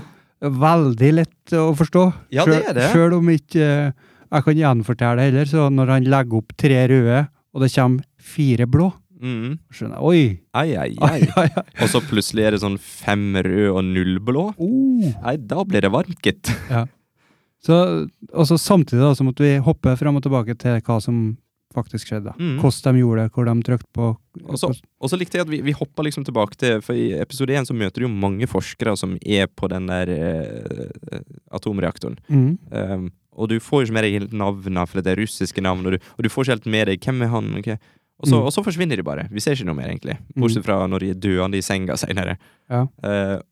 A: Veldig lett å forstå.
B: Ja, det er det.
A: Sjøl om ikke eh, jeg kan gjenfortelle det heller, så når han legger opp tre røde, og det kommer fire blå,
B: Mm.
A: skjønner jeg
B: Ai, ai,
A: Oi!
B: ai. Og så plutselig er det sånn fem rød og null blå.
A: Oh.
B: Nei, da blir det varmt, gitt.
A: Så, og så samtidig da, så måtte vi hoppe fram og tilbake til hva som faktisk skjedde. da.
B: Mm.
A: Hvordan de gjorde det, hvor de trykte på
B: Og så- Og så likte jeg at vi, vi hoppa liksom tilbake til For i episode én så møter du jo mange forskere som er på den der eh, atomreaktoren.
A: mm.
B: Um, og du får jo ikke med deg helt navnene, for det er russiske navn, og du, og du får ikke helt med deg hvem er han ok? og, så,
A: Mm.
B: og så forsvinner de bare. Vi ser ikke noe mer, egentlig. Bortsett fra når de er døende i senga seinere.
A: Ja.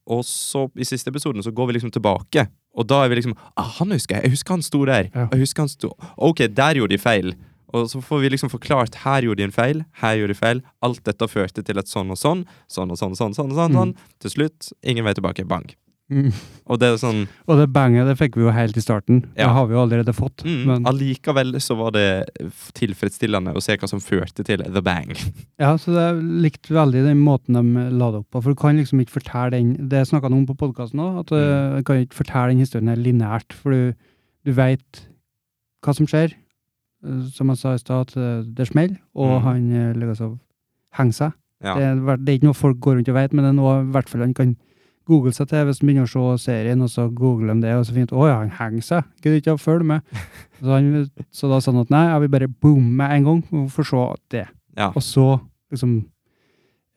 B: og så, i siste episoden, så går vi liksom tilbake, og da er vi liksom ah, 'Han husker jeg! Jeg husker han sto der!'
A: Ja.
B: Jeg husker han sto Ok, der gjorde de feil. Og så får vi liksom forklart her gjorde de en feil, her gjorde de feil. Alt dette førte til et sånn og sånn, sånn og sånn, sånn, sånn, sånn, sånn.
A: Mm.
B: Til slutt, ingen vei tilbake. Bang.
A: Mm.
B: Og det er sånn
A: Og det banget det fikk vi jo helt i starten.
B: Ja.
A: Det har vi jo allerede fått.
B: Mm,
A: Men,
B: Allikevel så var det f- tilfredsstillende å se hva som førte til the bang.
A: ja, så det likte veldig den måten de la det opp på. For du kan liksom ikke fortelle den Det snakka noen om på podkasten òg, at
B: Mm.
A: eh, du kan ikke fortelle den historien her lineært. For du, du veit hva som skjer. Eh, Som jeg sa i stad, at eh, det smeller, og
B: Mm.
A: han eh, Legasov henger seg.
B: Ja.
A: Det, er, ver- det er ikke noe folk går rundt og vet, men det er noe i hvert fall han kan google seg til hvis han begynner å se serien, og så googler han det, og så finner han ut å ja, han henger seg, gidder ikke å følge med. Så, han, så da sa han at nei, jeg vil bare boome med en gang, og få se det.
B: Ja.
A: Og så liksom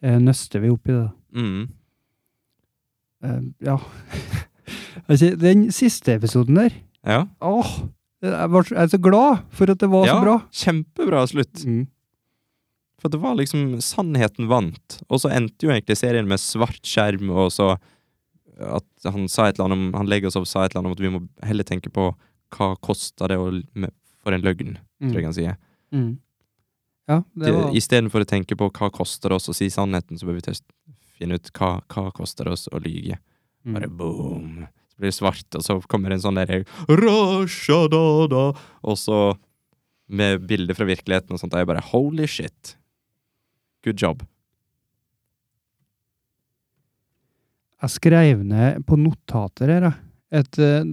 A: eh, nøster vi opp i det. da.
B: Mm.
A: Eh, ja. Altså, den siste episoden der
B: Ja.
A: Åh! Jeg, var, så- jeg er så glad for at det var
B: ja,
A: så bra.
B: Kjempebra slutt.
A: Mm.
B: For det var liksom Sannheten vant. Og så endte jo egentlig serien med svart skjerm, og så at han sa et eller annet om Han Legosov sa et eller annet om at vi må heller tenke på hva kosta det å, med, for en løgn, tror jeg han sier.
A: Mm. Ja, det var
B: Istedenfor å tenke på hva koster det oss å si sannheten, så bør vi test finne ut hva, hva koster det oss å lyge. Bare
A: mm.
B: boom! Så blir det svart, og så kommer det en sånn derre «Rashadada», Og så med bilder fra virkeligheten og sånt, og jeg bare holy shit. Good job.
A: Jeg skrev ned på notater her, jeg. Et, eh,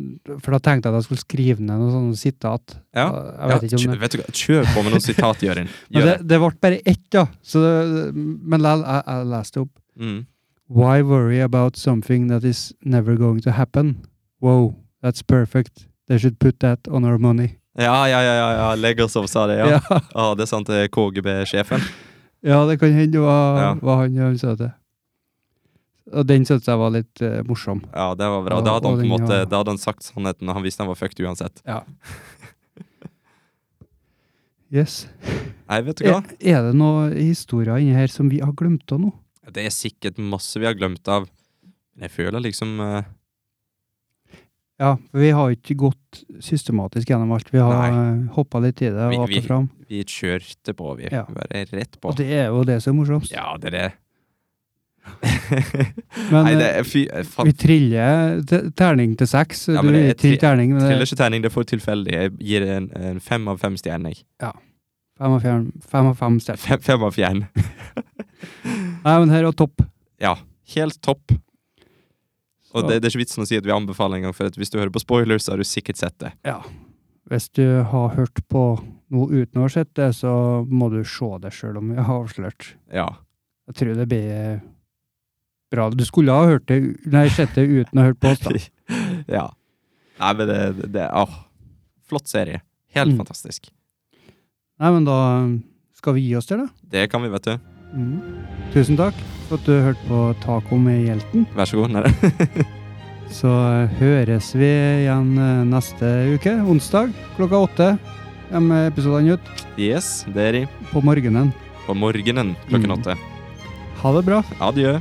A: for da tenkte jeg at jeg skulle skrive ned noen sånne sitat.
B: Ja.
A: Jeg vet ikke om det
B: kjø- vet du hva, kjør på med noen sitat, Jørgen.
A: Men
B: Gjør
A: det,
B: det.
A: det ble bare ett, da. Så det, men lell, jeg, jeg leste opp.
B: Mm.
A: Why worry about something that is never going to happen? Wow, that's perfect. They should put that on our money.
B: Ja, ja, ja, ja, ja. Legosov sa det, ja. ja.
A: Ja,
B: det er sant, det er KGB-sjefen.
A: ja, det kan hende det var,
B: Ja.
A: var han han sa det. Og den syntes jeg var litt eh, morsom.
B: Ja, det var bra.
A: Ja,
B: Da hadde han
A: og
B: på en
A: den,
B: måte
A: ja.
B: Da hadde han sagt sannheten, og han visste han var fucked uansett.
A: Yes.
B: Nei, vet du hva?
A: Er, er det noen historier inni her som vi har glemt av nå?
B: Det er sikkert masse vi har glemt av. Men jeg føler liksom eh,
A: Ja, for vi har ikke gått systematisk gjennom alt. Vi har hoppa litt i det
B: Vi-
A: og opp
B: vi-
A: og fram.
B: Vi kjørte på, vi.
A: Ja.
B: Bare rett på.
A: Og det er jo det som er morsomst.
B: Ja, det er det.
A: Men
B: Nei, det
A: eh,
B: er fy... eh, Fan,
A: vi triller te- terning til seks.
B: Ja,
A: du
B: men det er
A: triller
B: tri-
A: terning, men det
B: triller
A: er
B: ikke terning, det er for tilfeldig. Jeg gir en, en fem av fem stjerner. jeg.
A: fem av fem, fem, av fem stjerner.
B: Fem, fem av fjern.
A: Nei, men her var topp.
B: Ja, helt topp.
A: Så,
B: Og det, det er ikke vitsen å si at vi anbefaler engang, for at hvis du hører på spoilers, så har du sikkert sett det.
A: ja. Hvis du har hørt på noe uten å ha sett det, så må du se det sjøl om vi har avslørt.
B: Ja.
A: Jeg tror det blir bra. Du skulle ha hørt det, nei, sett det uten å ha hørt på oss, da.
B: ja. Nei, men det, det åh. Flott serie. Helt
A: Mm.
B: fantastisk.
A: Nei, men da um, skal vi gi oss der, da.
B: Det kan vi, vet du.
A: Mm. Tusen takk for at du hørte på Taco med Hjelten.
B: Vær så god. Nære.
A: Så eh, høres vi igjen eh, neste uke, onsdag klokka åtte. Kommer episodene ut
B: Yes, det er de.
A: på morgenen.
B: På morgenen klokken
A: Mm.
B: åtte.
A: Ha det bra.
B: Adjø.